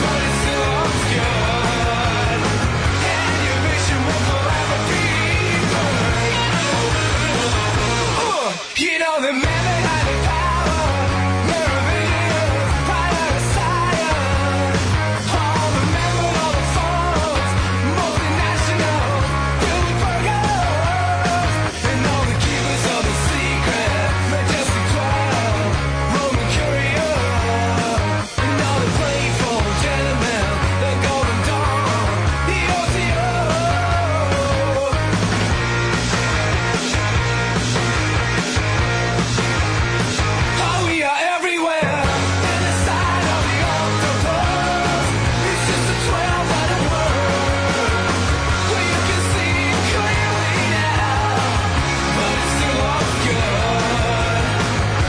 S4: but it's still obscured. And your vision will forever be blurred. You know the man behind the power, mirror vision, prior to science. All the members of the forums. Multinational, build burgers, and all the keepers of the secret, majestic twelve, Roman curio, and all the playful gentlemen, the golden dawn, the OTO. Oh, we are everywhere in the side of the octopus. It's just a twelve-letter word. Well, you can see it clearly now, but it's still all good.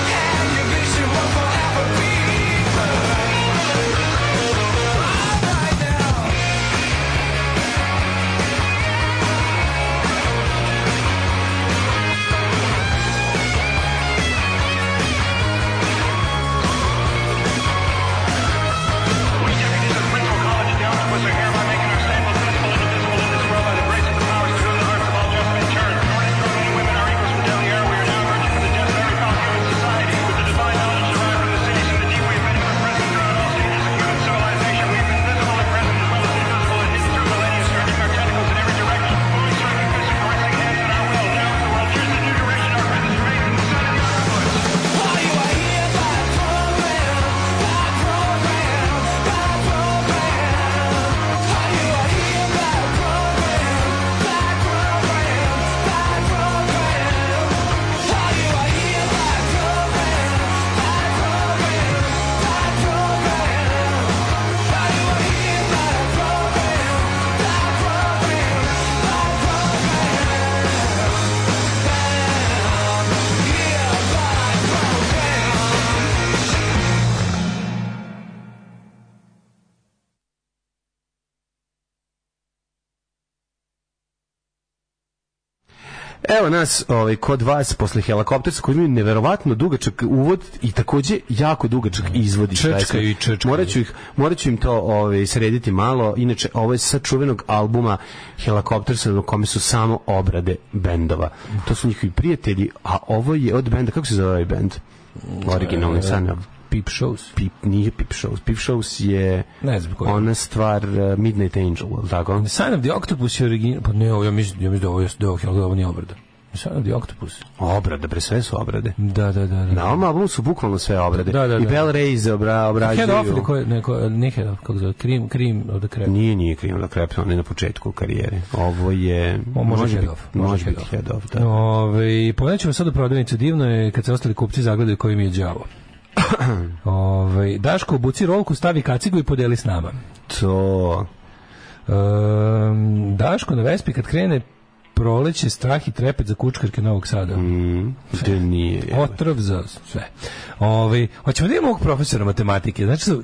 S4: And your vision will forever be blurred. Right now.
S2: Evo nas ovaj, kod vas posle helikoptersa koji imaju neverovatno dugačak uvod i takođe jako dugačak izvod. iz
S3: Čečkaju
S2: pesme.
S3: Mm. i čečkaju.
S2: Morat ću, ih, morat ću im to ovaj, srediti malo. Inače, ovo je sa čuvenog albuma helikoptersa na kome su samo obrade bendova. To su njihovi prijatelji, a ovo je od benda, kako se zove ovaj bend? Originalni
S3: E,
S2: san.
S3: Peep Shows.
S2: Pip, nije Pip Shows. Pip Shows je
S3: Ne znam koji.
S2: ona stvar eh, Midnight Angel, je li tako?
S3: Sign of the Octopus je original, pa ne, ovo, ja mislim, ja mislim da ovo je da ovo, je- da ovo nije obrada. Sign of the Octopus.
S2: Obrada, pre sve su obrade.
S3: Da, da, da. da.
S2: Na ovom albumu su bukvalno sve obrade.
S3: Da, da,
S2: I
S3: da.
S2: Bell Reyes obra, obrađuju.
S3: Head off ili ko je, neko, nije head off, kako zove, krim, krim od the Crab.
S2: Nije, nije Cream of the Crop, on je na početku karijere. Ovo je...
S3: O, može head
S2: biti,
S3: off, može
S2: Može
S3: head
S2: biti
S3: off.
S2: head off, da.
S3: Ove, pomenućemo sad u prodavnicu, divno je kad se ostali kupci zagledaju koji mi je đavo. Ove, Daško, obuci rolku, stavi kacigu i podeli s nama.
S2: To...
S3: Um, Daško na Vespi kad krene proleće, strah i trepet za kučkarke Novog Sada.
S2: Mm, gde nije.
S3: Ovaj, da Otrov za sve. Ove, hoćemo da imamo ovog profesora matematike. Znači, su-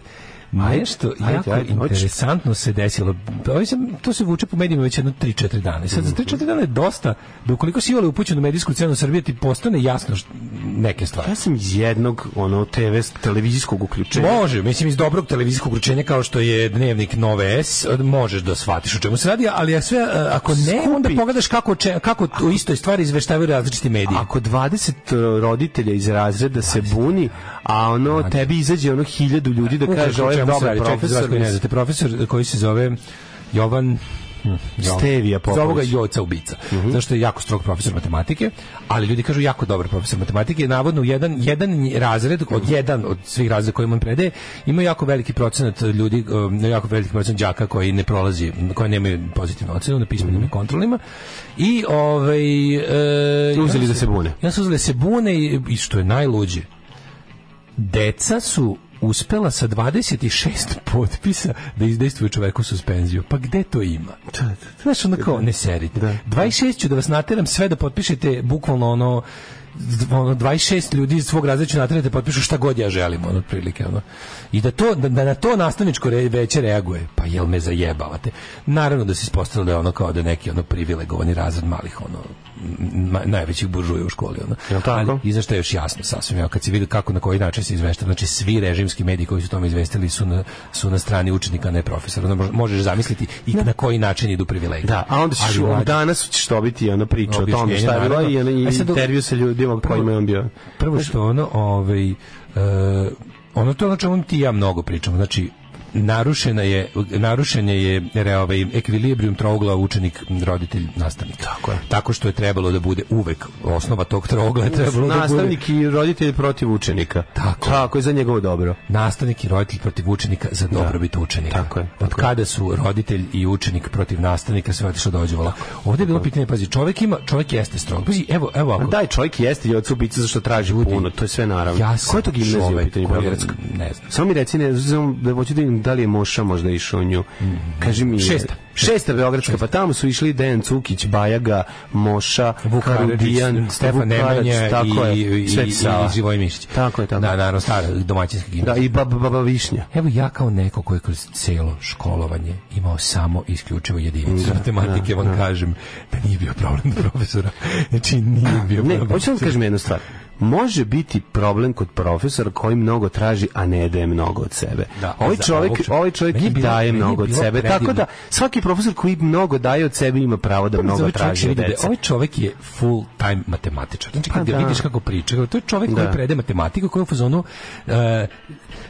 S3: Nešto
S2: ajde,
S3: jako
S2: ajde, hoćeš?
S3: interesantno se desilo. Ovo se, to se vuče po medijima već jedno 3-4 dana. I sad za 3-4 dana je dosta, da ukoliko si imali upućen u medijsku cenu Srbije, ti postane jasno št- neke stvari.
S2: Ja sam iz jednog ono TV s- televizijskog uključenja.
S3: Može, mislim iz dobrog televizijskog uručenja kao što je dnevnik Nove S, možeš da shvatiš o čemu se radi, ali ja sve e, ako ne, onda pogledaš kako če- kako o istoj stvari izveštavaju različiti mediji.
S2: Ako 20 roditelja iz razreda se buni, a ono tebi izađe ono hiljadu ljudi da kaže ovo je dobar profesor.
S3: ne znate, profesor koji se zove Jovan hm, Jovan.
S2: Stevija Popović. Mhm.
S3: Zove ga Joca ubica. Zato što je jako strog profesor matematike, ali ljudi kažu jako dobar profesor matematike. Navodno, u jedan, jedan razred, od jedan od svih razreda koje on predaje, ima jako veliki procenat ljudi, um, jako veliki procenat đaka koji ne prolazi, koji nemaju pozitivnu ocenu na pismenim
S2: Mhm.
S3: i kontrolima. I, ovaj... e,
S2: Uzeli da se bune.
S3: Ja su uzeli da se bune i, i što je najluđe, deca su uspela sa 26 potpisa da izdejstvuju čoveku suspenziju. Pa gde to ima?
S2: Da,
S3: Znaš, ono kao, ne serite. 26 ću da vas nateram sve da potpišete bukvalno ono ono 26 ljudi iz svog razreda ću naterati da potpišu šta god ja želim ono otprilike ono i da to da, da na to nastavničko re, veće reaguje pa jel me zajebavate naravno da se ispostavilo da je ono kao da je neki ono privilegovani razred malih ono m- ma- najvećih buržuja u školi ono
S2: Jel tako?
S3: Ali, i zašto je još jasno sasvim, evo kad se vidi kako na koji način se izveštava, znači svi režimski mediji koji su o tome izvestili su na, su na strani učenika, a ne profesora. Onda mož- možeš zamisliti i na koji način idu privilegije.
S2: Da, a onda ćeš
S3: Ali mlađe-
S2: danas ćeš dobiti ono priču o tome
S3: Objašnjenje,
S2: šta je bilo i, ono,
S3: naravno.
S2: i
S3: E sad dok-
S2: intervju sa ljudima kojima je on bio.
S3: prvo što ono, ovaj, e, ono to je ono čemu ti i ja mnogo pričamo, znači narušena je narušenje je re, ovaj ekvilibrijum trougla učenik roditelj nastavnik tako je tako što je trebalo da bude uvek osnova tog trougla je trebalo da bude
S2: Nastavnik i roditelj protiv učenika.
S3: Tako.
S2: Tako je za njegovo dobro.
S3: nastavnik i roditelj protiv učenika za dobrobit učenika.
S2: Da. Tako je,
S3: Od kada su roditelj i učenik protiv nastavnika sve otišlo da dođevala. Ovdje je bilo pitanje, pazi, čovjek ima, čovjek jeste strog. Pazi, evo, evo
S2: Ma
S3: ako...
S2: Daj, čovjek jeste i ocu ubica zašto traži Da, puno, to je sve naravno.
S3: Ja sam
S2: Koja je to gimnazija u
S3: čovjek
S2: pitanju
S3: koji je-
S2: Beogradska?
S3: ne znam.
S2: Samo mi reci, ne, znam, da hoću da vidim da li je Moša možda išao u nju. Kaži mi...
S3: Mm-hmm. Šesta.
S2: Šesta Beogradska, pa tamo su išli Dejan Cukić, Bajaga, Moša,
S3: Vuk
S2: Karudijan,
S3: Karadžić, Stefan
S2: Vukarac,
S3: Nemanja
S2: tako
S3: i,
S2: je,
S3: i, i,
S2: Sveti Sava.
S3: i Živoj Mišić.
S2: Tako je, Da. tako.
S3: Da,
S2: Da,
S3: naravno, stara domaćinska gimnazija.
S2: i Baba, baba Višnja.
S3: Evo ja kao neko koji je kroz celo školovanje imao samo isključivo jedinicu
S2: Da,
S3: matematike, vam kažem da nije bio problem do profesora. Znači, nije bio
S2: Ne,
S3: problem.
S2: hoću da vam kažem jednu stvar. Može biti problem kod profesora koji mnogo traži, a ne daje mnogo od sebe.
S3: Da,
S2: ovaj,
S3: za
S2: čovjek,
S3: ovog čovjeka.
S2: ovaj čovjek
S3: Meni je
S2: i
S3: bilo-
S2: daje
S3: meni je
S2: mnogo od
S3: bilo
S2: sebe. Tako
S3: predivno.
S2: da svaki profesor koji mnogo daje od sebe ima pravo da
S3: Prvo,
S2: mnogo
S3: ovaj čovjek se
S2: traži od
S3: vidi da je-
S2: dece.
S3: Ovaj čovjek je full time matematičar. Znači,
S2: Pa
S3: kad ga
S2: da.
S3: vidiš kako priča, kao, to je čovjek koji
S2: Da.
S3: prede matematiku, koji je u fazonu, uh,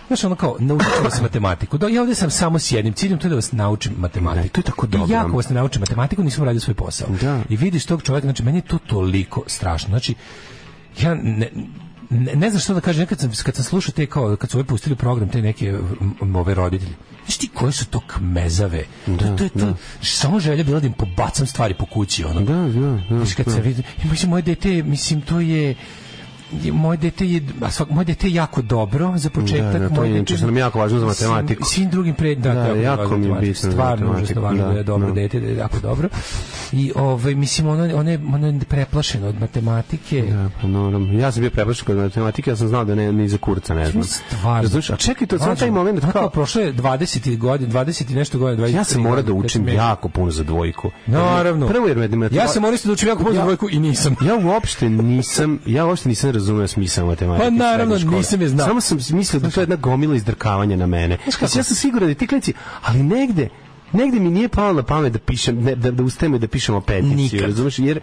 S3: znaš, ono kao, naučio sam matematiku. Da, ja ovdje sam samo s jednim ciljem, to je da vas naučim matematiku.
S2: Ne, to je tako
S3: I
S2: dobro.
S3: jako vas ne naučim matematiku, nisam radio svoj posao.
S2: Da.
S3: I vidiš tog čovjeka, znači, meni je to toliko strašno. Znači, ja ne, ne, ne znam što da kažem, nekad sam, kad sam slušao te kao, kad su ove pustili u program, te neke m, m, ove roditelje, znaš ti koje su to kmezave, to, to je to, samo želja bila da im pobacam stvari po kući, ono.
S2: Da, da, da.
S3: Znaš, kad se vidi, ja, mislim, moje dete, mislim, to je, je- moje dete je, a svak, moje dete je jako dobro za početak.
S2: Da, da, to
S3: moje
S2: je
S3: dete-
S2: inače što nam je jako važno za matematiku.
S3: Svim, svim drugim pred, da,
S2: Da,
S3: to je
S2: jako
S3: važno
S2: mi je
S3: za matematiku.
S2: bitno za
S3: Stvarno
S2: matematiku,
S3: užasno važno
S2: da,
S3: da je dobro
S2: da.
S3: dete, da je jako dobro. I ovaj, mislim, ono, ono, je, ono je preplašeno od matematike.
S2: Da, pa normalno. Ja sam bio preplašen kod matematike, ja sam znao da ne, ni za kurca ne znam.
S3: Stvarno.
S2: Razumeš? a čekaj, to je samo
S3: Mlađo,
S2: taj moment
S3: znaš
S2: kao...
S3: prošlo je 20 godina, 20 i nešto godina, 20.
S2: Ja sam morao da učim jako puno za dvojku.
S3: Naravno.
S2: Prvo jer me matematika...
S3: Ja sam morao isto da učim jako puno za dvojku i nisam.
S2: Ja uopšte nisam, ja uopšte nisam razumeo smisao matematike.
S3: Pa
S2: u srednjoj
S3: naravno,
S2: školi.
S3: nisam je znao.
S2: Samo sam mislio da to je jedna gomila izdrkavanja na mene. Znači, ja sam siguran da i ti klinci, ali negde, negde mi nije palo na pamet da pišem, ne, da, da ustajem i da pišemo peticiju,
S3: Nikad.
S2: razumeš? Jer,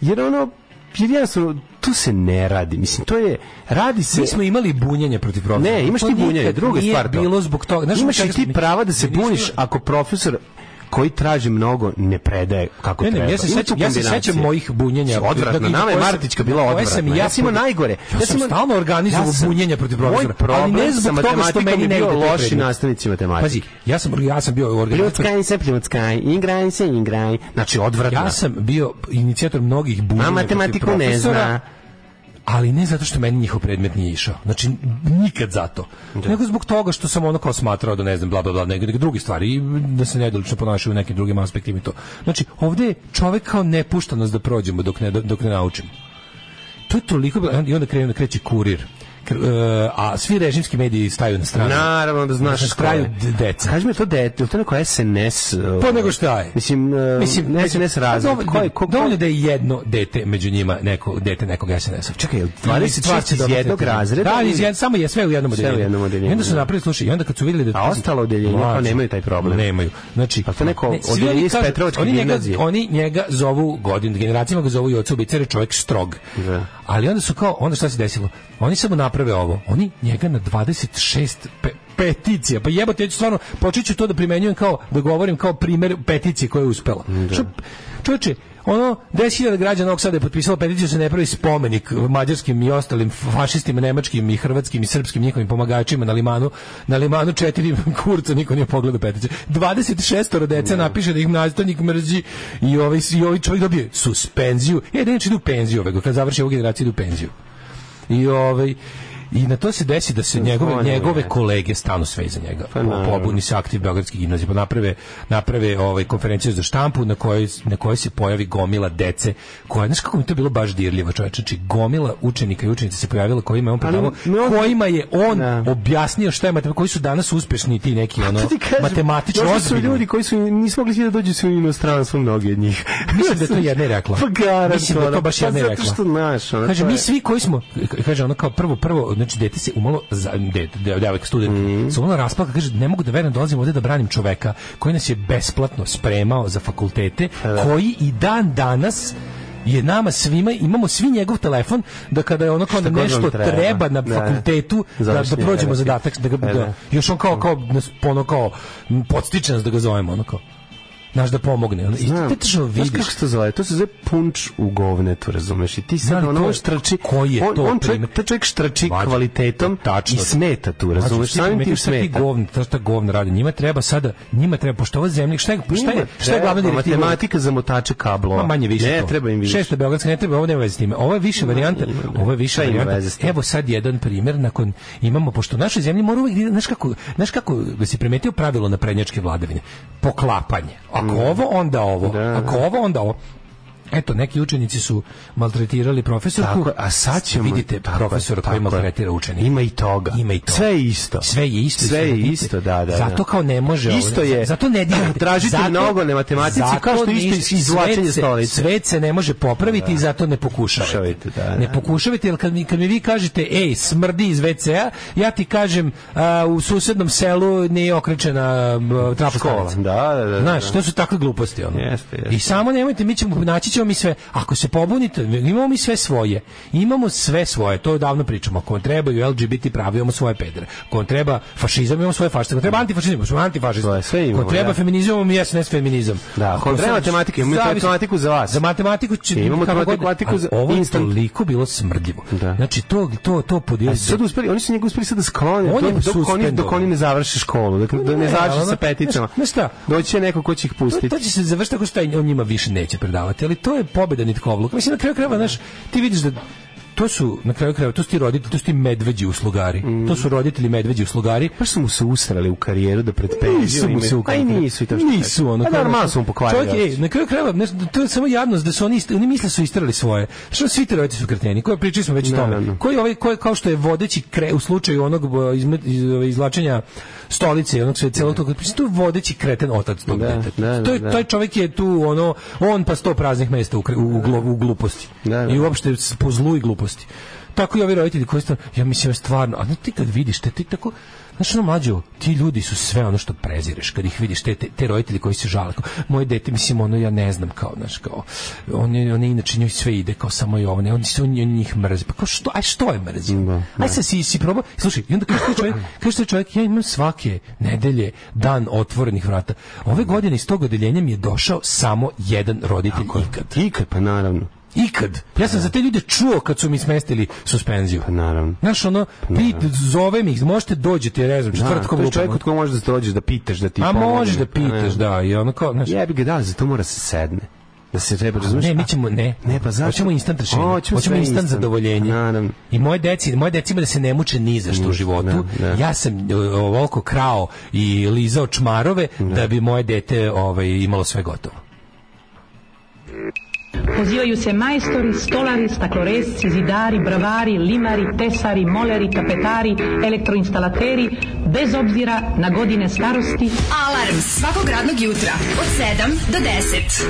S2: jer ono, jer jednostavno, tu se ne radi. Mislim, to je, radi se...
S3: Mi smo imali bunjenje protiv profesora.
S2: Ne, imaš
S3: To
S2: ti
S3: Pa nikad
S2: bunjenje, druga
S3: nije
S2: stvar to.
S3: bilo zbog toga. Znaš,
S2: Imaš
S3: zbog
S2: i
S3: čega
S2: ti
S3: smo-
S2: prava da se
S3: Mi nismo-
S2: buniš ako profesor koji traži mnogo ne predaje kako
S3: Ne, ne,
S2: treba.
S3: ja se
S2: Ima tu
S3: sećam- ja se
S2: kombinacije.
S3: sećam mojih bunjenja.
S2: Odvratno,
S3: Dakle,
S2: nama je
S3: koje sam-
S2: Martićka bila
S3: koje
S2: odvratna.
S3: sam ja
S2: ja sam imao
S3: pod-
S2: najgore.
S3: Ja sam stalno organizovao
S2: sam-
S3: bunjenje protiv profesora,
S2: Moj
S3: ali
S2: problem
S3: ne
S2: sa
S3: zbog toga što
S2: matematikom
S3: meni
S2: je
S3: negde
S2: bio
S3: to
S2: loši
S3: predmet.
S2: nastavnici matematike.
S3: Pazi, ja sam, ja sam bio organizator
S2: Pljuckaj se, pljuckaj, igraj se, igraj. Znači, odvratno.
S3: Ja sam bio inicijator mnogih bunjenja
S2: A
S3: protiv
S2: matematiku ne
S3: profesora,
S2: zna.
S3: ali ne zato što meni njihov predmet nije išao. Znači, nikad zato.
S2: Da.
S3: Nego zbog toga što sam ono kao smatrao da ne znam, bla, bla, bla, neke neke druge stvari i da se nedolično ponašaju u nekim drugim aspektima i to. Znači, ovdje je čovek kao ne pušta nas da prođemo dok ne, dok ne naučimo. To je toliko bilo. I onda krenu, kreće kurir. kr- e, a svi režimski mediji staju na stranu.
S2: Naravno da znaš
S3: Na stranu d- deca.
S2: Kaži mi to dete, je li to neko SNS?
S3: Pa nego šta je?
S2: ovaj, Mislim, e,
S3: među-
S2: SNS razred.
S3: dovoljno-
S2: Ko je- ko-
S3: Dovoljno da je jedno dete među njima, neko, dete nekog SNS-a.
S2: Čekaj, je li 26 iz jednog razreda
S3: Da, iz
S2: ili-
S3: jed, samo je sve u jednom
S2: Sve u
S3: odeljenju.
S2: jednom odeljenju,
S3: I onda su
S2: da.
S3: napravili, slušaj, i onda kad su videli da...
S2: A ostala odeljenja
S3: Mlađo,
S2: pa nemaju taj problem.
S3: Nemaju. Znači,
S2: Pa to neko
S3: ne, svi
S2: odeljenje
S3: oni
S2: iz
S3: kažu-
S2: Petrovačke
S3: oni njega,
S2: gimnazije.
S3: oni njega zovu godin, generacijama ga zovu i oca ubica, jer je čovjek strog.
S2: Da.
S3: Ali onda su kao, onda šta se desilo? Oni samo naprave ovo. Oni njega na 26 pe, peticija, pa jebote, ja ću stvarno, počet ću to da primenjujem kao, da govorim kao primer peticije koja je uspela.
S2: Da.
S3: Čo, čovječe, ono, 10.000 građana ovog sada je potpisalo peticiju da se ne pravi spomenik mađarskim i ostalim fašistima, nemačkim i hrvatskim i srpskim njihovim pomagačima na limanu. Na limanu četiri kurca niko nije pogledao peticiju. 26 dece napiše da ih nastavnik mrzi i ovaj, i ovaj čovjek dobije suspenziju. E, da inače idu u penziju ovego, kad završi ovu generaciju idu u penziju. I ovaj, i na to se desi da se njegove,
S2: Zvoni,
S3: njegove
S2: ne.
S3: kolege stanu sve iza njega. Po-
S2: Pa naravno.
S3: Pobuni se aktiv Beogradski gimnazije, pa naprave, naprave ovaj, konferenciju za štampu na kojoj, na kojoj se pojavi gomila dece. Koja, znaš kako mi to bilo baš dirljivo, čovječe? Znači, gomila učenika i učenica se pojavila kojima je on predavao, kojima je on objasnio šta je matematika, koji su danas uspešni ti neki ono,
S2: Da. To ti kažem,
S3: matematično
S2: došli su
S3: ozbiljni.
S2: ljudi koji su nisu mogli svi da dođu su u inostranstvo mnogi od njih.
S3: Mislim da je to jedna i rekla.
S2: Pa garantovano.
S3: Mislim da je to baš
S2: Pa
S3: jedna i
S2: zato
S3: rekla.
S2: što, znaš, ono,
S3: Kaže,
S2: to
S3: mi
S2: je-
S3: svi koji smo, kaže ono kao prvo, prvo, znači dete se umalo, za, dete, de- devojka student,
S2: Mhm.
S3: se umalo rasplaka, kaže, ne mogu da verujem, dolazim ovde da branim čoveka koji nas je besplatno spremao za fakultete,
S2: Pa da.
S3: koji i dan danas je nama svima, imamo svi njegov telefon da kada je ono kao
S2: Šta god vam
S3: nešto treba,
S2: treba.
S3: na
S2: Da, da.
S3: fakultetu da, da,
S2: Završni
S3: prođemo
S2: negativ.
S3: zadatak da ga,
S2: Da,
S3: da,
S2: da.
S3: još on kao kao nas ono kao m, podstiče nas da ga zovemo ono kao naš da pomogne ono. i
S2: Znam.
S3: ti tačno
S2: Znaš
S3: vidiš
S2: kako se to zove? To se zove punč u govnetu, razumeš? I ti sad
S3: Znam, to
S2: ono
S3: je-
S2: štrači...
S3: koji je
S2: on,
S3: to
S2: on čovjek,
S3: primer?
S2: taj čovjek štrači
S3: Mlađe,
S2: kvalitetom
S3: tačno.
S2: i smeta tu, razumeš?
S3: Znači,
S2: Samim tim
S3: ti
S2: smeta.
S3: govn, to šta govna radi. Njima treba sada, njima treba pošto ova zemlja, šta je, šta je, šta je glavna
S2: Treba
S3: direktiva?
S2: Matematika za motače kablova.
S3: Ma manje više.
S2: Ne,
S3: to.
S2: treba im više.
S3: Šesta beogradska ne treba, ovo nema veze s time. Ovo je više varijanta, ovo je više
S2: Šta ima
S3: varijanta.
S2: veze s tim?
S3: Evo sad jedan primjer nakon imamo pošto u našoj zemlji mora uvijek, znaš kako, znaš kako da si primetio pravilo na prednjačke vladavine. Poklapanje.
S2: Mm.
S3: Ako ovo onda ovo,
S2: Da.
S3: ako ovo onda ovo. Eto, neki učenici su maltretirali profesorku.
S2: Tako, je, a sad ćemo...
S3: Vidite
S2: tako je,
S3: profesora koji
S2: tako je.
S3: maltretira učenika.
S2: Ima i toga.
S3: Ima i toga.
S2: Sve je isto.
S3: Sve je isto.
S2: Sve je
S3: Zato-
S2: isto, da, da.
S3: Zato
S2: da.
S3: kao ne može. ovo-
S2: Isto je.
S3: Zato ne dirajte.
S2: Tražite
S3: Zato-
S2: mnogo matematici
S3: zato
S2: kao što isto
S3: ništa-
S2: izvlačenje
S3: svet se-
S2: stolice. Da,
S3: Svet se ne može popraviti i zato ne pokušavajte.
S2: Pokušavajte, da, da.
S3: Ne pokušavajte, jer kad mi, kad mi vi kažete ej, smrdi iz WC-a, ja ti kažem a, u susednom selu nije okrećena b,
S2: Škola,
S3: trafostanica.
S2: da, da, da.
S3: Znaš,
S2: da.
S3: to su takve gluposti. Ono.
S2: Jeste, jeste.
S3: I samo nemojte, mi ćemo, naći ćemo mi sve. Ako se pobunite, imamo mi sve svoje. Imamo sve svoje, to davno pričamo. Ako vam trebaju LGBT pravi, imamo svoje pedere. Ako vam treba fašizam, imamo svoje fašiste. Ako vam treba antifašizam, imamo svoje antifašiste.
S2: To je, sve imamo,
S3: Ako vam treba
S2: da.
S3: feminizam, imamo i SNS feminizam.
S2: Da, ako vam treba
S3: sad-
S2: matematike, imamo i
S3: zavisi-
S2: matematiku za vas.
S3: Za matematiku će...
S2: I imamo
S3: kako god-
S2: matematiku
S3: Ali
S2: za
S3: Ovo je
S2: instant.
S3: toliko bilo smrdljivo.
S2: Da.
S3: Znači, to, to, to
S2: A
S3: podijel...
S2: E, sad uspeli, oni su njega uspeli sad da sklone,
S3: On je
S2: dok, dok, oni,
S3: suspendovan.
S2: dok oni ne završe školu, dok ne,
S3: Ne,
S2: ne završe
S3: ali ono-
S2: sa peticama.
S3: Znaš- znaš šta?
S2: Doći će neko ko će ih pustiti.
S3: To, to će se završiti tako što taj- on njima više neće predavati, ali to je pobeda nitkovluka. Mislim, na kraju krajeva, znaš, ti vidiš da to su, na kraju krajeva, to su ti roditelji, to su ti medveđi uslugari.
S2: Mm.
S3: To su roditelji medveđi uslugari.
S2: Baš su mu se usrali u karijeru da pred penziju
S3: Nisu mu
S2: imaju.
S3: se
S2: Pa i
S3: ukapili.
S2: nisu i to što
S3: Nisu, ono.
S2: A
S3: kao-
S2: normalno su mu pokvarili.
S3: Čovjek, ej, na kraju krajeva, znaš, to je samo jadnost da su oni, ist- oni misle su istrali svoje. Što svi ti roditelji su kreteni, koje pričali smo već o tome.
S2: Naravno.
S3: Koji ovaj, koji kao što je vodeći kre, u slučaju onog bo, izme- iz, ovaj, izvlačenja stolice i onog sve celog tog, mislim, to je vodeći kreten otac tog
S2: Da,
S3: deteta.
S2: da, da,
S3: to je,
S2: da.
S3: taj čovjek je tu, ono, on pa sto praznih mesta u, kre- u, u glo- u gluposti.
S2: Da, da.
S3: I uopšte s- po zlu i gluposti. Tako i ovi roditelji koji stvarno, ja mislim stvarno, a znaš ti kad vidiš te, ti tako, znaš ono mlađo, ti ljudi su sve ono što prezireš, kad ih vidiš, te, te, te roditelji koji se žale, kao, moje dete, mislim ono, ja ne znam, kao, znaš, kao, on, je, on je inače njoj sve ide, kao samo i ovo, ne, on, se- on, on njih mrzi, pa kao što, aj što je mrzi?
S2: Da.
S3: Aj sad si, si probao, slušaj, i onda kaže taj čovjek, kaže taj čovjek, ja imam svake nedelje dan otvorenih vrata. Ove godine iz tog odeljenja mi je došao samo jedan roditelj ikad.
S2: Ikad, pa naravno.
S3: Ikad. Ja sam za te ljude čuo kad su mi smestili suspenziju.
S2: Da. Pa naravno. Pa
S3: Znaš, ono, vi zove mi, možete dođete, ne znam,
S2: Da,
S3: četvrtkom
S2: to je čovjek
S3: lupom.
S2: od koga možeš da se dođeš da pitaš, da ti
S3: A
S2: pomogne.
S3: možeš da
S2: Pa ne.
S3: pitaš, da, i ono kao, znaš,
S2: Jebi ga, da, ali za to mora se sedne. Da se treba, razumiješ?
S3: ne, mi ćemo, ne,
S2: Ne, pa zašto?
S3: Hoćemo instant rešenje.
S2: Hoćemo
S3: Hoćemo,
S2: sve
S3: instant,
S2: instant.
S3: zadovoljenje.
S2: Naravno.
S3: I moje deci, moje decima da se ne muče ni za što u životu.
S2: da, da.
S3: Ja sam e, ovoliko krao i lizao čmarove da bi moje dete ovaj, imalo sve gotovo.
S5: Pozivaju se majstori, stolari, stakloresci, zidari, bravari, limari, tesari, moleri, tapetari, elektroinstalateri, bez obzira na godine starosti.
S15: Alarm svakog radnog jutra od 7 do 10.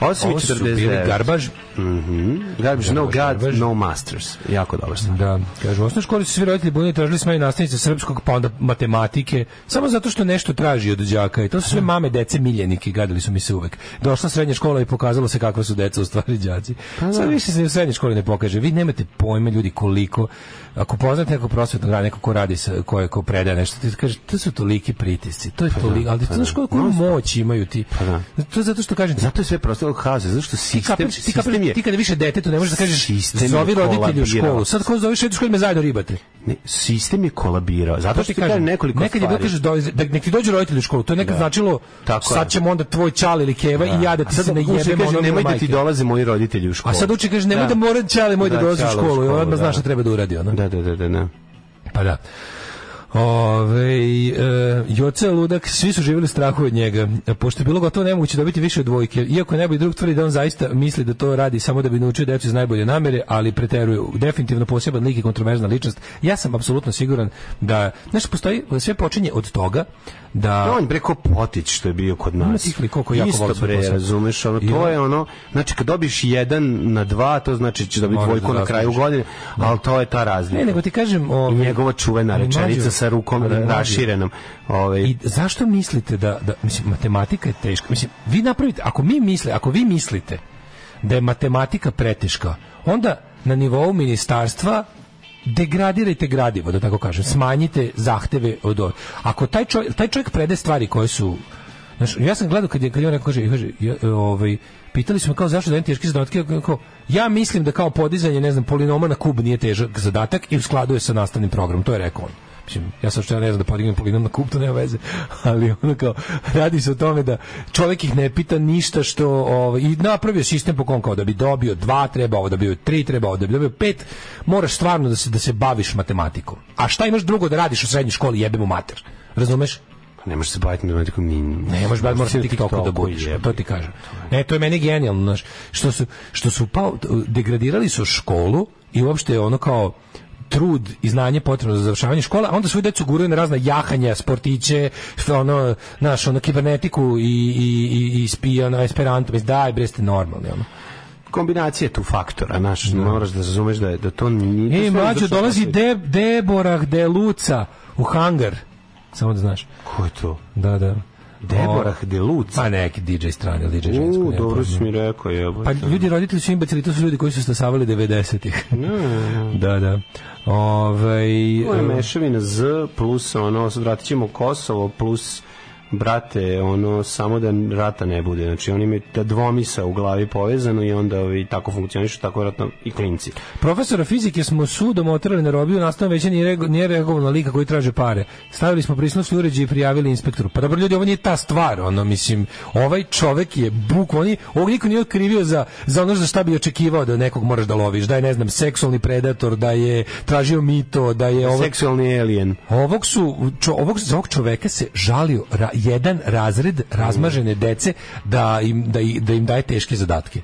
S12: Osim
S3: Ovo su bili garbaž.
S12: Mhm. Garbaž, no God, no masters. Jako dobro stvar.
S3: Da, kaže, u osnovnoj školi su svi roditelji bunili, tražili smo i nastavnice srpskog, pa onda matematike, samo zato što nešto traži od đaka i to su sve mame, dece, miljenike, gadili su mi se uvek. Došla srednja škola i pokazalo se kakva su deca u stvari đaci.
S12: Pa da.
S3: Sad više se u srednjoj školi ne pokaže. Vi nemate pojma ljudi koliko ako poznate nekog prosvetnog radnika neko ko radi sa ko je ko predaje nešto ti kaže to su toliki pritisci to je
S12: Pa da,
S3: toliko ali ti znaš koliko moć imaju ti to je zato što kažem
S12: Zato je sve prosto haze, zato što
S3: ti
S12: sistem,
S3: kapiraš, ti kapiraš,
S12: sistem je...
S3: ti kada više detetu ne možeš da kažeš
S12: Sistem je
S3: zovi roditelju u
S12: kolabirao.
S3: školu. Sad ko zoveš roditelju u školu me zajedno ribate.
S12: Ne, sistem je kolabirao. Zato što ti kažem nekoliko
S3: nekad je bilo
S12: stvari.
S3: kažeš do, da nek ti dođu roditelji u školu, to je nekad
S12: Da.
S3: značilo
S12: Tako
S3: sad
S12: je.
S3: ćemo onda tvoj čal ili keva i ja da ti
S12: A sad
S3: se ne
S12: uče
S3: jebem
S12: kaže,
S3: ono
S12: nemoj da
S3: majke.
S12: ti dolaze moji roditelji u školu.
S3: A sad uči kaže nemoj da, mora čale moj da, dolazi u
S12: čale
S3: školu, i
S12: školu,
S3: odmah
S12: da.
S3: znaš šta treba da uradi ono.
S12: Da, da, da, da, da.
S3: Pa da. Ove, e, Joce Ludak, svi su živjeli strahu od njega. E, Pošto je bilo gotovo nemoguće dobiti više od dvojke, iako nebo i drug tvrdi da on zaista misli da to radi samo da bi naučio decu iz najbolje namere, ali preteruju. Definitivno poseban lik i kontroverzna ličnost. Ja sam apsolutno siguran da, znaš, postoji, sve počinje od toga da...
S2: Pa on preko potić što je bio kod nas.
S3: Ima tih likova koji jako
S2: Isto
S3: vole svoj
S2: bre,
S3: posao.
S2: razumeš, ono,
S3: I
S2: to
S3: on-
S2: je ono, znači kad dobiš jedan na dva, to znači će dobiti
S3: Moraš da
S2: dvojku na kraju
S3: zaslužiš.
S2: godine, ali to je ta razlika.
S3: Ne, nego ti kažem...
S2: I
S3: Ove,
S2: njegova čuvena
S3: ali mlađo-
S2: rečenica sa rukom
S3: ali mlađo-
S2: raširenom. Ovaj,
S3: I zašto mislite da, da mislim, matematika je teška? Mislim, vi napravite, ako mi misle, ako vi mislite da je matematika preteška, onda na nivou ministarstva degradirajte gradivo, da tako kažem. Smanjite zahteve od od. Ako taj čovjek, taj čovjek prede stvari koje su Znaš, ja sam gledao kad je, kad je on rekao, kaže, kaže ja, e, ovaj, pitali su me kao zašto dajem teške zadatke, ja kao, ja mislim da kao podizanje, ne znam, polinoma na kub nije težak zadatak i u skladu je sa nastavnim programom, to je rekao on. Mislim, ja sam što ja ne znam da podignem polinom na kup, to nema veze, ali ono kao, radi se o tome da čovjek ih ne pita ništa što, ovaj, i napravio sistem po kom kao da bi dobio dva, treba ovo, da bi dobio tri, treba ovo, da bi dobio pet, moraš stvarno da se, da se baviš matematikom. A šta imaš drugo da radiš u srednjoj školi, jebemo mater. Razumeš?
S2: Ne možeš se baviti matematikom. ni-
S3: Ne možeš baviti, moraš na
S2: na
S3: TikToku da budeš, to ti kažem. Ne, to je meni genijalno, znaš, što su, što su pao, degradirali su školu i uopšte je ono kao trud i znanje potrebno za završavanje škola, a onda svoju decu guraju na razna jahanja, sportiće, f- ono, znaš, ono, kibernetiku i, i, i, i spija na esperanto, mislim, daj, bre, ste normalni, ono.
S2: Kombinacije tu faktora, znaš, moraš da razumeš da, je- da to nije... to
S3: Ej,
S2: sve
S3: E,
S2: da
S3: mlađo,
S2: izašlo
S3: dolazi
S2: na
S3: de, Deborah de Luca u hangar. Samo da znaš.
S2: Ko je to?
S3: Da, da.
S2: Deborah de Luca?
S3: Pa neki DJ strani, ali DJ
S2: svijet.
S3: žensko.
S2: U,
S3: nema
S2: dobro
S3: pojma.
S2: si mi rekao, jebote.
S3: Pa ljudi, roditelji su imbecili, to su ljudi koji su stasavali 90-ih. da, da. Ovaj,
S2: Ovo je
S3: e,
S2: mešavina Z plus ono, sad vratit ćemo Kosovo plus brate, ono, samo da rata ne bude. Znači, oni imaju ta dvomisa u glavi povezano i onda ovi, tako funkcionišu, tako vjerojatno i klinci.
S3: Profesora fizike smo sudom otrali na robiju, nastavno veće nije, rego- nije reagovao na lika koji traže pare. Stavili smo prisnosni uređaj i prijavili inspektoru. Pa dobro ljudi, ovo nije ta stvar, ono, mislim, ovaj čovek je buk, on je, ovog niko nije okrivio za, za ono za šta bi očekivao da nekog moraš da loviš, da je, ne znam, seksualni predator, da je tražio mito, da je... Ovo...
S2: Seksualni alien.
S3: Ovog su, čo, ovog, za ovog čoveka se žalio ra- jedan razred razmažene dece da im, da, i- da im daje teške zadatke.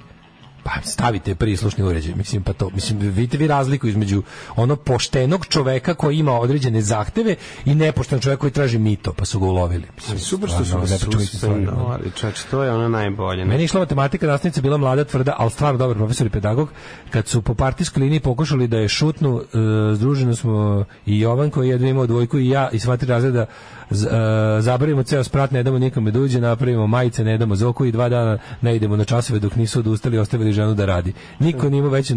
S3: Pa stavite prislušni uređaj, mislim, pa to, mislim, vidite vi razliku između ono poštenog čoveka koji ima određene zahteve i nepošten čovek koji traži mito, pa su ga ulovili. Mislim,
S2: Super što su
S3: stvarno, ne, pa čuj, stvarno.
S2: suspendovali, čač, to je ono najbolje.
S3: Meni je išla matematika, nastavnica bila mlada, tvrda, ali stvarno dobar profesor i pedagog. Kad su po partijskoj liniji pokušali da je šutnu, e, združeno smo i Jovan koji je jedva imao dvojku i ja i sva tri razreda z- e, zabavimo ceo sprat, ne damo nikome da uđe, napravimo majice, ne damo zoku i dva dana ne idemo na časove dok nisu odustali i ostavili ženu da radi. Niko nije imao veću,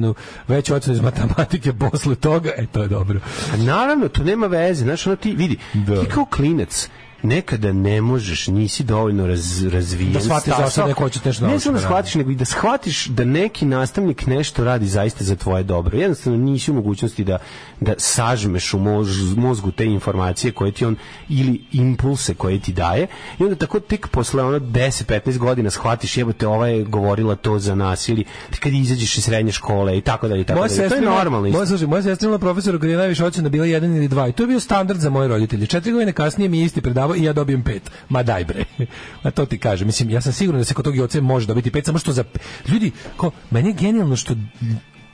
S3: veću ocenu iz matematike posle toga, e to je dobro.
S2: A naravno, to nema veze, znaš, ono ti, vidi,
S3: Da.
S2: ti kao klinec, nekada ne možeš, nisi dovoljno raz, razvijen.
S3: Da shvatiš
S2: stasao.
S3: zašto neko hoće nešto
S2: Ne
S3: nauči
S2: samo da
S3: da
S2: shvatiš, nego i da shvatiš da neki nastavnik nešto radi zaista za tvoje dobro. Jednostavno nisi u mogućnosti da, da sažmeš u mož- mozgu te informacije koje ti on, ili impulse koje ti daje. I onda tako tek posle ono 10-15 godina shvatiš, jebote, ova je govorila to za nas, ili kad izađeš iz srednje škole i tako dalje, i tako
S3: Moja
S2: dalje. To
S3: sestra
S2: je
S3: imala-
S2: normalno. isto.
S3: Moja, slušaj, moja sestra imala profesora kada je najviše ocena bila jedan ili dva i to je bio standard za moje roditelje. Četiri godine kasnije mi je isti predavao i ja dobijem pet. Ma daj bre. Ma to ti kažem. Mislim, ja sam siguran da se kod tog Joce može dobiti pet, samo što za... Ljudi, kao, meni je genijalno što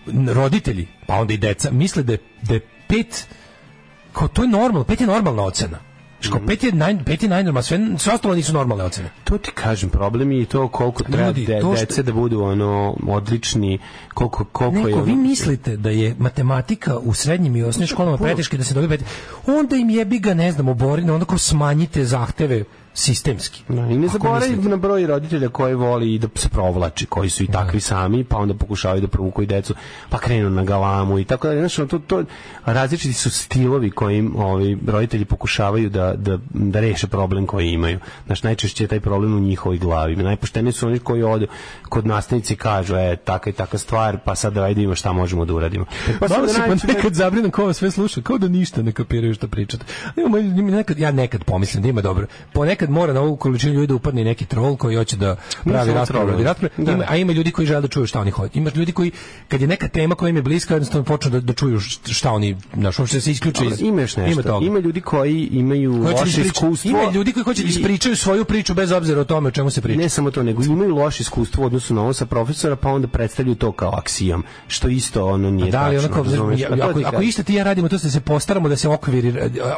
S3: n- roditelji, pa onda i deca, misle da je, da je pet kao to je normalno, pet je normalna ocena. Ško,
S2: Mhm.
S3: pet je, naj, pet je najnormalna, sve, sve ostalo nisu normalne ocene.
S2: To ti kažem, problem je i to koliko treba
S3: Ljudi,
S2: de,
S3: to što-
S2: dece da budu ono odlični, koliko, koliko je...
S3: Neko,
S2: ono-
S3: vi mislite da je matematika u srednjim i osnovnim školama preteška i da se dobije pet, onda im jebi ga, ne znam, obori, onda kao smanjite zahteve sistemski.
S2: Da, I ne
S3: Ako
S2: zaboravi
S3: mislite. Da.
S2: na broj roditelja koji voli i da se provlači, koji su i takvi sami, pa onda pokušavaju da provuku i decu, pa krenu na galamu i tako dalje. Znaš, ono, to, to, različiti su stilovi kojim ovi roditelji pokušavaju da, da, da reše problem koji imaju. Znaš, najčešće je taj problem u njihovoj glavi. Najpošteniji su oni koji odu kod nastavnici i kažu, e, taka i taka stvar, pa sad da vidimo šta možemo da uradimo.
S3: Pa
S2: sad
S3: Malo se
S2: nađemo-
S3: ponekad zabrinem ko vas sve sluša, kao da ništa ne kapiraju što pričate. Ali Ima, ima nekad, ja nekad pomislim da ima dobro. Ponekad nekad mora na ovu količinu ljudi da upadne i neki trol koji hoće da pravi
S2: samo
S3: raspravu,
S2: trolovi.
S3: radi rasprave.
S2: Da.
S3: Ima- a ima ljudi koji žele da čuju šta oni hoće. Ima ljudi koji kad je neka tema koja im je bliska, jednostavno počnu da, da čuju št- šta oni, znaš, uopšte se isključe iz
S2: Ima još nešto.
S3: Ima toga.
S2: Ima ljudi koji imaju
S3: Hoće da
S2: loše
S3: ispriča-
S2: iskustvo.
S3: Ima ljudi koji hoće da
S2: i-
S3: ispričaju svoju priču bez obzira o tome o čemu se priča.
S2: Ne samo to, nego imaju loše iskustvo u odnosu na ovo sa profesora, pa onda predstavljaju to kao aksijom, što isto ono nije
S3: da li
S2: tačno.
S3: onako,
S2: razumeš? Pa to
S3: ako,
S2: ti
S3: ako
S2: kažem.
S3: isto ti ja radimo to se se postaramo da se okviri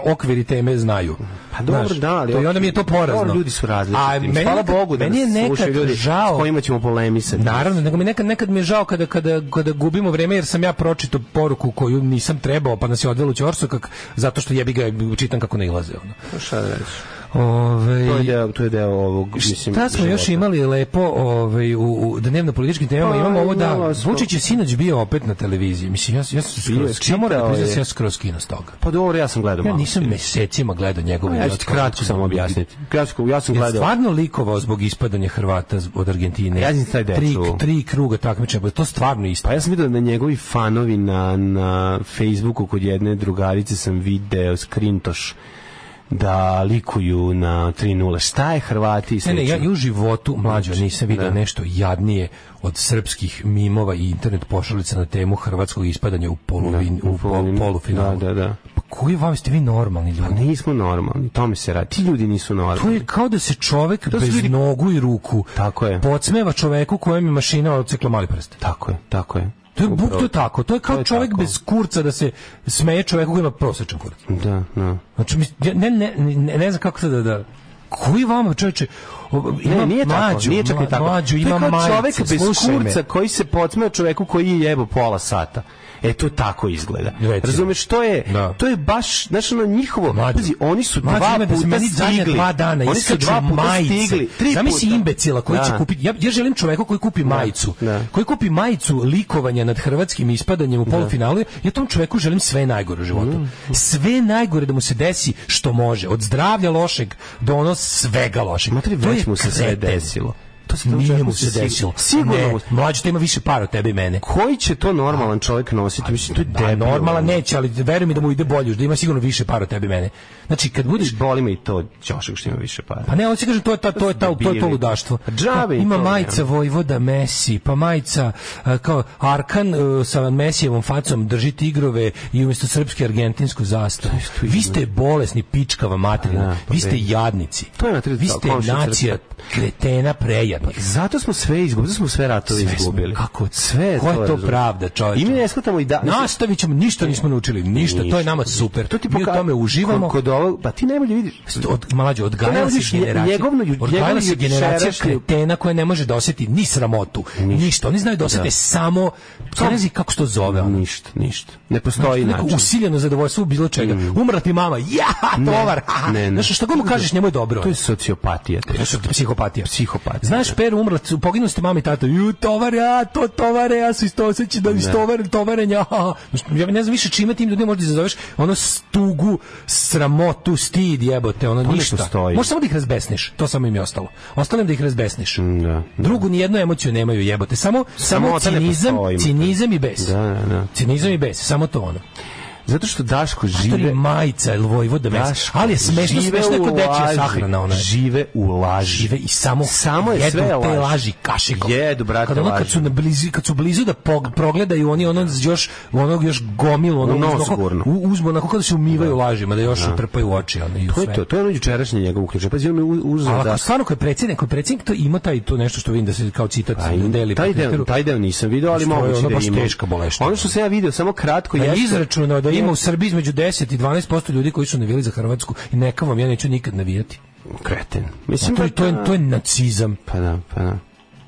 S3: okviri teme znaju.
S2: Pa dobro,
S3: Znaš,
S2: da, ali
S3: to, i onda mi je to
S2: okej,
S3: porazno.
S2: dobro, ljudi su različiti.
S3: A
S2: Mislim,
S3: meni
S2: hvala
S3: nekad-
S2: Bogu da
S3: meni je
S2: nas
S3: nekad
S2: slušaju ljudi s
S3: žao.
S2: kojima ćemo polemisati.
S3: Naravno, nego mi nekad, nekad mi je žao kada, kada, kada gubimo vreme jer sam ja pročito poruku koju nisam trebao pa nas je odvelo u Ćorsokak zato što jebi ga čitam kako ne ilaze. Ono.
S2: Pa Šta da radiš?
S3: Ove,
S2: To je deo, to je deo ovog, mislim,
S3: Šta smo još
S2: života.
S3: imali lepo ovaj, u, u dnevno političkim temama?
S2: Pa,
S3: Imamo ovo da...
S2: imala smo-
S3: Vučić je sinoć bio opet na televiziji. Mislim, ja, ja sam
S2: Bio je,
S3: skroz... Ja moram da
S2: čitao
S3: priznam da
S2: je.
S3: sam ja skroz skino s toga.
S2: Pa dobro, ja sam gledao
S3: Ja
S2: malo.
S3: nisam mesecima gledao njegove...
S2: Ja ću ti kratko samo objasniti. Kratko, ja sam
S3: da Ja
S2: gledao.
S3: stvarno likovao zbog ispadanja Hrvata z- od Argentine.
S2: Ja sam taj deo
S3: tri,
S2: čuo.
S3: tri kruga takmičenja, pa je to stvarno isto.
S2: Pa ja sam vidio da njegovi fanovi na, na Facebooku kod jedne drugarice sam video skrintoš da likuju na 3-0. Šta je Hrvati i
S3: Ne, ne, ja,
S2: slično?
S3: ja u životu mlađo nisam vidio
S2: da.
S3: nešto jadnije od srpskih mimova i internet pošalica na temu hrvatskog ispadanja u, polovin, u, pol, polufinalu.
S2: Da, da, da.
S3: Pa koji vam ste vi normalni ljudi?
S2: Pa nismo normalni, tome se radi. Ti ljudi nisu
S3: To
S2: normalni.
S3: je kao da se čovek
S2: To su
S3: bez
S2: ljudi-
S3: nogu i ruku
S2: Tako je.
S3: podsmeva čoveku kojem je mašina odsekla mali prst.
S2: Tako je, tako je.
S3: To je buk
S2: Upravo.
S3: to tako. To je kao
S2: To je
S3: čovek
S2: tako.
S3: bez kurca da se smeje čoveku koji ima prosečan kurac.
S2: Da, da.
S3: Znači, mis- ja ne, ne, ne, ne znam kako sad da... da koji vama čoveče o, ima
S2: Ne, nije
S3: mlađu,
S2: tako, nije čak ni
S3: mla-
S2: tako.
S3: mlađu,
S2: to
S3: ima
S2: je kao
S3: majice,
S2: čovek bez
S3: slušaj me.
S2: kurca koji se podsmeo čoveku koji je jebo pola sata. E to tako izgleda.
S3: Recimo.
S2: Razumeš, to je
S3: Da.
S2: to je baš znaš ono njihovo.
S3: Mlađo.
S2: Pazi, oni su
S3: Mlađo,
S2: dva
S3: ima da se
S2: puta
S3: meni zadnja
S2: stigli.
S3: Dva dana da
S2: oni su dva puta
S3: majice.
S2: stigli. Tri
S3: Zamisli
S2: puta.
S3: imbecila koji će
S2: Da.
S3: kupiti. Ja, ja želim čoveka koji kupi majicu.
S2: da.
S3: Koji kupi majicu likovanja nad hrvatskim ispadanjem u polufinalu. Ja tom čoveku želim sve najgore u životu.
S2: Mm.
S3: Sve najgore da mu se desi što može. Od zdravlja lošeg do ono svega lošeg.
S2: Matri,
S3: To je
S2: već mu se sve
S3: kreten.
S2: desilo. To se tom
S3: Nije
S2: čoveku
S3: mu se
S2: sig-
S3: desilo.
S2: Sigurno
S3: Ne,
S2: mu
S3: mlađe, to ima više para od tebe i mene.
S2: koji će to normalan čovjek nositi? Mislim, to je
S3: Da,
S2: debilno.
S3: normalan neće, ali veruj mi da mu ide bolje, još, da ima sigurno više para od tebe i mene. Znači, kad budeš
S2: Boli me i to Ćošak što ima više para.
S3: Pa ne, on se kaže to je ta, to je ta, to je to
S2: Debili.
S3: ludaštvo.
S2: Pa džabe i
S3: Ima
S2: to,
S3: majica
S2: ja.
S3: Vojvoda Messi, pa majica e, kao Arkan e, sa Mesijevom facom drži tigrove i umjesto srpske argentinsku zastavu. Vi ste bolesni pičkava materina.
S2: Da, pa
S3: Vi ste
S2: be.
S3: jadnici.
S2: To je na tri-
S3: Vi ste
S2: komšija
S3: nacija kretena prejadnih.
S2: Zato smo sve izgubili, zato smo sve ratove
S3: Sve smo-
S2: izgubili.
S3: kako-
S2: sve je
S3: koja je to
S2: razumem.
S3: pravda, čoveče?
S2: I mi ne shvatamo i da
S3: Nastavit ćemo, ništa nismo naučili, ništa, to je nama super.
S2: To ti
S3: Mi u
S2: poka-
S3: tome uživamo.
S2: Kod, kod ovog, pa ti najbolje vidiš.
S3: od mlađe
S2: To ne
S3: odgajala
S2: vidiš
S3: se generacija
S2: njegovno ju-
S3: odgajala
S2: njegovo
S3: se generacija
S2: jučerašnje-
S3: kretena koja ne može da osjeti ni sramotu ništa oni znaju da osjete
S2: Da.
S3: samo to ne znam kako se to zove ono.
S2: Ništa, ništa. Ne postoji
S3: Neko
S2: način. Mm.
S3: usiljeno zadovoljstvo u bilo čega umrla ti mama ja
S2: Ne,
S3: tovar ha,
S2: ne, ne.
S3: znaš šta god mu kažeš njemu je dobro
S2: To je sociopatija.
S3: To je psihopatija
S2: Psihopatija.
S3: Znaš, Peru umrla, su- poginuli ste mama i tata. Ju, tovare, a, to tovare, a se isto osjeća da istovare, tovarenja. a." Znaš, Ja ne znam više čime tim ljudima možda izazoveš ono stugu, sramotu, stid, jebote, ono
S2: ne
S3: ništa.
S2: postoji.
S3: Možeš samo da ih razbesniš, to samo im je ostalo. Ostalo im da ih razbesniš.
S2: Da.
S3: Drugu nijednu emociju nemaju jebote, samo, samo
S2: Sramota ne
S3: cinizam,
S2: postoji, imate.
S3: cinizam i bes.
S2: Da, da, da.
S3: Cinizam i bes, samo to ono.
S2: Zato što Daško
S3: Žive
S2: žive...
S3: majica ili Vojvoda mes.
S2: Daško,
S3: Ali je smešno,
S2: žive
S3: smešno je kod
S2: u
S3: dečija
S2: laži.
S3: sahrana ona.
S2: Žive u laži.
S3: žive i samo
S2: Samo je
S3: jedu
S2: sve
S3: te
S2: laž.
S3: laži kašikom.
S2: Jedu, brate,
S3: kad ono kad
S2: laži.
S3: su na blizu kad su blizu da pog- progledaju oni ono još onog još gomilu onog
S2: U nos
S3: onako-
S2: gurnu.
S3: u- uzmu onako kao da se umivaju lažima da još utrpaju u oči ono i u
S2: To je
S3: sve.
S2: to, to je ono jučerašnje njegovo ključe. Pazi, on je u- uzeo
S3: Ali
S2: da...
S3: ako stvarno koji predsjednik, koji predsjednik to ima taj to nešto što vidim da se kao citat
S2: Pa i-
S3: deli po
S2: taj, deo,
S3: Twitteru.
S2: taj deo nisam video, ali
S3: Što je
S2: moguće
S3: ono
S2: da
S3: baš
S2: ima.
S3: teška boleština.
S2: Ono što sam ja video, samo kratko,
S3: Ja
S2: jeste-
S3: izračunao da ima u Srbiji između 10 i 12% ljudi koji su navijali za Hrvatsku i neka vam ja neću nikad navijati.
S2: Kreten.
S3: Pa
S2: Mislim
S3: to,
S2: da
S3: je, to, je, to je nacizam.
S2: Pa da, pa da.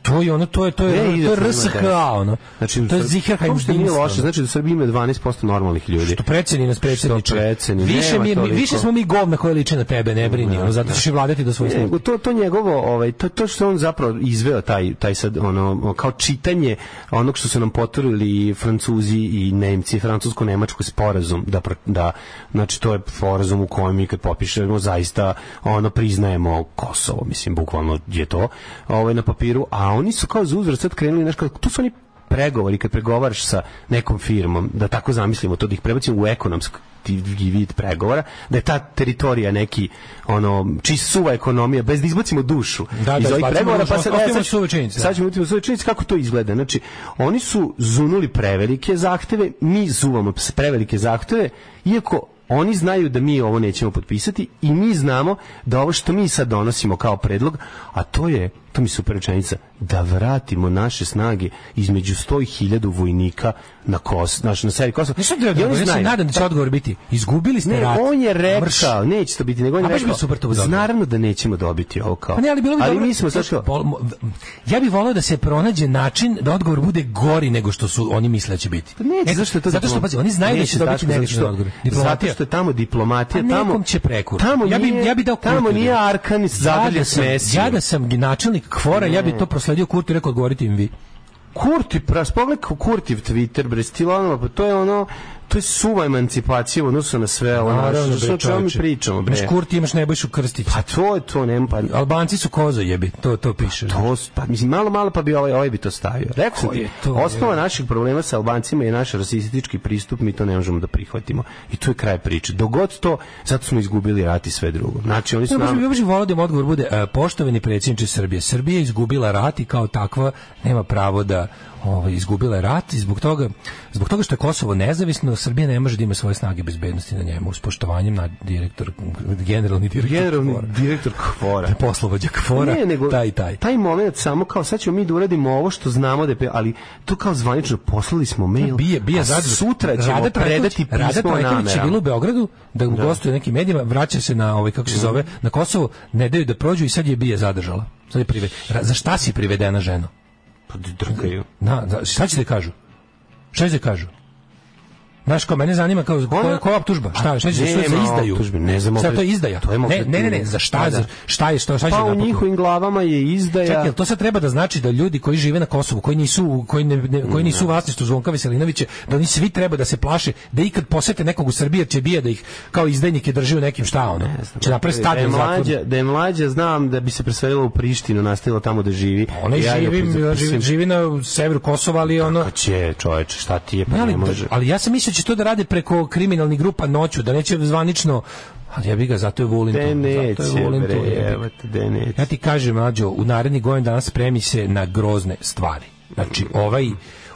S3: To je ono, to je, to je,
S2: Ne,
S3: ono, to
S2: izračunao
S3: je
S2: ima
S3: RSHA, ono.
S2: 10. Znači,
S3: to je
S2: u Srb-
S3: Ziherheim
S2: uopšte nije
S3: Dimstra,
S2: loše,
S3: ono.
S2: znači da u Srbiji ima 12% normalnih ljudi.
S3: Što preceni nas predsjedniče.
S2: Što preceni,
S3: više,
S2: nema
S3: mi, mi-
S2: toliko.
S3: više smo mi govna koje liče na tebe, ne brini.
S2: Ne,
S3: ono, zato ćeš i vladati do svojih
S2: Ne,
S3: sluga.
S2: E, to to njegovo ovaj to to što on zapravo izveo taj taj sad ono kao čitanje onog što su nam poturili Francuzi i Nemci francusko-nemački sporazum da pro- da znači to je sporazum u kojem mi kad popišemo zaista ono priznajemo Kosovo mislim bukvalno je to ovaj na papiru a oni su kao za uzvrat sad krenuli nešto tu su oni pregovori, kad pregovaraš sa nekom firmom, da tako zamislimo to, da ih prebacimo u ekonomski vid pregovora, da je ta teritorija neki, ono, čist suva ekonomija, bez da izbacimo dušu
S3: Da,
S2: iz
S3: da,
S2: ovih
S3: izbacimo
S2: pregovora,
S3: dušu,
S2: pa sad,
S3: ostavimo
S2: sad ću-
S3: suve činjenice, da.
S2: sad ćemo ulaziti u suve činjenice, kako to izgleda. Znači, oni su zunuli prevelike zahteve, mi zuvamo s- prevelike zahteve, iako oni znaju da mi ovo nećemo potpisati i mi znamo da ovo što mi sad donosimo kao predlog, a to je, to mi je super rečenica, da vratimo naše snage između 100 i 1000 vojnika na Kos, naš, na seri Kosova.
S3: Znaš šta treba da
S2: I oni
S3: odgovor? Ja se
S2: znaju. Pa-
S3: nadam da će odgovor biti izgubili ste
S2: Ne,
S3: rat.
S2: on je rekao,
S3: Mrš.
S2: neće to biti, nego on je
S3: A baš bi
S2: rekao,
S3: super to bilo.
S2: naravno da nećemo dobiti ovo kao.
S3: Pa ne, ali bilo bi dobro.
S2: mi smo,
S3: Znaš,
S2: sad kao,
S3: bol- mo- v- Ja bih volio da se pronađe način da odgovor bude gori nego što su oni misle da će biti.
S2: Pa neće,
S3: E,
S2: zašto je to
S3: Zato što,
S2: diploma-
S3: pazi, oni znaju da
S2: Neće,
S3: će dobiti
S2: Daško, zato
S3: negativan
S2: što-
S3: odgovor.
S2: Zato što je tamo diplomatija,
S3: Pa
S2: tamo
S3: nekom će prekur.
S2: Tamo
S3: ja bi
S2: nije-
S3: ja bi dao
S2: tamo
S3: Kurtiju.
S2: nije Arkan iz Zagrlja
S3: Ja da sam-
S2: smesio.
S3: Ja da sam načelnik Kvora, ja bi to prosledio Kurtu i rekao odgovorite im vi.
S2: Kurti, pras, pogledaj kako Kurtiv Twitter, bre, Stilanova, pa to je ono, to je suva emancipacija u odnosu na sve ovo naše,
S3: Naravno,
S2: Pa, što
S3: bre,
S2: o čemu mi
S3: čoveče.
S2: pričamo, bre.
S3: Imaš Kurti, imaš Nebojšu Krstića.
S2: Pa to je to, nema pa...
S3: Albanci su kozo jebi, to, to piše.
S2: To, s- pa, mislim, malo, malo pa bi ovaj, ovaj bi to stavio. Rekao sam
S3: Ko je
S2: ti,
S3: to,
S2: osnova naših problema sa Albancima je naš rasistički pristup, mi to ne možemo da prihvatimo. I tu je kraj priče. Dogod to, zato smo izgubili rat i sve drugo. Znači, oni su
S3: Ja baš
S2: nam...
S3: bih- ja baš bih volao da im odgovor bude e, poštovani predsjedniče Srbije. Srbija je izgubila rat i kao takva nema pravo da ovaj izgubila je rat i zbog toga zbog toga što je Kosovo nezavisno, Srbija ne može da ima svoje snage bezbednosti na njemu s poštovanjem na direktor generalni direktor
S2: Generalni
S3: Kvora.
S2: direktor Kvora.
S3: poslovođa Kvora,
S2: Ne, nego
S3: taj i taj.
S2: Taj moment samo kao sad ćemo mi da uradimo ovo što znamo da je, pe- ali to kao zvanično poslali smo mail.
S3: Bije, bije
S2: a
S3: zadru.
S2: sutra ćemo
S3: Rada Trajković-
S2: predati
S3: Rada
S2: pismo o
S3: Trajković je bila u
S2: namerama.
S3: Beogradu da gostuje u nekim medijima, vraća se na ovaj
S2: Mhm.
S3: kako se zove, na Kosovo, ne daju da prođu i sad je bije zadržala. Sad je prive... Ra- za šta si privedena ženo?
S2: Pa d- drkaju.
S3: Na, da, šta će da kažu? Šta će da kažu? Znaš, kao mene zanima kao koja koja optužba? Šta, je, šta će da su- za
S2: Pa Nema
S3: izdaju?
S2: optužbe, ne znam,
S3: Sad
S2: opet-
S3: to je izdaja.
S2: to je
S3: ne,
S2: opet-
S3: ne, ne, ne, za šta,
S2: Pa da.
S3: za, šta je, šta, šta će
S2: Pa
S3: da
S2: u
S3: napadnu?
S2: njihovim glavama je izdaja.
S3: Čekaj, jel to sad treba da znači da ljudi koji žive na Kosovu, koji nisu koji ne, ne- koji nisu u vlasništvu Zvonka Veselinovića, da oni svi treba da se plaše da ikad posete nekog u Srbiji jer će bija da ih kao izdajnike drži u nekim šta ono. Će napravi
S2: da je
S3: stadion
S2: mlađa,
S3: zatvor.
S2: da je mlađa, znam da bi se preselila u Prištinu, nastavila tamo da živi.
S3: Pa Ona
S2: Ja je
S3: živi,
S2: opet
S3: živi,
S2: zapisim.
S3: živi na severu Kosova, ali ono
S2: Pa će, čoveče, šta ti je, pa
S3: Ne, ali,
S2: ne može.
S3: ali ja sam mislio da će to da rade preko kriminalnih grupa noću, da neće zvanično Ali ja bih ga, da- zato je E, volim to.
S2: De
S3: Zato je
S2: neće,
S3: volim
S2: bre,
S3: to. jebi ga.
S2: evo te, de neće.
S3: Ja ti kažem, mlađo, u naredni godin danas spremi se na grozne stvari. Znači, ovaj,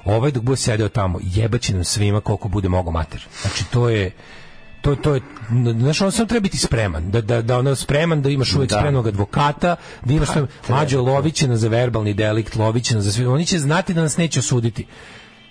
S3: ovaj dok bude sedeo tamo, jebaće nam svima koliko bude mogo mater. Znači, to je... To, to je, znaš, on sam treba biti spreman, da, da, da ono spreman, da imaš uvijek
S2: Da. Pa,
S3: spremnog advokata, da imaš sve- mlađo loviće nas za verbalni delikt, loviće nas za sve, oni će znati da nas neće osuditi.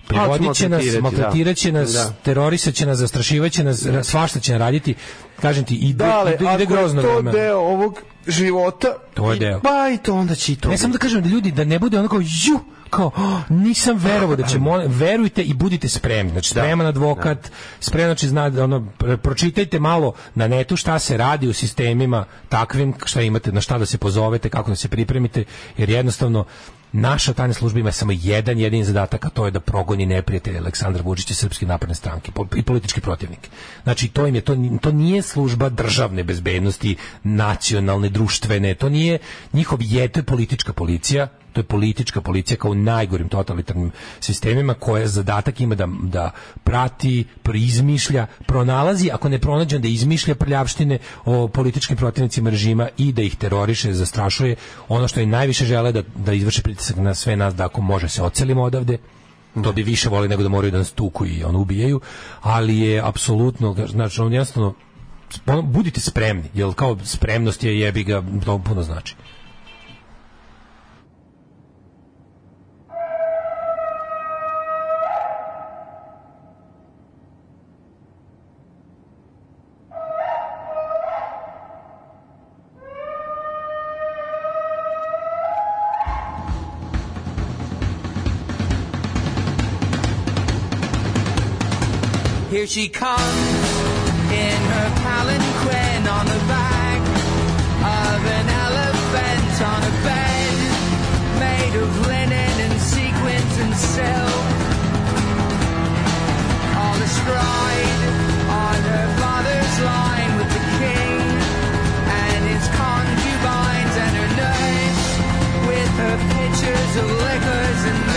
S2: će
S3: Privodit će nas,
S2: maltretirati, Pa, da.
S3: maltretirat će nas,
S2: Da.
S3: terorisat će nas, zastrašivat će nas, ra- svašta će nam raditi. Kažem ti, ide,
S2: Dale,
S3: ide,
S2: Da, ako
S3: ide
S2: je
S3: grozno
S2: to
S3: vreme.
S2: deo ovog života,
S3: To je
S2: i-
S3: deo.
S2: pa i to onda će i to
S3: Ne
S2: biti.
S3: samo da kažem da ljudi da ne bude onako ju kao "Oh, nisam verovao da će mo- verujte i budite spremni. Znači spreman advokat, spreman znači zna ono pr- pročitajte malo na netu šta se radi u sistemima takvim šta imate na šta da se pozovete, kako da se pripremite jer jednostavno Naša tajna služba ima samo jedan jedini zadatak, a to je da progoni neprijatelje Aleksandra Vučića i Srpske napredne stranke po- i politički protivnike. Znači, to im je, to, to nije služba državne bezbednosti, nacionalne, društvene, to nije njihov je, to je politička policija, to je politička policija kao u najgorim totalitarnim sistemima koja zadatak ima da, da prati, izmišlja, pronalazi, ako ne pronađe da izmišlja prljavštine o političkim protivnicima režima i da ih teroriše, zastrašuje. Ono što i najviše žele da, da izvrše pritisak na sve nas da ako može se ocelimo odavde, to bi više voli nego da moraju da nas tuku i ono ubijaju, ali je apsolutno, znači on jednostavno ono, budite spremni, jer kao spremnost je jebi ga, to puno znači.
S16: Here she comes in her palanquin on the back of an elephant on a bed made of linen and sequins and silk. All astride on her father's line with the king and his concubines and her nurse with her pitchers of liquors and milk.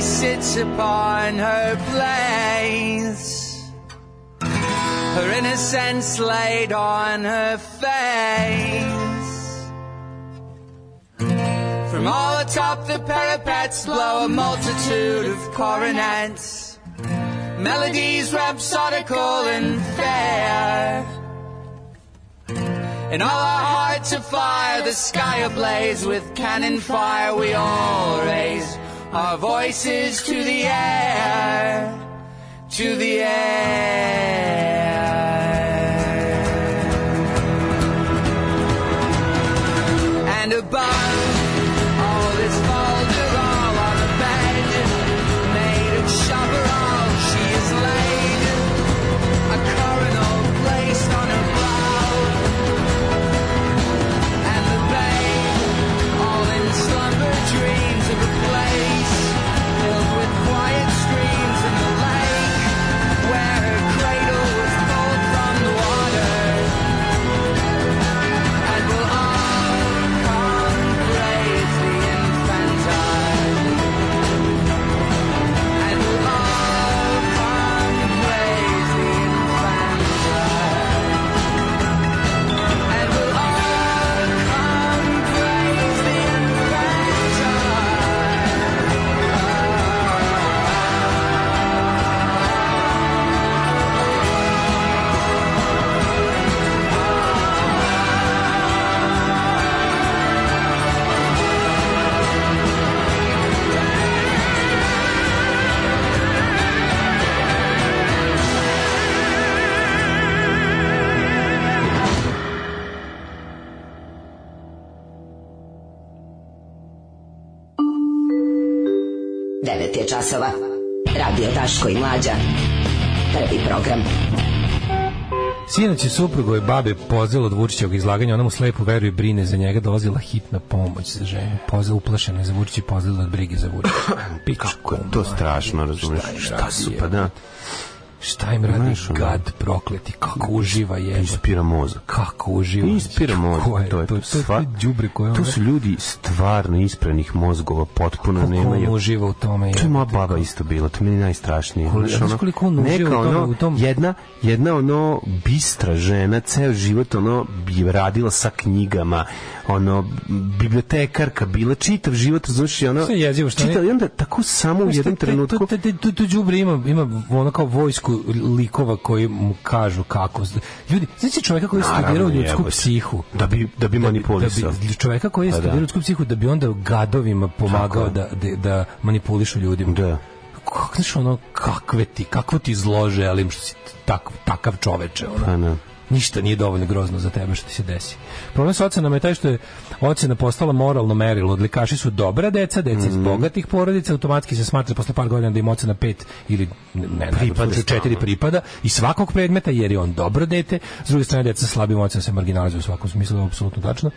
S4: sits upon her place. Her innocence laid on her face. From all atop the parapets blow a multitude of coronets. Melodies rhapsodical and fair. In all our hearts of fire, the sky ablaze with cannon fire, we all raise our voices to the air, to the air. And above all this folderol on a bed, made of chaparral, she is laid, a coronal placed on her brow. And the babe, all in slumber, dreams of a place filled with quiet streams and a lake where her cradle was pulled from the water. And will all come praise the infantile. And will all come praise the infantile. And will all come praise the
S5: Devet je časova. Radio Daško i Mlađa. Prvi program.
S3: Sinoć je suprugove babe pozela od Vučićevog izlaganja, ona mu slepo veruje, brine za njega, dolazila hitna pomoć za ženu. Pozela uplašena je za Vučića i pozela od brige za Vučića.
S2: Kako je to strašno, razumiješ? Šta su, pa da.
S3: Šta im radi gad prokleti, kako uživa je.
S2: Inspira mozak.
S3: Kako uživa.
S2: Inspira mozak.
S3: Ko je
S2: To je
S3: to?
S2: to,
S3: To je-
S2: sva-
S3: to je đubre koje
S2: To
S3: ono-
S2: su ljudi stvarno ispranih mozgova, potpuno
S3: Kako on
S2: nemaju.
S3: uživa u tome.
S2: To je moja baba isto bila, to mi je najstrašnije.
S3: Koliko-
S2: Znaš,
S3: znaš koliko on uživa
S2: neka
S3: u tome,
S2: ono,
S3: u tom-
S2: Jedna, jedna ono bistra žena, ceo život ono je radila sa knjigama, ono bibliotekarka bila, čitav život, znaš, i ono...
S3: Sve je jezivo što
S2: čitav,
S3: oni-
S2: I onda tako samo u
S3: Znaš,
S2: jednom
S3: te- te-
S2: trenutku...
S3: To, to, to, to đubre ima, ima ono kao vojsku likova koji mu kažu kako. Ljudi, znaš ti čoveka koji je
S2: Naravno,
S3: studirao ljudsku
S2: jebote.
S3: psihu.
S2: Da bi, da bi manipulisao.
S3: Da bi, čoveka koji je
S2: Pa da.
S3: studirao ljudsku psihu da bi onda gadovima pomagao da, da, da manipulišu ljudima.
S2: Da.
S3: Kako, znaš ono, kakve ti, kakvo ti zlo želim što si tak, takav čoveče. Ono.
S2: Pa ne.
S3: Ništa nije dovoljno grozno za tebe što ti se desi. Problem sa ocenama je taj što je ocena postala moralno merilo. Odlikaši su dobra deca, deca
S2: Mhm.
S3: iz bogatih porodica, automatski se smatra posle par godina da im ocena pet ili ne, ne
S2: Pripada
S3: pripada, četiri
S2: stalno.
S3: pripada i svakog predmeta jer je on dobro dete. S druge strane, deca sa slabim ocenama se marginalizuju u svakom smislu, ovo je apsolutno tačno.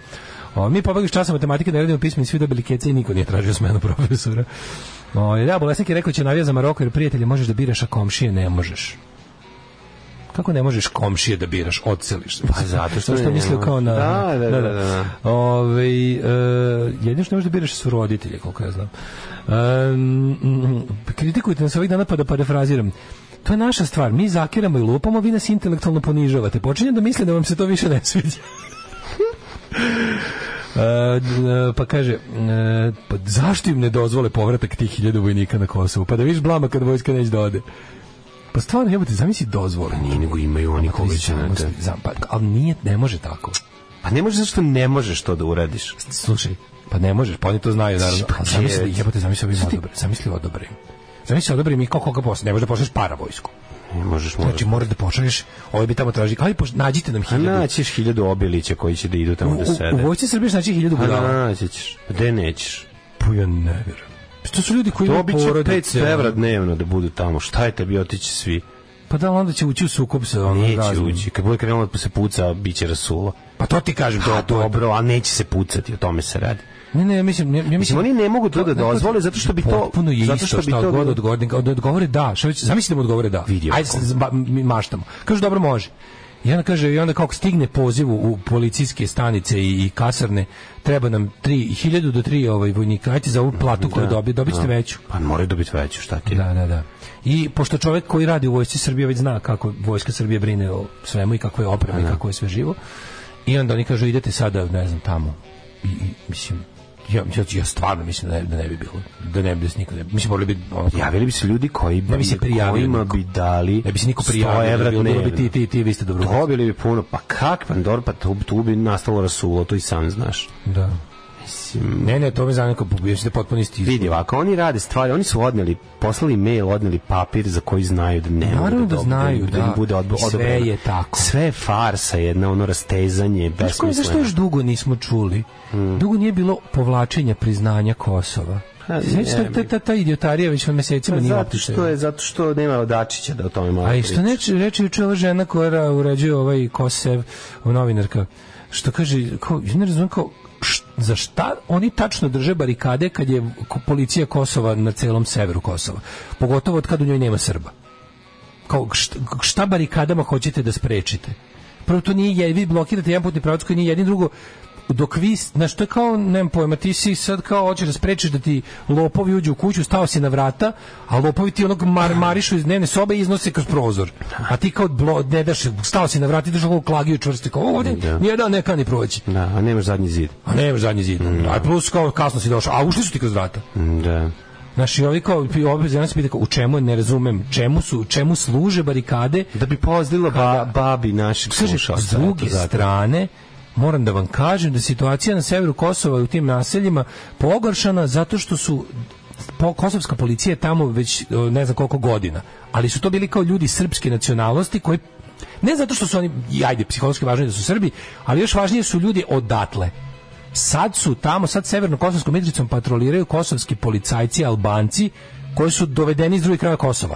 S3: O, mi pobegli iz časa matematike da radimo pismeni, svi dobili kece i niko nije tražio smenu profesora. O, da, Bolesnik je rekao da će navija za Maroko jer prijatelje možeš da biraš, a komšije ne možeš. Kako ne možeš komšije da biraš, odseliš se?
S2: Pa zato što
S3: Zato što
S2: ne
S3: mislio kao na...
S2: možeš. Da, da, da, da,
S3: Ove, e, jedino što ne možeš da biraš su roditelje, koliko ja znam. Um, mm, kritikujte nas ovih dana pa da parafraziram. To je naša stvar. Mi zakiramo i lupamo, vi nas intelektualno ponižavate. Počinjem da mislim da vam se to više ne sviđa. E, d- e, pa kaže, e, pa zašto im ne dozvole povratak tih hiljada vojnika na Kosovo? Pa da viš blama kad vojska neće da ode. Pa stvarno, evo ti, zamisli dozvole.
S2: Nije, nego imaju oni koga će na te.
S3: Znam, pa, ali nije, ne može tako.
S2: Pa ne možeš zašto ne možeš to da uradiš.
S3: Slušaj, pa ne možeš, pa oni to znaju, naravno.
S2: Pa
S3: Ali zamisli,
S2: je.
S3: jebote, zamisli ovim odobre, zamisli odobre. Zamisli odobre mi kao koga posle, ne možeš da pošleš para vojsku.
S2: Ne možeš, možeš.
S3: Znači, mora da pošalješ, ovaj bi tamo traži, aj, poš, nađite nam
S2: A
S3: hiljadu.
S2: naćiš hiljadu obilića koji će da idu
S3: U,
S2: tamo da
S3: u, u
S2: sede.
S3: vojci Srbije znači hiljadu
S2: A
S3: budala.
S2: naći ćeš. Gde nećeš?
S3: Pa ja ne vjerujem. To su ljudi koji imaju
S2: Dobit će
S3: porodice.
S2: 500 evra dnevno da budu tamo. Šta je tebi otići svi?
S3: Pa da, ali onda će ući u sukob sa onom
S2: Neće
S3: razmenom.
S2: ući. Kad bude krenulo da se puca, bit će rasulo.
S3: Pa to ti kažem, to,
S2: Pa
S3: je to.
S2: dobro, a neće se pucati, o tome se radi.
S3: Ne, ne, ja mislim, ja, ja
S2: Mislim, oni ne mogu to da
S3: Neko-
S2: dozvole zato što bi to...
S3: Potpuno je
S2: zato
S3: isto
S2: što bi
S3: šta
S2: to
S3: god
S2: bilo-
S3: odgovore, da odgovore da. Šta već, zamisli da mu odgovore da.
S2: Vidi
S3: Ajde,
S2: ovako.
S3: sad ba- mi maštamo. Kažu, dobro, može. I onda kaže, i onda kako stigne poziv u policijske stanice i, i kasarne, treba nam 3000 do 3 ovaj vojnika, ajte za ovu platu koju
S2: Da,
S3: dobije, dobit ćete
S2: da.
S3: veću.
S2: Pa moraju dobiti veću, šta ti?
S3: Da, da, da. I pošto čovjek koji radi u vojsci Srbije već zna kako vojska Srbije brine o svemu i kako je oprema i kako je sve živo. I onda oni kažu idete sada, ne znam, tamo. I, i, mislim, ja, ja, ja stvarno mislim da ne, da ne bi bilo. Da ne bi da se niko ne bi. Mislim, morali bi... ono,
S2: Javili bi se ljudi koji bi,
S3: Ne bi se prijavio
S2: kojima
S3: niko.
S2: bi dali
S3: Ne bi se niko
S2: 100
S3: prijavio,
S2: evra
S3: bilo- bilo bi
S2: dnevno.
S3: ti, ti, ti, vi ste dobro.
S2: Dobili bi puno, pa kak, pa dobro, pa tu, tu bi nastalo rasulo, to i sam znaš.
S3: Da.
S2: Mislim,
S3: Ne, ne, to me zanima kao pobiješ da potpuno isti izvor.
S2: vidi, ako oni rade stvari, oni su odneli, poslali mail, odneli papir za koji znaju da ne mogu
S3: Naravno da
S2: dobe-
S3: znaju,
S2: im
S3: da.
S2: bude odb-
S3: I sve
S2: odobreno.
S3: je tako.
S2: Sve je farsa jedna, ono rastezanje,
S3: Znaš koje, zašto
S2: besmisleno.
S3: još dugo nismo čuli? Dugo nije bilo povlačenja priznanja Kosova.
S2: A,
S3: Znači,
S2: ne,
S3: ta, ta, ta idiotarija već mesecima
S2: Pa
S3: nije
S2: zato
S3: opuštena.
S2: što je zato što nema Dačića da o tome malo
S3: A i što
S2: priča.
S3: neče, reče juče ova žena koja urađuje ovaj Kosev, novinarka, što kaže, kao, ja ne razumijem kao, št- za šta oni tačno drže barikade kad je ko- policija Kosova na celom severu Kosova. Pogotovo od kad u njoj nema Srba. Kao, šta, šta barikadama hoćete da sprečite? Prvo, to nije, jed- vi blokirate jedan putni pravac koji nije jedin, drugo, dok vi, znaš, to je kao, nemam pojma, ti si sad kao hoćeš da sprečiš da ti lopovi uđu u kuću, stao si na vrata, a lopovi ti onog marmarišu iz dnevne sobe i iznose kroz prozor. A ti kao blo, ne daš, stao si na vrata, ideš ovog klagiju čvrsti, kao ovdje,
S2: Da.
S3: nijedan ne kani proći.
S2: Da, a nemaš zadnji zid.
S3: A nemaš zadnji zid. A plus kao kasno si došao, a ušli su ti kroz vrata.
S2: Da.
S3: Znaš, i ovi kao, i ovi zemlji se pita kao, u čemu, je, ne razumem, čemu su, čemu služe barikade,
S2: Da bi pozdilo ba, babi naših
S3: Kaže, pa
S2: slušalca.
S3: s druge
S2: eto, zato.
S3: strane, moram da vam kažem da je situacija na severu Kosova i u tim naseljima pogoršana zato što su po, kosovska policija je tamo već o, ne znam koliko godina, ali su to bili kao ljudi srpske nacionalnosti koji ne zato što su oni, i ajde, psihološki važni da su Srbi, ali još važnije su ljudi odatle. Sad su tamo, sad severno-kosovskom Mitricom patroliraju kosovski policajci, albanci, koji su dovedeni iz drugih kraja Kosova.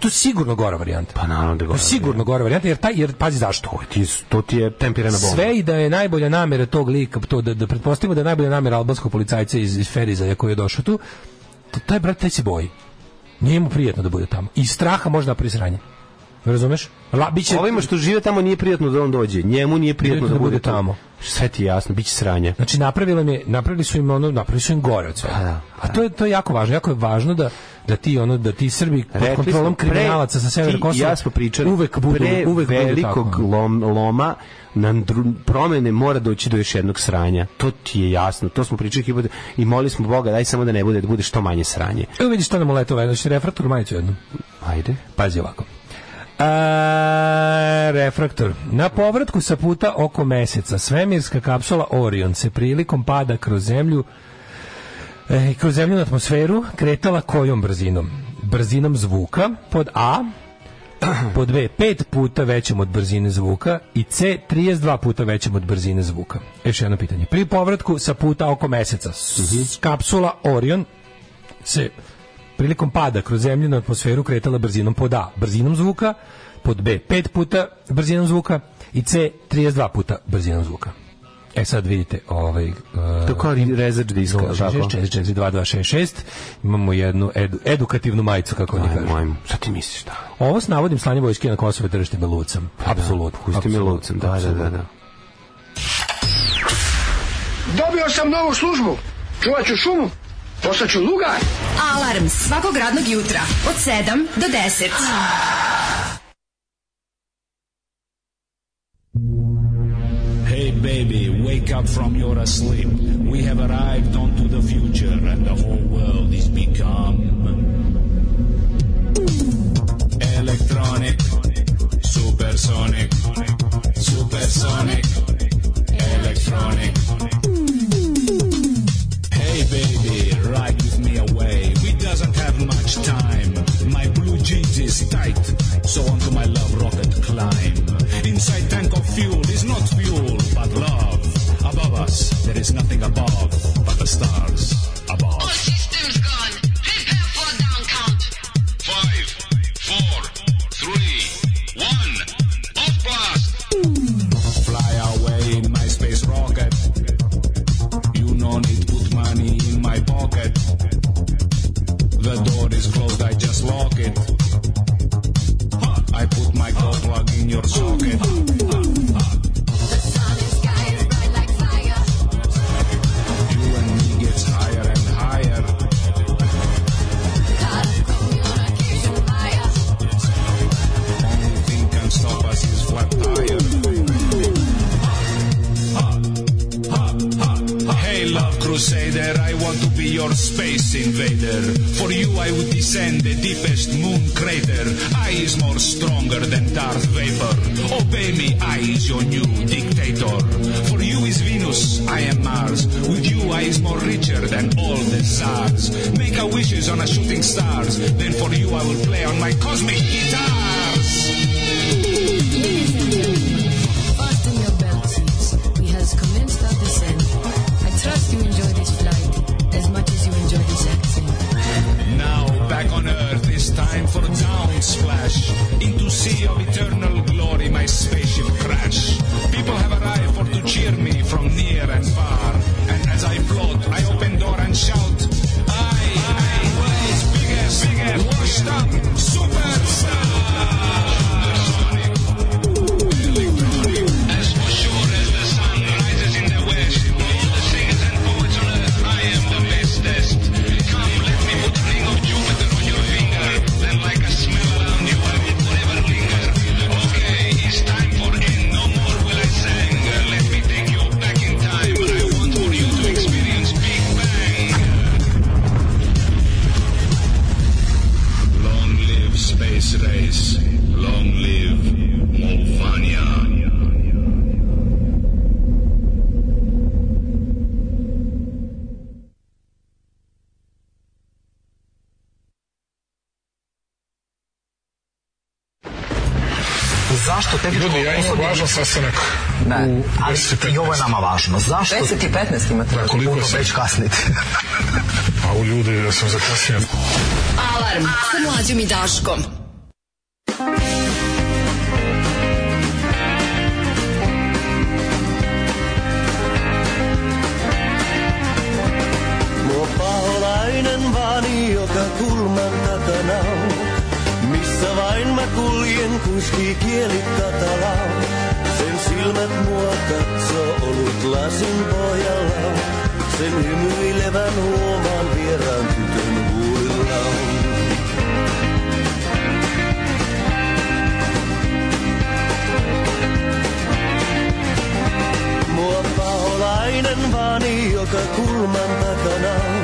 S3: To je sigurno gora varijanta.
S2: Pa naravno da
S3: To je
S2: gore.
S3: sigurno gora varijanta, jer, taj, jer pazi zašto.
S2: Ti, to ti je tempirana bomba.
S3: Sve i da je najbolja namera tog lika, to da, da pretpostavimo da je najbolja namera albanskog policajca iz, iz Feriza koji je došao tu, to, taj brat taj se boji. Nije mu prijetno da bude tamo. I straha može da napravi sranje. Razumeš? La, biće,
S2: Ovima što žive tamo nije prijatno da on dođe. Njemu nije prijatno da, bude tamo. Sve ti je jasno, bit će sranja.
S3: Znači napravili, im je, napravili su im ono, napravili su im gore od
S2: Pa
S3: svega.
S2: da,
S3: A to je to je jako važno. Jako je važno da da ti ono da ti Srbi pod
S2: Rekli
S3: kontrolom
S2: smo, pre-
S3: kriminalaca sa severa
S2: ti i
S3: Kosova
S2: ja smo pričali,
S3: uvek budu
S2: pre
S3: uvek budu
S2: velikog
S3: tako.
S2: lom- loma na dru- promene mora doći do još jednog sranja. To ti je jasno. To smo pričali hipote- i molili smo Boga daj samo da ne bude, da bude što manje sranje.
S3: Evo vidiš šta nam leto veno, znači refraktor majicu jednu.
S2: Ajde.
S3: Pazi ovako. A, refraktor. Na povratku sa puta oko meseca svemirska kapsula Orion se prilikom pada kroz zemlju e, kroz zemljenu atmosferu kretala kojom brzinom? Brzinom zvuka pod A pod B 5 puta većom od brzine zvuka i C 32 puta većom od brzine zvuka. Još jedno pitanje. Pri povratku sa puta oko meseca s- kapsula Orion se prilikom pada kroz zemljenu atmosferu kretala brzinom pod A, brzinom zvuka, pod B, 5 puta brzinom zvuka i C, 32 puta brzinom zvuka. E sad vidite, ovaj... Uh,
S2: To kao rezač diska, tako?
S3: 44266 imamo jednu edu, edukativnu majicu, kako oni
S2: Ajmo,
S3: kažu.
S2: ajmo. Šta ti misliš da?
S3: Ovo s navodim slanje vojske na Kosovo i držite me lucem. Apsolutno.
S2: Pa Pusti me
S3: apsolutno,
S2: lovcem, da, da, da,
S3: apsolutno.
S2: da.
S7: Dobio sam novu službu. Čuvat ću šumu. Postaću lugar.
S5: Alarm svakog radnog jutra od 7 do 10.
S8: Hey baby, wake up from your sleep. We have arrived onto the future and the whole world is become electronic, supersonic, supersonic, electronic. Hey baby, ride with me away. We doesn't have much time. My blue jeans is tight, so onto my love rocket climb. Inside tank of fuel is not fuel, but love. Above us, there is nothing above but the stars above.
S4: systems gone. Prepare for down count. Five, four, three, one. Off blast.
S8: Fly away in my space rocket. You no need put money in my pocket. The door is closed, I just lock it. Huh, I put my car plug in your socket. your space invader. For you, I would descend the deepest moon crater. I is more stronger than Darth Vapor. Obey me, I is your new dictator. For you is Venus, I am Mars. With you, I is more richer than all the stars. Make a wishes on a shooting stars. Then for you, I will play on my cosmic guitars.
S12: Fasten your belts. We has commenced our descent. I trust you enjoy this flight as much as you enjoy this accent.
S8: Now back on Earth, it's time for down splash. Into sea of eternal glory, my spaceship crash. People have arrived for to cheer me from near and far. And as I float, I open door and shout. I, I, world's biggest, biggest, washed up superstar. As for sure as the sun rises in the west, all the singers and poets on Earth, I am the bestest. Come, let me put a ring of Jupiter on your finger. Then, like a smell around you, I will forever linger. Okay, it's time for end. No more will I sing. Let me take you back in time. I want for you to experience Big Bang. Long live space race. Long live Movania.
S17: Zašto tehničko
S5: Ljudi, ja imam
S17: osoblje-
S5: važan sastanak
S17: Da.
S5: u
S17: Ali
S5: 10.15.
S17: i ovo je nama važno. Zašto?
S5: 10 i 15 imate. Da, koliko je sad?
S17: Već kasniti.
S5: A u ljudi, ja sam zakasnio.
S18: Alarm sa mlađom i Daškom.
S4: Mua paholainen vani, joka kulman takana on. Missä vain mä kuljen, kuski kieli katalaan. Sen silmät mua katsoo, olut lasin pohjalla. Sen hymyilevän huomaan vieraan tytön huulilla on. Mua paholainen vani, joka kulman takana on.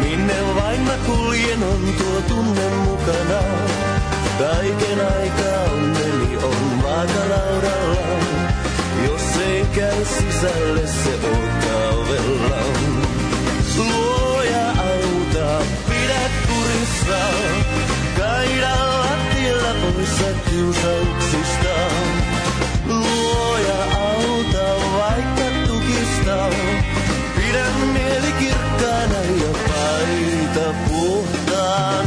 S4: Minne vain mä kuljen, on tuo tunne mukana. Kaiken aikaa onneni on vaakalaudalla. Jos ei käy sisälle, se odottaa ovella. Luoja auta, pidä kurissa. Kaida lattialla poissa kiusauksista. Luoja auta vaikka tukista. Pidä mieli kirkkaana ja paita puhtaana.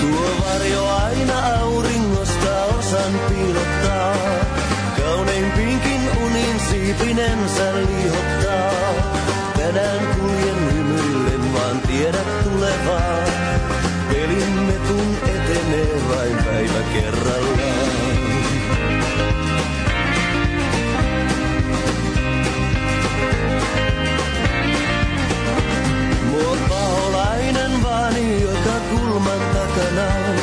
S4: Tuo varjo aina auringosta osan piilottaa. Kauneimpiinkin unin siipinensä liihottaa. Tänään kuljen hymyillen, vaan tiedät tulevaa. Pelimme kun etenee vain päivä kerrallaan. Mua paholainen vani, joka kulman takana on.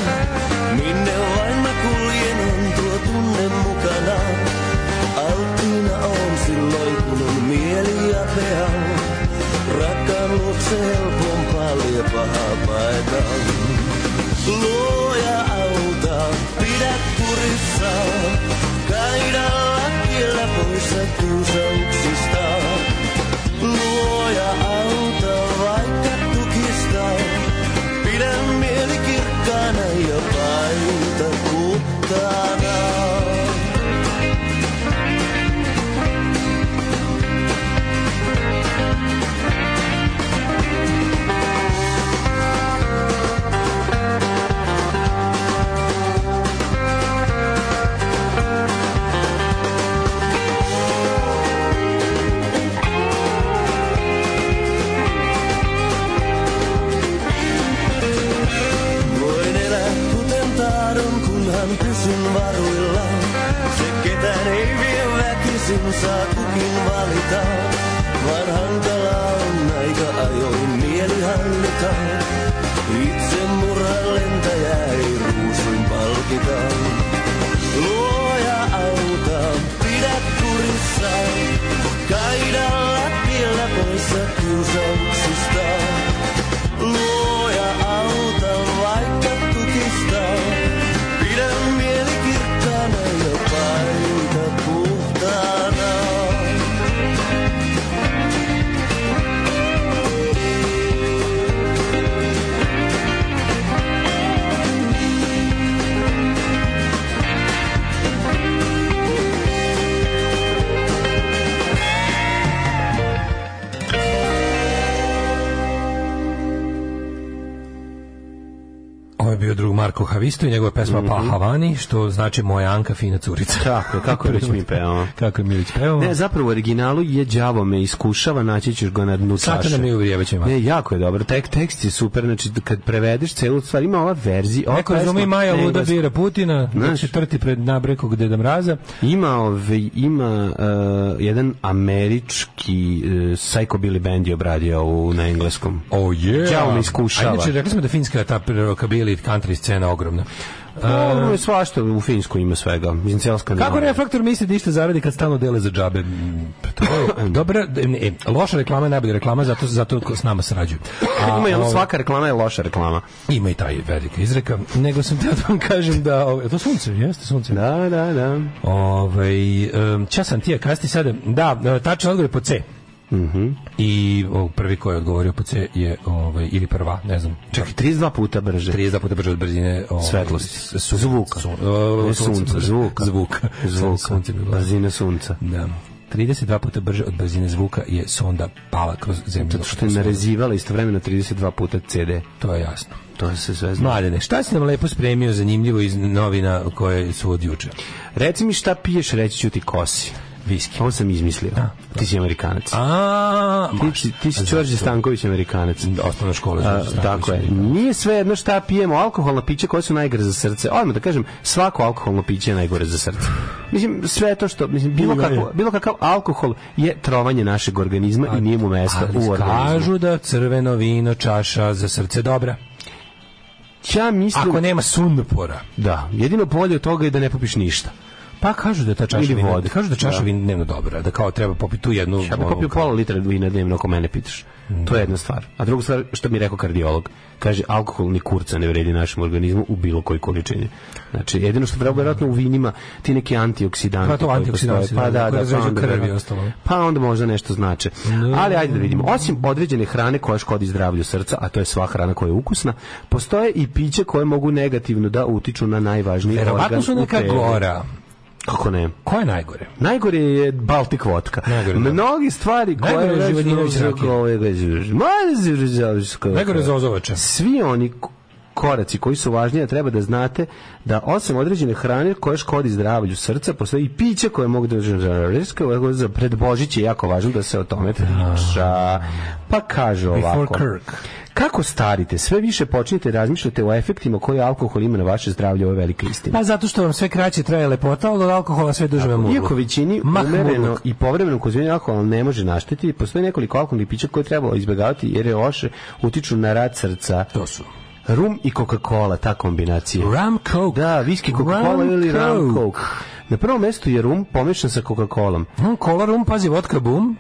S4: Minne vain mä kuljen, on tuo tunne mukana. Alttiina on silloin, kun on mieli apea. Rakkaan luokse helpompaa liepahaa paetaan. Luoja auta, pidä kurissa. Kaida lakkiella poissa kiusauksista. Luoja auta vaikka tukista. Pidä mieli kirkkaana ja paita puhtaana. Voin elää kuten tahdon, kunhan pysyn varuilla. Se ketään ei vie väkisin, saa kukin valita. Vaan hankala on aika ajoin mieli hallita. Itse murhan lentäjä ei ruusuin palkita. Luo
S19: kiusa. Käydä läpillä poissa kiusauksista. Luoja auta vaikka tukista. Pidä mieli kirkkaana ja paita puhtaana.
S3: Ovo je bio drug Marko Havisto i njegova pesma Pa Havani, što znači moja Anka fina curica.
S2: Mhm. Tako, je, kako je već mi pevamo.
S3: kako je mi već pevamo.
S2: Ne, zapravo u originalu je đavo me iskušava, naći ćeš ga na dnu
S3: Satana
S2: čaše.
S3: mi uvrijevaće, Marko.
S2: Ne, jako je dobro. Tek, tekst je super, znači kad prevedeš celu stvar, ima ova verzija. ova
S3: Neko razume i da
S2: pesma-
S3: Maja
S2: ne,
S3: Luda
S2: engleska.
S3: bira Putina,
S2: Znaš-
S3: znači trti pred nabrekog Deda Mraza.
S2: Ima, ove, ima uh, jedan američki uh, Psycho Billy Band je obradio ovu na engleskom.
S3: Oh yeah.
S2: Đavo me
S3: A
S2: iskušava.
S3: inače, rekli smo da finska ta rockabilly country scena ogromna.
S2: Ovo je svašta u Finsku ima svega. Mislim, cijela
S3: Da, Kako
S2: Skandinavija.
S3: reflektor misli da išta zaradi kad stalno dele za džabe? Mm, To je dobra, e, loša reklama je najbolja reklama, zato, zato ko s nama srađuju. A,
S2: Ima jedno,
S3: ovaj,
S2: svaka reklama je loša reklama.
S3: Ima i taj velika izreka. Nego sam teo da vam kažem da... Ove, to sunce, jeste sunce.
S2: Da, da, da.
S3: Ove, um, čas sam ti, kasti sada... Da, e, tačan odgovor je po C.
S2: Mhm.
S3: I o, prvi ko je odgovorio po C je, ovaj, ili prva, ne znam.
S2: Čekaj, 32 puta brže.
S3: 32 puta brže od brzine ovaj,
S2: Svetlosti.
S3: s- su-
S2: Zvuka.
S3: Sun, o,
S2: Ne,
S3: sunca,
S2: sunca,
S3: brže.
S2: zvuka.
S3: Zvuka.
S2: Zvuka.
S3: Sunce bi bilo.
S2: Brzina sunca.
S3: Da. 32 puta brže od brzine zvuka je sonda pala kroz zemlju.
S2: Zato što je narezivala istovremeno 32 puta CD.
S3: To je jasno.
S2: To se sve zna.
S3: Mladene, šta si nam lepo spremio zanimljivo iz novina koje su od juče?
S2: Reci mi šta piješ, reći ću ti kosi.
S3: Viski. Da.
S2: Ovo sam izmislio. Ti si Amerikanac.
S3: A,
S2: Ti si, ti si Đorđe Stanković Amerikanac.
S3: osnovna škola.
S2: A, tako je. Nije sve jedno šta pijemo, alkoholna pića koja su najgore za srce. Odmah da kažem, svako alkoholno piće je najgore za srce. Mislim, sve to što, mislim, bilo,
S3: Ima je.
S2: kako, bilo kakav alkohol je trovanje našeg organizma i nije mu mesta u
S3: Ali
S2: organizmu.
S3: kažu da crveno vino čaša za srce dobra.
S2: Ja mislim,
S3: Ako nema sumpora.
S2: da, jedino bolje od toga je da ne popiš ništa.
S3: Pa kažu da ta čaša
S2: Ili
S3: vina,
S2: vode.
S3: kažu da čaša
S2: Da.
S3: vina dnevno dobra, da kao treba popiti tu jednu.
S2: Ja bih
S3: ono,
S2: popio
S3: kao-
S2: pola litra vina dnevno ako mene pitaš.
S3: Da.
S2: To je jedna stvar. A druga stvar, što mi je rekao kardiolog, kaže alkohol ni kurca ne vredi našem organizmu u bilo kojoj količini. Znači, jedino što treba vjerojatno u vinima ti neki antioksidanti.
S3: Pa to
S2: koji
S3: antioksidansi,
S2: postoje. Pa
S3: da,
S2: da,
S3: koji
S2: da, pa
S3: razređuju
S2: onda,
S3: krv i
S2: verovatno-
S3: ostalo.
S2: pa onda možda nešto znače. Ali ajde da vidimo. Osim određene hrane koja škodi zdravlju srca, a to je sva hrana koja je ukusna, postoje i piće koje mogu negativno da utiču na najvažniji organ
S3: E, Verovatno su
S2: u
S3: neka
S2: telu. Dakle,
S3: gora.
S2: Kako ne?
S3: Koja je najgore?
S2: Najgore je Baltic vodka.
S3: Najgore, da.
S2: Mnogi stvari koje...
S3: Najgore je Živadinović rakija.
S2: rakija.
S3: Najgore je zozovača.
S2: Svi oni k- koraci koji su važniji, a treba da znate da osim određene hrane koje škodi zdravlju srca, postoji i piće koje mogu da za pred Božić je jako važno da se o tome priča. Pa kaže
S3: Da. Before
S2: ovako.
S3: Kirk.
S2: Kako starite, sve više počinjete razmišljati o efektima koje alkohol ima na vaše zdravlje, ovo je velika istina.
S3: Pa zato što vam sve kraće traje lepota, ali od alkohola sve duže vam
S2: Iako većini
S3: Mah
S2: umereno
S3: murluk.
S2: i povremeno konzumiranje alkohola ne može naštetiti, postoje nekoliko alkoholnih pića koje treba izbjegavati jer je loše utiču na rad srca.
S3: To su.
S2: Rum i Coca-Cola, ta kombinacija.
S3: Ram Coke.
S2: Da, viski Coca-Cola
S3: Rum
S2: ili Ram
S3: Coke.
S2: Coke. Na prvom mestu je rum pomešan sa Coca-Colom.
S3: Mm, Cola rum, pazi, vodka bum.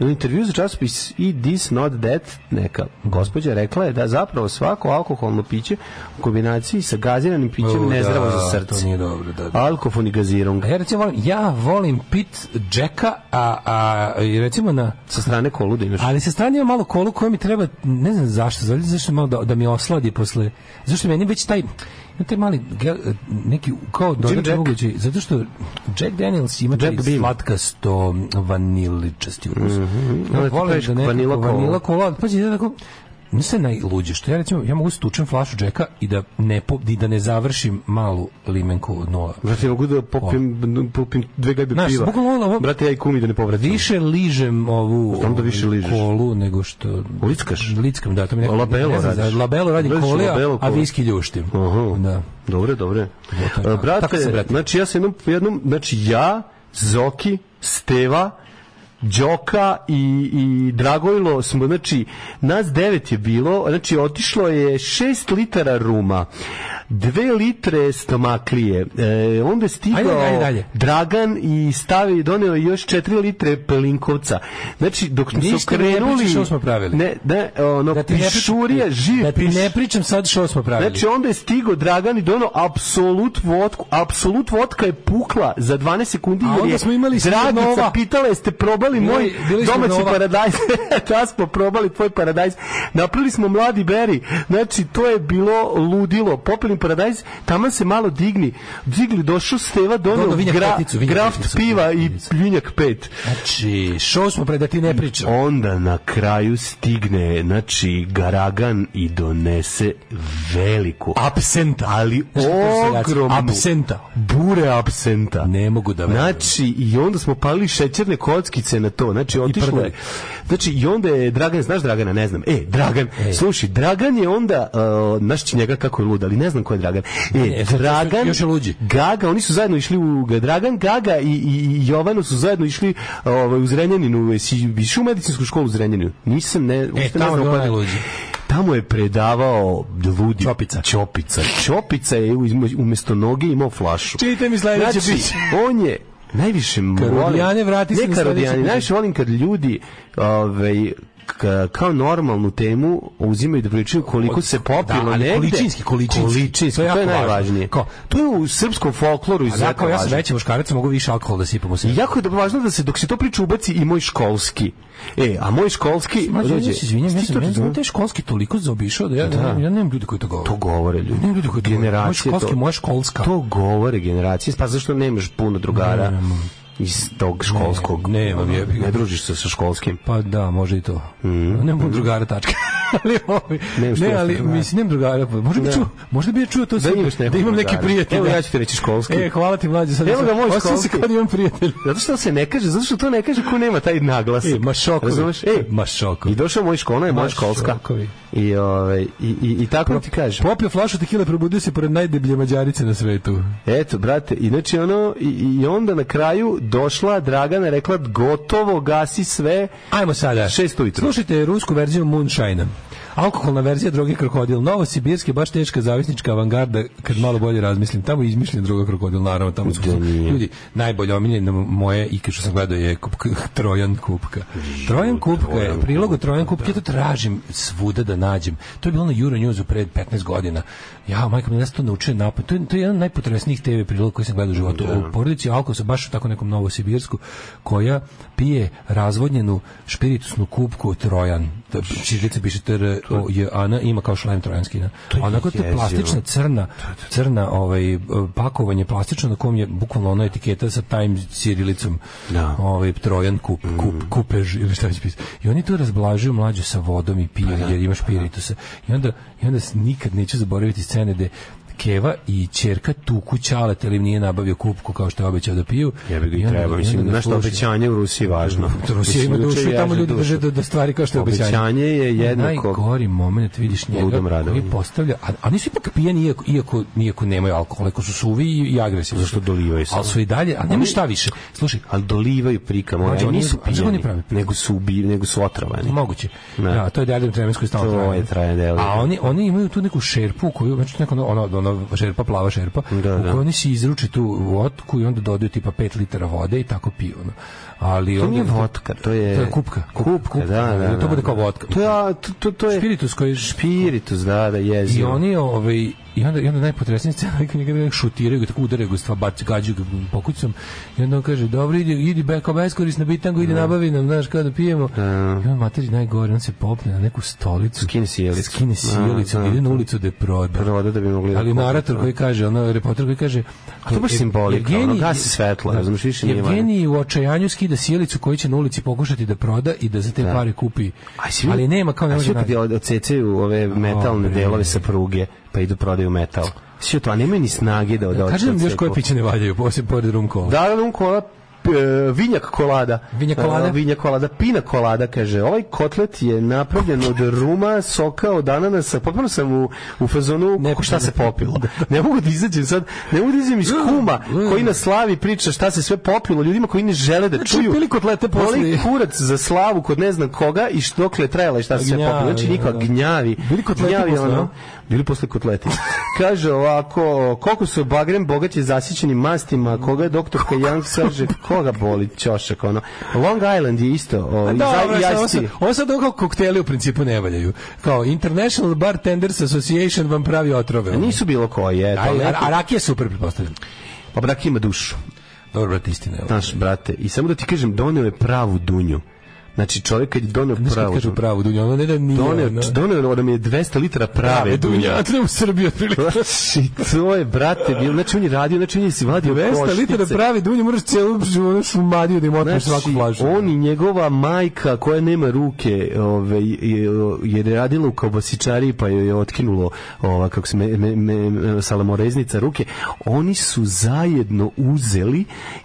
S2: U intervju za časopis i This Not That neka gospođa rekla je da zapravo svako alkoholno piće u kombinaciji sa gaziranim pićem
S3: U,
S2: nezdravo
S3: da,
S2: za
S3: To
S2: srce.
S3: nije dobro, da, da.
S2: Alkofon i gazirung.
S3: A ja recimo volim, ja volim pit Jacka, a, a i recimo na
S2: Sa strane koluda imaš.
S3: Ali sa strane ima malo kolu koja mi treba, ne znam zašto, zašto, zašto malo da, da mi osladi posle, zašto meni već taj, ima taj mali, ge- neki, kao dodatni
S2: Jack.
S3: ugođaj, zato što Jack Daniels ima taj
S2: Jack Mhm, Bean.
S3: slatkasto vaniličasti ukus.
S2: Onda
S3: Ja
S2: ti
S3: volim
S2: praviš
S3: da nekako
S2: vanila kola.
S3: vanila kola, ali pazi, ja tako, mi se najluđe, što ja recimo, ja mogu da stučem flašu Jacka i da ne, po, i da ne završim malu limenku od nula.
S2: Brate, ja mogu da popim, popim dve gajbe
S3: Znaš,
S2: piva.
S3: bukvalno ono, ovo-
S2: Brate, ja i kumi da ne povratim.
S3: Više ližem ovu
S2: Znam da više
S3: ovu
S2: ližeš.
S3: kolu nego što
S2: Lickaš?
S3: Lickam, da, to mi neko,
S2: Labelo
S3: ne znam,
S2: radiš.
S3: za- labelo radi
S2: Gledaš
S3: koli,
S2: labelo
S3: a, a
S2: kolu.
S3: viski ljuštim.
S2: Aha.
S3: Da.
S2: Dobre, dobre.
S3: to je tako.
S2: E, brate,
S3: Tako se, brate.
S2: znači ja sam jednom, jednom, znači ja, Zoki, Steva, Đoka i, i Dragojlo smo, znači, nas devet je bilo, znači otišlo je šest litara ruma, dve litre stomaklije. E, onda je stigao
S3: Ajde, ajde, dalje.
S2: Dragan i stavio i doneo još četiri litre pelinkovca. Znači, dok smo
S3: Ništa mi ne
S2: krenuli...
S3: pričaš što smo pravili.
S2: Ne, ne, ono,
S3: Da ti ne pričam-
S2: pišurija, živ
S3: da ti
S2: piš-
S3: ne pričam sad što smo pravili.
S2: Znači, onda je stigo Dragan i donao apsolut vodku. Apsolut vodka je pukla za 12 sekundi.
S3: A
S2: jer
S3: onda
S2: je
S3: smo imali
S2: Dragica
S3: Smirnova.
S2: pitala jeste probali
S3: Bili-
S2: moj
S3: bili smo
S2: domaći
S3: Nova.
S2: paradajz. da smo probali tvoj paradajz. Napravili smo mladi beri. Znači, to je bilo ludilo. Popili paradajz, tamo se malo digni. Digli, došao Steva, donio
S3: Doneo vinjak
S2: gra,
S3: peticu, vinjak
S2: graft
S3: peticu,
S2: piva i vinjak pet.
S3: Znači, što smo pre da ti ne pričam.
S2: Onda na kraju stigne, znači, Garagan i donese veliku.
S3: Absenta.
S2: Ali
S3: Znaš kako se raci-
S2: ogromnu.
S3: Absenta.
S2: Bure absenta.
S3: Ne mogu da verujem.
S2: Znači, i onda smo palili šećerne kockice na to. Znači, otišlo
S3: prdeli.
S2: je. Znači, i onda je Dragan, znaš Dragana, ne znam. E, Dragan, slušaj, Dragan je onda, uh, znaš će njega kako je lud, ali ne znam ko je Dragan. E,
S3: Ne, sad
S2: Dragan,
S3: još- još je luđi.
S2: Gaga, oni su zajedno išli u Dragan, Gaga i, i, i Jovano su zajedno išli uh, ovaj, u Zrenjaninu. Jesi išao u medicinsku školu u Zrenjaninu? Nisam, ne,
S3: E,
S2: uopšte ne
S3: tamo je
S2: znam ko
S3: bilo
S2: je.
S3: najluđe.
S2: Tamo je predavao ludi Ćopica. Ćopica. Ćopica je uz- umesto noge imao flašu.
S3: Čitaj mi sledeće
S2: znači,
S3: piće.
S2: on je najviše volim-
S3: Karodijane, vrati se
S2: ne
S3: na sledeće
S2: karodijane,
S3: piće.
S2: najviše volim kad ljudi ovaj, ka- kao normalnu temu uzimaju da pričaju koliko se popilo
S3: Da, ali
S2: negde.
S3: količinski, količinski.
S2: Količinski,
S3: To
S2: to
S3: je
S2: je,
S3: jako važno.
S2: najvažnije.
S3: Kao-
S2: to je u srpskom folkloru
S3: A ja
S2: izuzetno
S3: kao ja sam
S2: važno.
S3: veći muškarac, mogu više alkohola da sipam u sebi.
S2: I jako je dobro važno da se dok se to priča ubaci i moj školski. E, a moj školski
S3: Mlađe,
S2: dođe.
S3: ja se izvinjam, ja
S2: Ti
S3: sam
S2: to
S3: meni
S2: razumeš?
S3: znam te školski toliko zaobišao da ja,
S2: Da.
S3: ja nemam ljudi koji to govore.
S2: To govore ljudi.
S3: Ne, ljudi koji to govore. Moja
S2: generacije.
S3: školski,
S2: to-
S3: moja školska.
S2: To govore generacije. Pa zašto nemaš puno drugara iz tog školskog?
S3: Ne, nemam, jebi ga.
S2: Ne družiš se sa školskim.
S3: Pa da, može i to. Mm. Nemam drugara tačka. ali ovi,
S2: Mhm. Nemam što
S3: ne,
S2: jeste
S3: ali
S2: drugara.
S3: mislim nemam drugara. pa Možda bi
S2: Da.
S3: čuo, možda bi ja čuo to
S2: Da
S3: super,
S2: imaš nekog
S3: da imam neki
S2: drugara.
S3: prijatelj.
S2: Evo, ja ću ti reći školski.
S3: E, hvala ti mlađe, sad.
S2: Evo ga moj
S3: Osjećam se
S2: školski.
S3: kad imam prijatelj.
S2: Zato što se ne kaže, zato što to ne kaže ko nema taj naglas.
S3: E, ma šokovi.
S2: Razumeš? E,
S3: Ma šokovi.
S2: I došao moj školna, je moja
S3: Ma
S2: školska.
S3: šokovi.
S2: I, ove, i, i, i tako ti kažem.
S3: Popio flašu tekile, probudio se pored najdeblje mađarice na svetu.
S2: Eto, brate, inače ono, i, i onda na kraju došla Dragana, rekla gotovo, gasi sve.
S3: Ajmo sada.
S2: Šest ujutru.
S3: Slušajte rusku verziju Moonshine-a. Alkoholna verzija droge krokodil. Novo sibirski, baš teška zavisnička avangarda, kad malo bolje razmislim. Tamo je izmišljen droga krokodil, naravno. Tamo su, ljudi, najbolje omiljeno moje, i što sam gledao, je kupka, Trojan kupka. Trojan kupka da. je, prilogu Trojan kupka, ja to tražim svuda da nađem. To je bilo na Euronewsu pred 15 godina. Ja, majka, mi nas to naučio napad. To je, to je jedan od najpotresnijih TV priloga koji sam gledao u životu.
S2: Da.
S3: O porodici Alkosa, baš u tako nekom Novosibirsku, koja pije razvodnjenu špiritusnu kupku Trojan. Da, Čirilica piše tr o j ana ima kao šlem trojanskina.
S2: To je
S3: Onako to je
S2: jezivo.
S3: plastična crna,
S2: Da,
S3: crna ovaj, eh, pakovanje plastično na kom je bukvalno ona etiketa sa Times Čirilicom.
S2: Da. Mhm.
S3: Ovaj, Trojan kup, kup, kupež ili šta će pisati. I oni to razblažuju mlađu sa vodom i
S2: Pa
S3: pije,
S2: da.
S3: jer imaš piritusa. I onda, i onda s- nikad neću zaboraviti scene gde Keva i ćerka tuku Ćaleta jer im nije nabavio kupku kao što je obećao da piju.
S2: Ja bih ga
S3: I
S2: i
S3: onda-
S2: trebao,
S3: i
S2: mislim,
S3: onda ga
S2: znaš što
S3: sluša.
S2: obećanje u Rusiji je važno.
S3: Rusija ima
S2: Mislim,
S3: dušu i
S2: juče
S3: tamo
S2: ježe
S3: ljudi
S2: dušu.
S3: drže da, da stvari kao što je obećanje.
S2: Obećanje je jednako-
S3: Najgori moment da vidiš njega
S2: Ludom
S3: koji
S2: radovanju.
S3: postavlja, a, a nisu ipak pijeni iako, iako, iako nemaju alkohol, iako su suvi i, i agresivni.
S2: Zašto dolivaju samo?
S3: Ali su i dalje, a nema šta više. Slušaj,
S2: Ali dolivaju prikam,
S3: Mlađe,
S2: oni
S3: oni-
S2: nisu
S3: a zašto oni
S2: pijeni,
S3: prave prikam?
S2: nego su ubi, nego su otrovani.
S3: Moguće.
S2: Ne.
S3: Da, to je dalje vremensko i stalno
S2: To je traje delo.
S3: A oni oni imaju tu neku šerpu koju znači neka ona ona, ona šerpa plava šerpa
S2: Da,
S3: u
S2: da.
S3: kojoj oni se izruče tu vodku i onda dodaju tipa 5 litara vode i tako piju. Ono. Ali
S2: To
S3: onda-
S2: nije vodka, to je...
S3: To je kupka. Kup-
S2: Kupka, da, da, da.
S3: To bude kao vodka.
S2: To je, a, to, to, to je...
S3: Spiritus koji-
S2: Spiritus, da, da,
S3: I
S2: jezivo.
S3: oni ovaj i onda i onda najpotresnija scena je kad njega šutiraju, ga tako udaraju, ga stva baci gađaju ga pokucom i onda on kaže dobro idi idi be kao beskorisno bitango idi nabavi nam znaš kao da pijemo. I on materi najgore, on se popne na neku stolicu,
S2: Skine sjelicu.
S3: skine sjelicu,
S2: Da, da.
S3: ide na ulicu da je proda.
S2: Proda da bi mogli da
S3: Ali
S2: kupe,
S3: narator
S2: da.
S3: koji kaže, ono reporter koji kaže,
S2: A to baš
S3: Ev-
S2: simbolika, ono,
S3: Evgenij- Da.
S2: gasi svetlo, razumeš, više nije
S3: Evgenij u očajanju skida sjelicu koju će na ulici pokušati da proda i da za te pare kupi.
S2: A svi-
S3: Ali nema kao ne
S2: a
S3: može da
S2: svi
S3: naći.
S2: kad je od- odsecaju ove metalne
S3: bre.
S2: delove sa pruge, pa idu prodaju metal. Svi to, a nemaju ni snage da od
S3: Kaže nam još
S2: odseku.
S3: koje piće ne valjaju, osim pored rum kola.
S2: Da, da, um, kola vinjak kolada.
S3: Vinja kolada?
S2: E, vinja kolada, pina kolada, kaže. Ovaj kotlet je napravljen od ruma, soka, od ananasa. Potpuno sam u, u fazonu kako šta se popilo. Ne mogu da izađem sad, ne mogu da izađem iz kuma koji na slavi priča šta se sve popilo ljudima koji ne žele da čuju.
S3: pili kotlete poslije.
S2: Voli kurac za slavu kod ne znam koga i što dokle je trajala i šta se sve
S3: Gnjavi,
S2: popilo. Znači,
S3: da,
S2: niko
S3: da.
S2: gnjavi.
S3: Bili kotleti
S2: Gnjavi,
S3: posle,
S2: ono,
S3: a?
S2: Bili posle kotleti. Kaže ovako, koliko su bagrem bogat je zasićenim mastima, koga je doktorka Young saže, koga boli ćošak, ono. Long Island je isto, o, i
S3: Da,
S2: za-
S3: dobro,
S2: i
S3: sad ovo
S2: iced
S3: sad-
S2: tea.
S3: ovo sad ovo kao kokteli u principu ne valjaju. Kao International Bartenders Association vam pravi otrove.
S2: Nisu bilo koje.
S3: A,
S2: to neki-
S3: a, a rakija je super, pretpostavljam.
S2: Pa brak ima dušu.
S3: Dobro, brate, istina je. ovo.
S2: Znaš, brate, i samo da ti kažem, doneo je pravu dunju. Znači, čovjek kad je doneo
S3: Znaš kad
S2: pravu
S3: kažu pravu dunju, ono ne da nije.
S2: Doneo,
S3: ono.
S2: doneo nam je 200 litara prave
S3: Prave
S2: dunje.
S3: dunje, a to je u Srbiji otprilike.
S2: Znači, to je, brate, bilo, znači on je radio, znači on je si vadio
S3: 200
S2: koštice.
S3: litara prave dunje, moraš cijelu živonu šumadiju da im otmeš svaku
S2: Znači,
S3: plažu.
S2: on i njegova majka koja nema ruke, ove, je, jer je radila u kobasičari pa joj je otkinulo ova, kako se me, me, me- salamoreznica ruke, oni su zajedno uzeli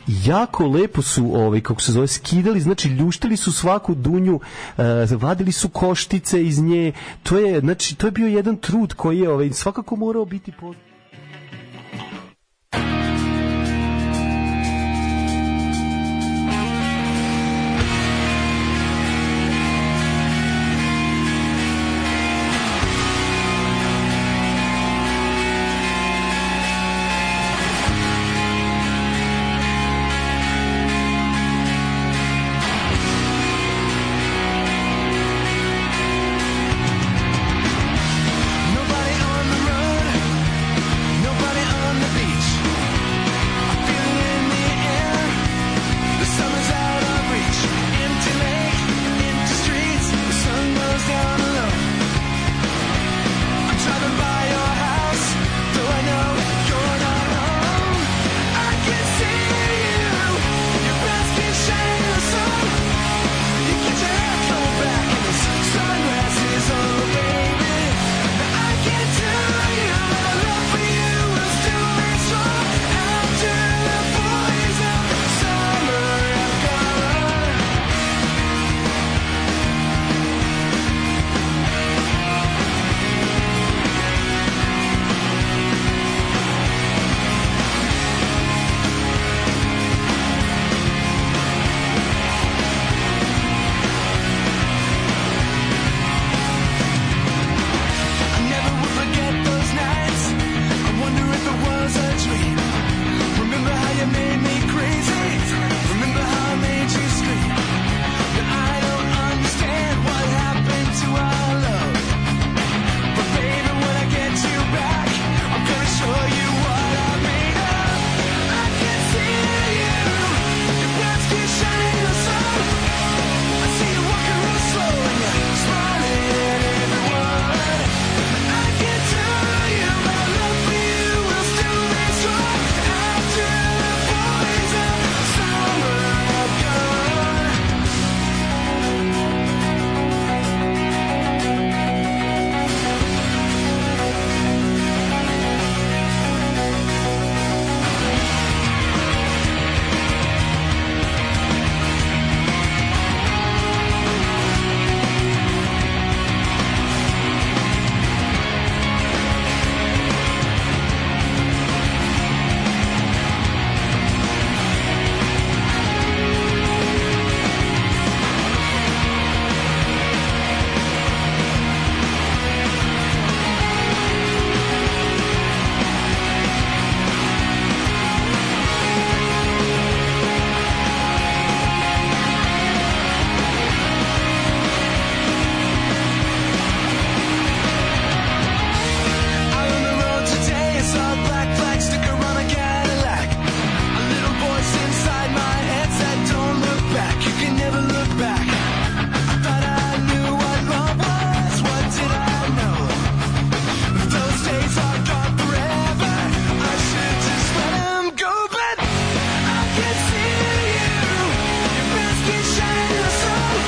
S2: i jako lepo su, ovaj, kako se zove, skidali, znači ljuštili su svaku dunju, eh, vadili su koštice iz nje, to je, znači, to je bio jedan trud koji je ovaj, svakako morao biti poznat.
S1: Nobody on the road, nobody on the beach. I feel it in the air, the summer's out of reach. Empty lake, empty streets, the sun goes down alone. I'm driving by your house, though I know you're not home. I can see you, your breath keeps shining the sun. You can't ever come back, and this sunrise is over, baby. I never will forget those nights. I wonder if it was a dream. Remember how you made me crazy. Remember how I made you scream. Now I don't understand what happened to our love. But baby, when I get you back, I'm gonna show you what I made of. I can see you. Your breath keeps shining the sun. I see you walking real slow and you're smiling at everyone. I can tell you my love for you will still be strong after the poison summer I've gone. Out on the road today, I saw a black flag sticker on a Cadillac. A little voice inside my head said, Don't look back, you can never look back. I thought I knew what love was, what did I know? Those days are gone forever. I should just let 'em go, but I can see you. Your breath keeps shining the sun.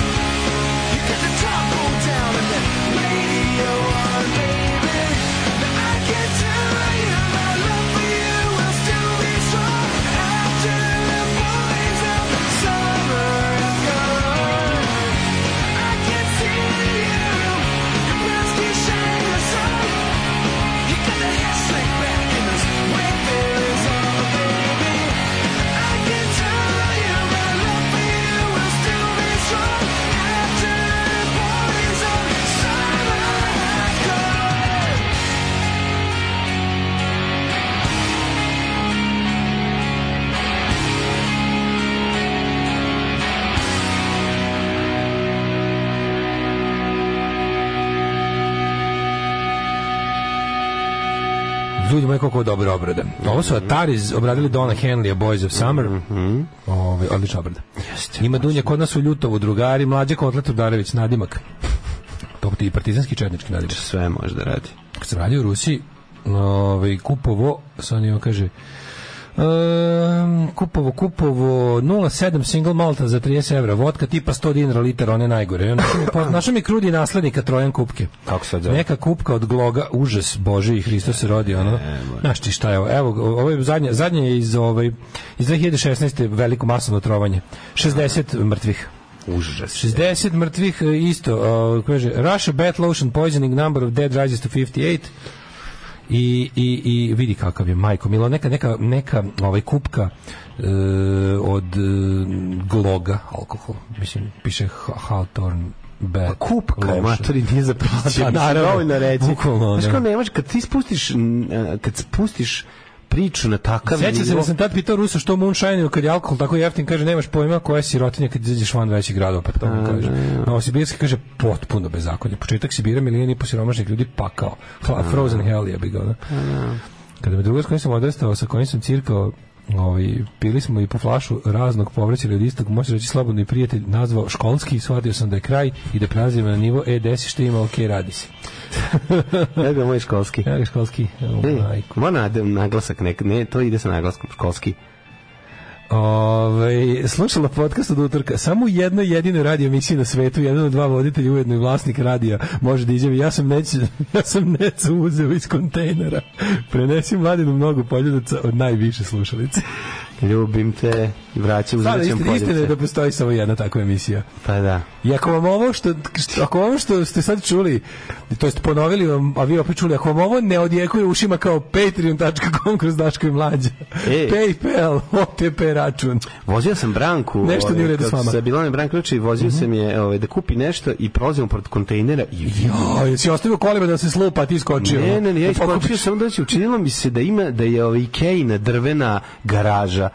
S1: You got the top rolled down and the radio on, baby. Now I can tell you my love for you will still be strong after the boys out
S3: Ljudi moji, koliko je dobra obrada. Ovo su Ataris obradili Donna Henley, a Boys of Summer. Ovaj, odlična obrada. Ima Dunja, kod nas u Ljutovu, drugari, mlađe Kotlet Udarević, nadimak. To ti i partizanski četnički nadimak.
S2: Sve možda radi.
S3: Kad sam radio u Rusiji, ovaj, kupovo, sad on kaže, Um, kupovo, kupovo 07 single malta za 30 evra vodka tipa 100 dinara litar, one najgore I on našao mi, po- našao mi krudi naslednika trojan kupke
S2: Kako sad zove?
S3: neka kupka od gloga užas bože i Hristos se rodi ono znaš ti šta je ovo evo ovo je zadnje, zadnje je iz, ovaj, iz 2016. veliko masovno trovanje 60 mrtvih
S2: Užas.
S3: 60 mrtvih e, isto uh, kaže Russia bat lotion poisoning number of dead rises to 58 i, i, i vidi kakav je majko Milo neka neka neka ovaj kupka e, od e, gloga alkohol mislim piše Ha- Hawthorne Bet. Pa
S2: kupka je, matori, nije za piće.
S3: Pa,
S2: mislim,
S3: naravno.
S2: dovoljno reći.
S3: Bukvalno, ono.
S2: Znaš kao nemaš, kad ti spustiš, n- a, kad spustiš priču na takav
S3: Sjećam se da sam tad pitao Rusa što moonshine kad je alkohol tako jeftin, kaže nemaš pojma koja je sirotinja kad izađeš van većih gradova, pa to mi kaže. Novosibirski kaže potpuno bezakonje. Početak Sibira milijon i po siromašnih ljudi pakao. Hla, frozen hell je big ono. Kada me druga s kojim sam odrastao, sa kojim sam cirkao, ovaj, pili smo i po flašu raznog povraća ili od istog, može reći slobodno i prijatelj, nazvao školski, shvatio sam da je kraj i da prelazimo na nivo, e, desi što ima, ok, radi se.
S2: Evo ga moj školski.
S3: Evo ga školski. ovaj, Evo,
S2: Ej,
S3: majko.
S2: Ma na, naglasak, nek, ne, to ide sa naglaskom, školski.
S3: Ove, Ovaj, slušala podcast od utorka. Samo u jednoj jedinoj radio emisiji na svetu, jedan od dva voditelja, ujedno i vlasnik radija, može da izjavi. Ja sam neću, ja sam necu uzeo iz kontejnera. Prenesi mladinu mnogo poljudaca od najviše slušalice.
S2: Ljubim te, vraćam,
S3: Sada,
S2: uzraćam
S3: istina, istina je da postoji samo jedna takva emisija.
S2: Pa da.
S3: I ako vam ovo što, što- ako ovo što ste sad čuli, to jest ponovili vam, a vi opet čuli, ako vam ovo ne odjekuje ušima kao patreon.com kroz Daško i Mlađa,
S2: E.
S3: Paypal, OTP račun.
S2: Vozio sam Branku. ovaj,
S3: Nešto nije u redu s vama. Mhm.
S2: Sa Bilane Branku i vozio sam je ovaj, da kupi nešto i prolazimo pored kontejnera i
S3: Jo, jesi ostavio kolima da se slupa, a ti skočio.
S2: Ne, ne, ne, ja
S3: Da pokupiš.
S2: iskočio sam da će učinilo mi se da ima da je ovaj Ikejna drvena garaža.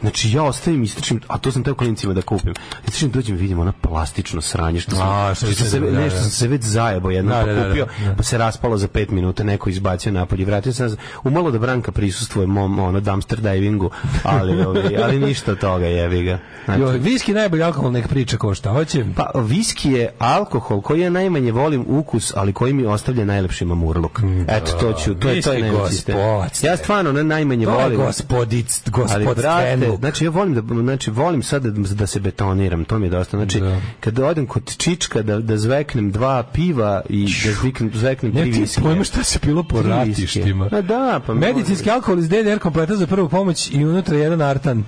S2: Znači ja ostavim istrčim, a to sam teo klincima da kupim. Istrčim dođem vidim ona plastično sranje što sam,
S3: A, što
S2: što sam
S3: se-
S2: se,
S3: da, da.
S2: nešto sam se već zajebo jednom
S3: Da, da, da,
S2: kupio,
S3: da.
S2: pa se raspalo za 5 minuta, neko izbacio napolje, i vratio sam se. Umalo da Branka prisustvuje mom ono dumpster divingu, ali ovaj, ali ništa od toga jebi ga. Znači,
S3: Joj, viski je najbolji alkohol, nek priča ko šta hoće.
S2: pa viski je alkohol koji ja najmanje volim ukus, ali koji mi ostavlja najlepši mamurluk. Eto to ću, to je to je
S3: Viski
S2: najlepši ste.
S3: gospod ste.
S2: Ja stvarno ne najmanje
S3: To je
S2: volim.
S3: gospodic,
S2: Ali brate,
S3: gospodstvenuk.
S2: znači ja volim da znači volim sad da, da se betoniram, to mi je dosta. Znači
S3: Da.
S2: kad odem kod čička da da zveknem dva piva i da zveknem zveknem tri
S3: Ne ti
S2: viskija.
S3: pojma šta se pilo po
S2: Tri viskije.
S3: ratištima.
S2: Ma da, pa
S3: Medicinski alkohol iz DDR kompleta za prvu pomoć i unutra jedan artan.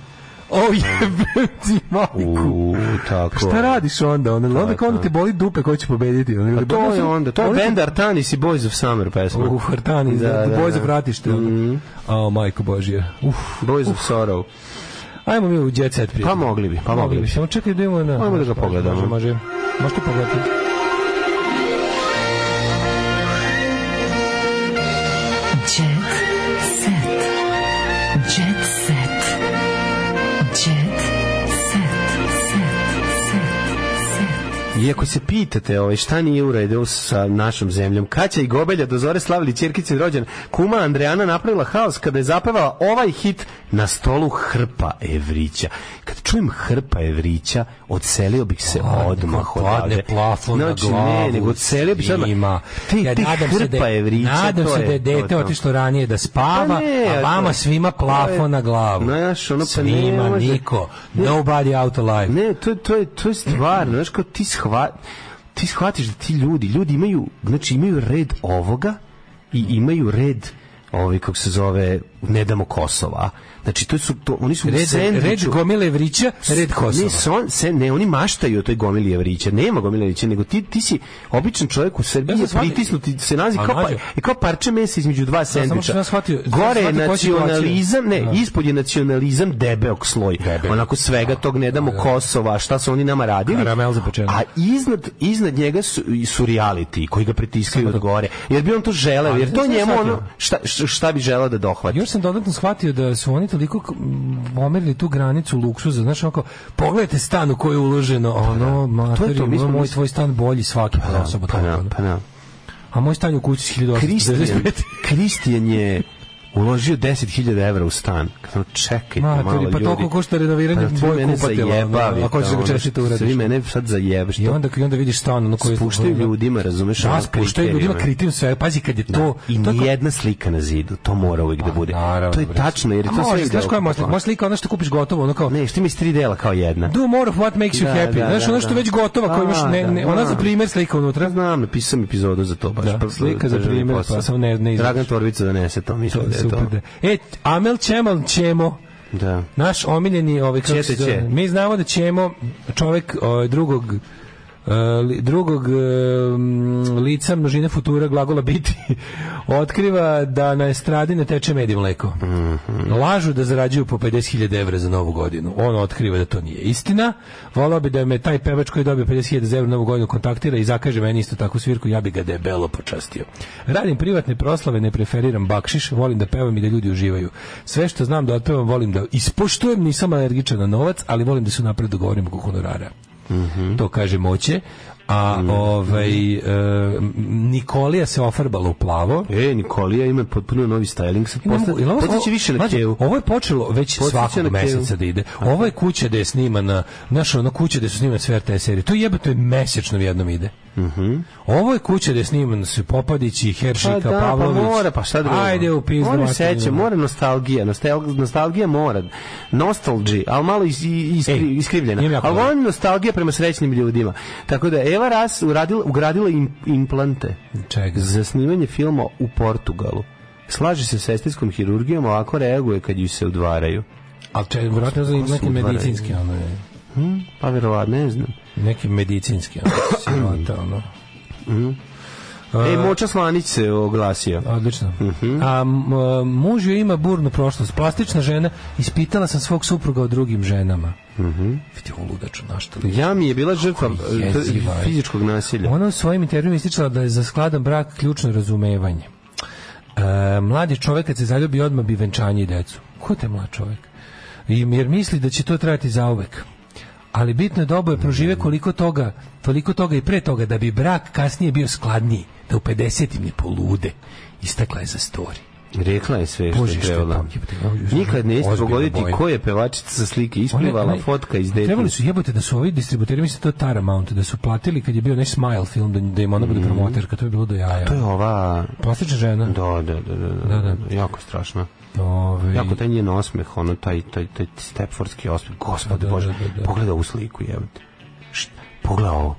S3: O jebem ti majku.
S2: U, tako.
S3: Šta radiš onda? Onda, onda,
S2: Tako.
S3: onda te boli dupe ko će pobediti. Onda,
S2: Pa to je onda, to je
S3: Boli-
S2: band Artanis i Boys of Summer pesma.
S3: U Hartani, da, da, Boys of Ratište.
S2: Mhm.
S3: A, majko Božija. Uf.
S2: Boys of Sorrow.
S3: Ajmo mi u Jet Set prijatelj.
S2: Pa mogli bi, pa mogli bi.
S3: Samo čekaj da imamo na...
S2: Ajmo da ga pogledamo.
S3: Može, može. Možete pogledati.
S5: Jet set. Jet set. Jet
S2: I ako se pitate ovaj, šta nije u redu sa našom zemljom, Kaća i Gobelja do zore slavili Ćerkicin rođen, kuma Andrejana napravila haos kada je zapevala ovaj hit na stolu Hrpa Evrića. Kad čujem Hrpa Evrića, odselio bih se odmah
S3: Padne
S2: odavde.
S3: plafon na
S2: Znači,
S3: glavu
S2: Ne, nego odselio bih se odmah.
S3: svima.
S2: Ti,
S3: Ja
S2: ti
S3: nadam se da
S2: Hrpa
S3: je-
S2: Evrića,
S3: Nadam
S2: to
S3: se da je
S2: to
S3: dete
S2: to.
S3: otišlo ranije da
S2: Pa
S3: spava,
S2: ne,
S3: a
S2: a
S3: vama
S2: to-
S3: svima
S2: to je-
S3: plafon na glavu.
S2: Znaš, ono, pa ne
S3: Svima
S2: može-
S3: niko.
S2: Ne.
S3: Nobody out alive.
S2: Ne, to, je- to, je, to je stvarno, znaš, kao ti, shva, ti shvatiš da ti ljudi, ljudi imaju, znači imaju red ovoga i imaju red ovaj kako se zove ne damo Kosova. Znači to su to oni su u
S3: Red, red
S2: sendviču.
S3: gomile vrića, red Kosova.
S2: Ne, son, se, ne, oni maštaju o toj gomili Evrića. Nema gomili Evrića, nego ti, ti si običan čovjek u Srbiji,
S3: Ja sam shvatio-
S2: pritisnuti se nalazi
S3: A,
S2: kao, pa,
S3: mlađo.
S2: i kao parče mesa između dva
S3: sam
S2: sendviča.
S3: sam shvatio- sam
S2: Gore je
S3: shvatio koja je situacija.
S2: nacionalizam, ne,
S3: Da.
S2: ispod je nacionalizam debeog sloj. Onako svega tog ne damo Kosova, šta su oni nama radili.
S3: Da. Karamel za pečeno.
S2: A iznad, iznad njega su, su reality koji ga pritiskaju od gore. Jer bi on to želeo,
S3: da- Ali
S2: jer to
S3: znaš šta
S2: njemu
S3: shvatio?
S2: ono, šta, šta bi želeo da dohvati.
S3: Još sam dodatno shvatio da su oni toliko k- m, pomerili tu granicu luksuza, znaš, onako, pogledajte stan u koji je uloženo, ono,
S2: Pa da. to,
S3: materi,
S2: mi
S3: ono,
S2: smo-
S3: moj tvoj stan bolji svaki pa, osoba.
S2: Pa
S3: tako,
S2: da,
S3: ono.
S2: pa da.
S3: A moj stan je u kući s
S2: Kristijan,
S3: 1895.
S2: Kristijan je uložio 10.000 evra u stan. Kao, čekajte
S3: Ma,
S2: Ma,
S3: to
S2: malo
S3: je pa toliko košta renoviranje
S2: Pa, vi
S3: boje
S2: mene
S3: kupatila,
S2: zajebavite,
S3: ono, ako hoćeš da ga
S2: ono,
S3: češće to uradiš.
S2: Svi mene sad zajebaš.
S3: I onda, i onda vidiš stan ono koji je...
S2: Spuštaju ljudima, razumeš?
S3: Da,
S2: ono,
S3: spuštaju ljudima
S2: kriterijuma.
S3: kriterijum sve. Pazi, kad je to...
S2: da, I
S3: to je kao- Pa,
S2: nijedna slika na zidu, to mora uvijek da bude. to je tačno, jer je
S3: A
S2: to
S3: može,
S2: sve...
S3: znaš koja je možda slika? Možda slika ono što kupiš gotovo, ono kao...
S2: Ne, što mi iz tri dela kao jedna.
S3: Do more of what makes you
S2: Da,
S3: happy.
S2: da,
S3: Znaš,
S2: da,
S3: ono što
S2: da.
S3: je već gotovo, ako imaš,
S2: A,
S3: ne, ne,
S2: da,
S3: ona
S2: da.
S3: za primer slika unutra.
S2: Znam, napisao sam epizodu za to baš.
S3: Da,
S2: pa-
S3: slika za
S2: državni
S3: primer,
S2: posao.
S3: pa sam ne- ne izlaziš.
S2: Dragan Torbica donese to, mislim da je
S3: Super,
S2: to.
S3: da. E, Amel Čemal Čemo,
S2: Da.
S3: naš omiljeni, ovaj, kako se
S2: Čete
S3: zove,
S2: će.
S3: mi znamo da Čemo, čovek ovaj, drugog e, li- drugog e, m, lica množine futura glagola biti otkriva da na estradi ne teče med i mleko. Lažu da zarađuju po 50.000 evra za novu godinu. On otkriva da to nije istina. Volao bi da me taj pevač koji je dobio 50.000 evra na novu godinu kontaktira i zakaže meni isto takvu svirku, ja bi ga debelo počastio. Radim privatne proslave, ne preferiram bakšiš, volim da pevam i da ljudi uživaju. Sve što znam da otpevam, volim da ispoštujem, nisam alergičan na novac, ali volim da se napred dogovorim oko honorara. To kaže moće. A ovaj e, Nikolija se ofarbala u plavo.
S2: E, Nikolija ima potpuno novi styling. Sad posta- Podsjeća više na
S3: Mlađe,
S2: Kevu.
S3: Ovo je počelo već
S2: Podsjeća na
S3: svakog
S2: Kevu.
S3: meseca da ide. Ovo je kuća gde je snimana, znaš, ono kuća gde su snimane sve RTS serije. To jebate mesečno jednom ide. Ovo je kuća gde je sniman su Popadići, Heršika,
S2: Mhm. Pa da,
S3: Pavlović.
S2: pa mora, pa šta drugo.
S3: Ajde u pizdu.
S2: Mora
S3: materinu.
S2: seća, mora nostalgija, nostalgija, nostalgija mora. Nostalgi, ali malo is, i- iskri,
S3: Ej, imam
S2: iskrivljena.
S3: jako
S2: Ali
S3: dobro.
S2: volim nostalgija prema srećnim ljudima. Tako da Eva Ras uradila, ugradila im, implante
S3: Čega?
S2: za snimanje filma u Portugalu. Slaže se s estetskom hirurgijom, ovako reaguje kad ju se udvaraju.
S3: Ali če, vjerojatno za
S2: Ko su
S3: neki
S2: udvaraju?
S3: medicinski, ono je.
S2: Hm, pa verovatno, ne znam.
S3: Neki medicinski, ono, sirota, ono.
S2: E, Moča Slanić se oglasio.
S3: Odlično.
S2: Mhm.
S3: A m, e, muž joj ima burnu prošlost. Plastična žena, ispitala sam svog supruga o drugim ženama. Mhm. Vidi ovo ludaču našta. li.
S2: Ja mi je bila žrtva
S3: je
S2: e,
S3: jeziva, je.
S2: fizičkog nasilja.
S3: Ona u svojim intervjuima ističala da je za skladan brak ključno razumevanje. E, mladi čovjek kad se zaljubi odmah bi venčanje i decu. Ko te mlad čovjek? I, jer misli da će to trajati zauvek. Ali bitno je da oboje prožive koliko toga, toliko toga i pre toga da bi brak kasnije bio skladniji, da u 50 im ne polude. Istakla je za story.
S2: Rekla je sve što
S3: Bože,
S2: je
S3: što je
S2: trebala.
S3: tamo, jebote, ovo je
S2: Nikad neće
S3: ozbiljna
S2: pogoditi
S3: bojna.
S2: ko je pevačica sa slike
S3: One-
S2: isplivala
S3: one-
S2: fotka iz dete.
S3: Trebali su jebote da su ovi distributeri, mislim da je to Taramount, da su platili kad je bio onaj Smile film, da, da im ona bude promoterka, to je bilo do jaja.
S2: Mhm. To je ova...
S3: Plastična žena.
S2: Da, da, da, da, da,
S3: Da,
S2: jako strašno.
S3: Ove,
S2: Jako taj njen osmeh, ono, taj, taj, taj stepfordski osmeh, gospode
S3: Da, da,
S2: bože,
S3: da, da.
S2: pogledaj ovu sliku, jebote. Št, Pogledaj ovo.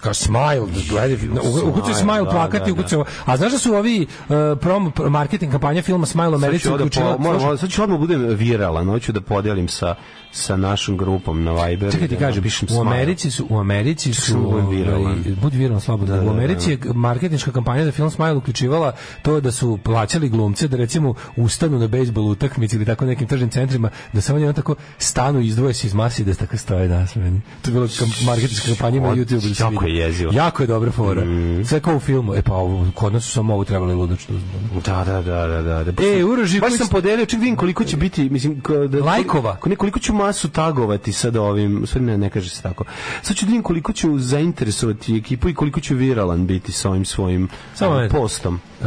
S3: Kao smile, gledaj,
S2: Smile,
S3: ukucaj smile
S2: da, da,
S3: plakati, ukucaj ovo. A znaš da su ovi uh, prom, pr- marketing kampanja filma Smile
S2: Sad
S3: America
S2: ću, odmah
S3: uključila...
S2: po, moram, odmah- sad ću odmah budem viralan, hoću da podelim sa, sa našom grupom na Viberu.
S3: Čekaj ti
S2: da
S3: kažem,
S2: napišem
S3: u
S2: smile.
S3: Americi su, u Americi
S2: Čekaj,
S3: su,
S2: budem
S3: ovaj,
S2: viralan.
S3: budi viralan slobodno.
S2: Da,
S3: u
S2: da,
S3: Americi je marketinška kampanja za film Smile uključivala to da su plaćali glumce da recimo ustanu na bejsbol utakmici ili tako nekim tržnim centrima, da samo njeno tako stanu izdvoje se iz masi i da tako stoje nasmeni. To je bilo kam- marketinška kampanja na
S2: Od-
S3: YouTube. da se
S2: jako
S3: vidi.
S2: je jezivo. Mhm.
S3: Jako je dobra fora. Sve kao u filmu. E pa ovo, kod nas su samo ovo trebali ludačno uzmano.
S2: Da, da, da, da, da. da. Baš
S3: E,
S2: sam-
S3: Uroš
S2: Baš
S3: Živković-
S2: sam podelio, ček vidim koliko će biti, mislim, ko- da,
S3: Lajkova.
S2: ko- ne, koliko ću masu tagovati sad ovim, sve ne, ne kaže se tako. Sad ću da vidim koliko ću zainteresovati ekipu i koliko ću viralan biti sa ovim svojim
S3: Samo
S2: eh,
S3: moment.
S2: postom.
S3: Uh,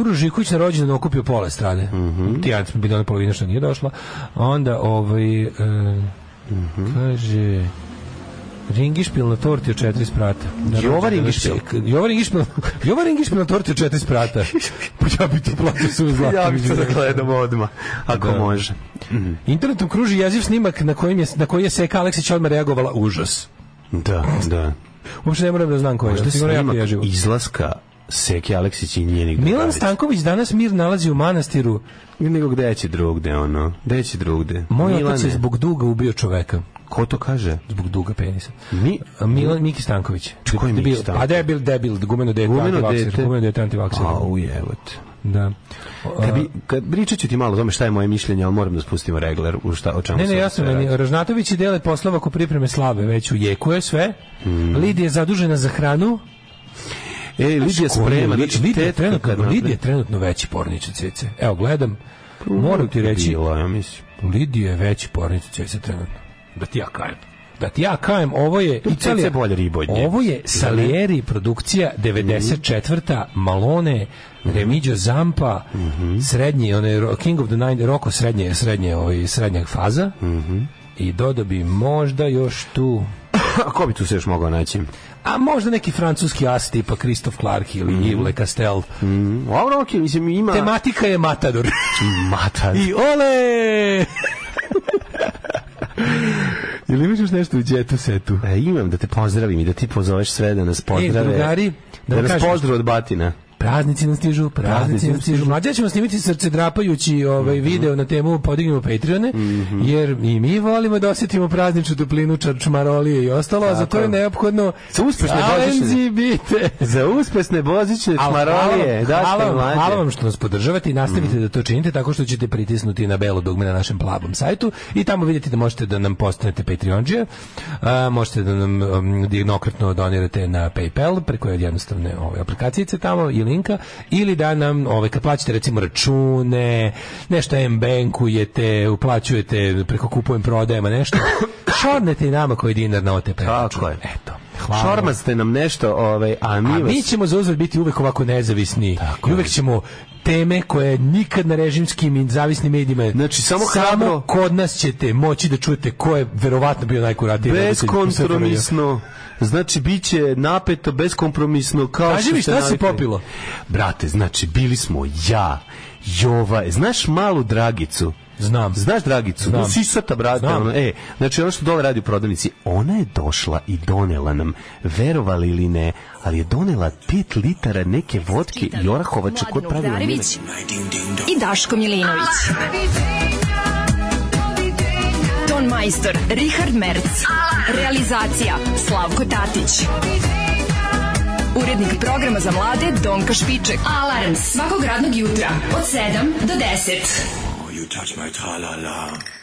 S3: Uroš Živković na rođendan okupio pola strane. Ti ja smo bili ona polovina što nije došla. Onda ovaj e, kaže Ringišpil na torti od četiri sprata. Na
S2: Jova
S3: rođendan
S2: ringišpil.
S3: čovjek- Jova Ringišpil. Jova Ringišpil na torti od četiri sprata. Pa ja bi to platio sve zlato.
S2: Ja bih to da gledam odmah, ako
S3: Da.
S2: može.
S3: Internetom kruži jeziv snimak na, kojim je, na koji je Seka Aleksić odmah reagovala užas.
S2: Da, da.
S3: Uopšte ne moram da znam koji je.
S2: Možda
S3: što sigurno jako
S2: snimak
S3: jezivo.
S2: izlaska Seke Aleksić i njenih
S3: Milan
S2: drugarica.
S3: Stanković danas mir nalazi u manastiru.
S2: Nego gde će drugde, ono? Gde će drugde?
S3: Moj otac je
S2: Milane,
S3: zbog duga ubio čoveka.
S2: Ko to kaže?
S3: zbog duga penisa.
S2: Mi-
S3: A Milan Miki Stanković.
S2: koji Miki
S3: Debil.
S2: Stanković?
S3: Pa debil, debil, gumeno dete,
S2: Gumeno
S3: antivakser,
S2: dete.
S3: gumeno dete, antivakser.
S2: Au, jevote.
S3: Da.
S2: Kad Pa bi, kad, pričat ću ti malo o tome šta je moje mišljenje, ali moram da spustimo regler u šta, o čemu
S3: Ne,
S2: se
S3: ne,
S2: ovdje
S3: jasno
S2: sve radi.
S3: meni. Ražnatović je dele poslova oko pripreme slave, već u jeku je sve.
S2: Hmm.
S3: Lidija je zadužena za hranu.
S2: Ej, E, Lidija sprema, znači
S3: Lidija je
S2: tetka kad
S3: trenutno,
S2: napre-
S3: Lidija je trenutno veći pornič od cece. Evo, gledam, moram ti reći,
S2: Bila, ja mislim.
S3: Lidija je veći pornič od cece trenutno. Da ti ja kajem. da ti ja kajem, ovo je
S2: Tu
S3: Italija.
S2: cece bolje riba od Da, nje.
S3: Ovo je Salieri produkcija
S2: Mhm.
S3: 94. Malone, Remigio Zampa,
S2: Mhm.
S3: srednji, onaj Ro- King of the Nine, Roko srednje, srednje, ovaj, srednja faza.
S2: Mhm.
S3: I dodao bi možda još tu...
S2: A Pa, ko bi tu se još mogao naći?
S3: A možda neki francuski as tipa Christophe Clark ili
S2: Mhm.
S3: Yves Le Castel.
S2: Ovo roki, mislim, ima...
S3: Tematika je Matador.
S2: Mata.
S3: I ole!
S2: Ili imaš još nešto u džetu setu? E, imam da te pozdravim i da ti pozoveš sve da nas pozdrave.
S3: drugari, da
S2: da,
S3: vam
S2: nas
S3: kažem-
S2: pozdrave od batina.
S3: Praznici nam stižu,
S2: Praznici
S3: praznici nam
S2: nam Mhm.
S3: stižu. Mlađe ćemo snimiti srce drapajući ovaj video na temu podignemo Patreone, jer i mi volimo da osjetimo prazničnu toplinu čarčmarolije i ostalo, a za to je
S2: Tako je.
S3: neophodno
S2: Sa uspešne
S3: Alenzi
S2: božićne.
S3: bite.
S2: Za uspesne boziće,
S3: Al
S2: čmarolije,
S3: hvala, vam-
S2: daške
S3: hvala, vam-
S2: mlađe. Mhm.
S3: hvala vam što nas podržavate i nastavite da to činite tako što ćete pritisnuti na belo dugme na našem plavom sajtu i tamo vidite da možete da nam postanete Patreonđe, možete da nam um, jednokratno donirate na PayPal preko jednostavne ove aplikacijice tamo i linka ili da nam ove, kad plaćate recimo račune, nešto M-bankujete, uplaćujete preko kupujem prodajama nešto, šornete i nama koji dinar na OTP.
S2: Tako je.
S3: Eto. Hvala.
S2: Hvala. ste nam nešto, ovaj, a mi,
S3: A mi
S2: vas...
S3: ćemo za uzvrat biti uvek ovako nezavisni. I uvek ćemo teme koje nikad na režimskim i zavisnim medijima
S2: Znači, samo hrabro.
S3: kod nas ćete moći da čujete ko je verovatno bio najkuratiji voditelj u SFRJ.
S2: Beskompromisno. Znači, bit će napeto, beskompromisno, kao
S3: Kaži
S2: što
S3: mi,
S2: ste
S3: šta se
S2: navikli.
S3: popilo?
S2: Brate, znači, bili smo ja, Jova, znaš malu Dragicu?
S3: Znam.
S2: Znaš Dragicu?
S3: Znam.
S2: No, sisata, brate.
S3: Znam.
S2: ono, e, znači, ono što dole radi u prodavnici, ona je došla i donela nam, verovali ili ne, ali je donela 5 litara neke vodke i orahovače koje
S5: Mladen
S2: pravila
S5: Udarević
S2: Milić.
S5: i Daško Milinović. Ton majstor Richard Merc. Realizacija Slavko Tatić. Urednik programa za mlade Donka Špiček. Alarms svakog radnog jutra od 7 do 10.
S19: You touch my tra-la-la.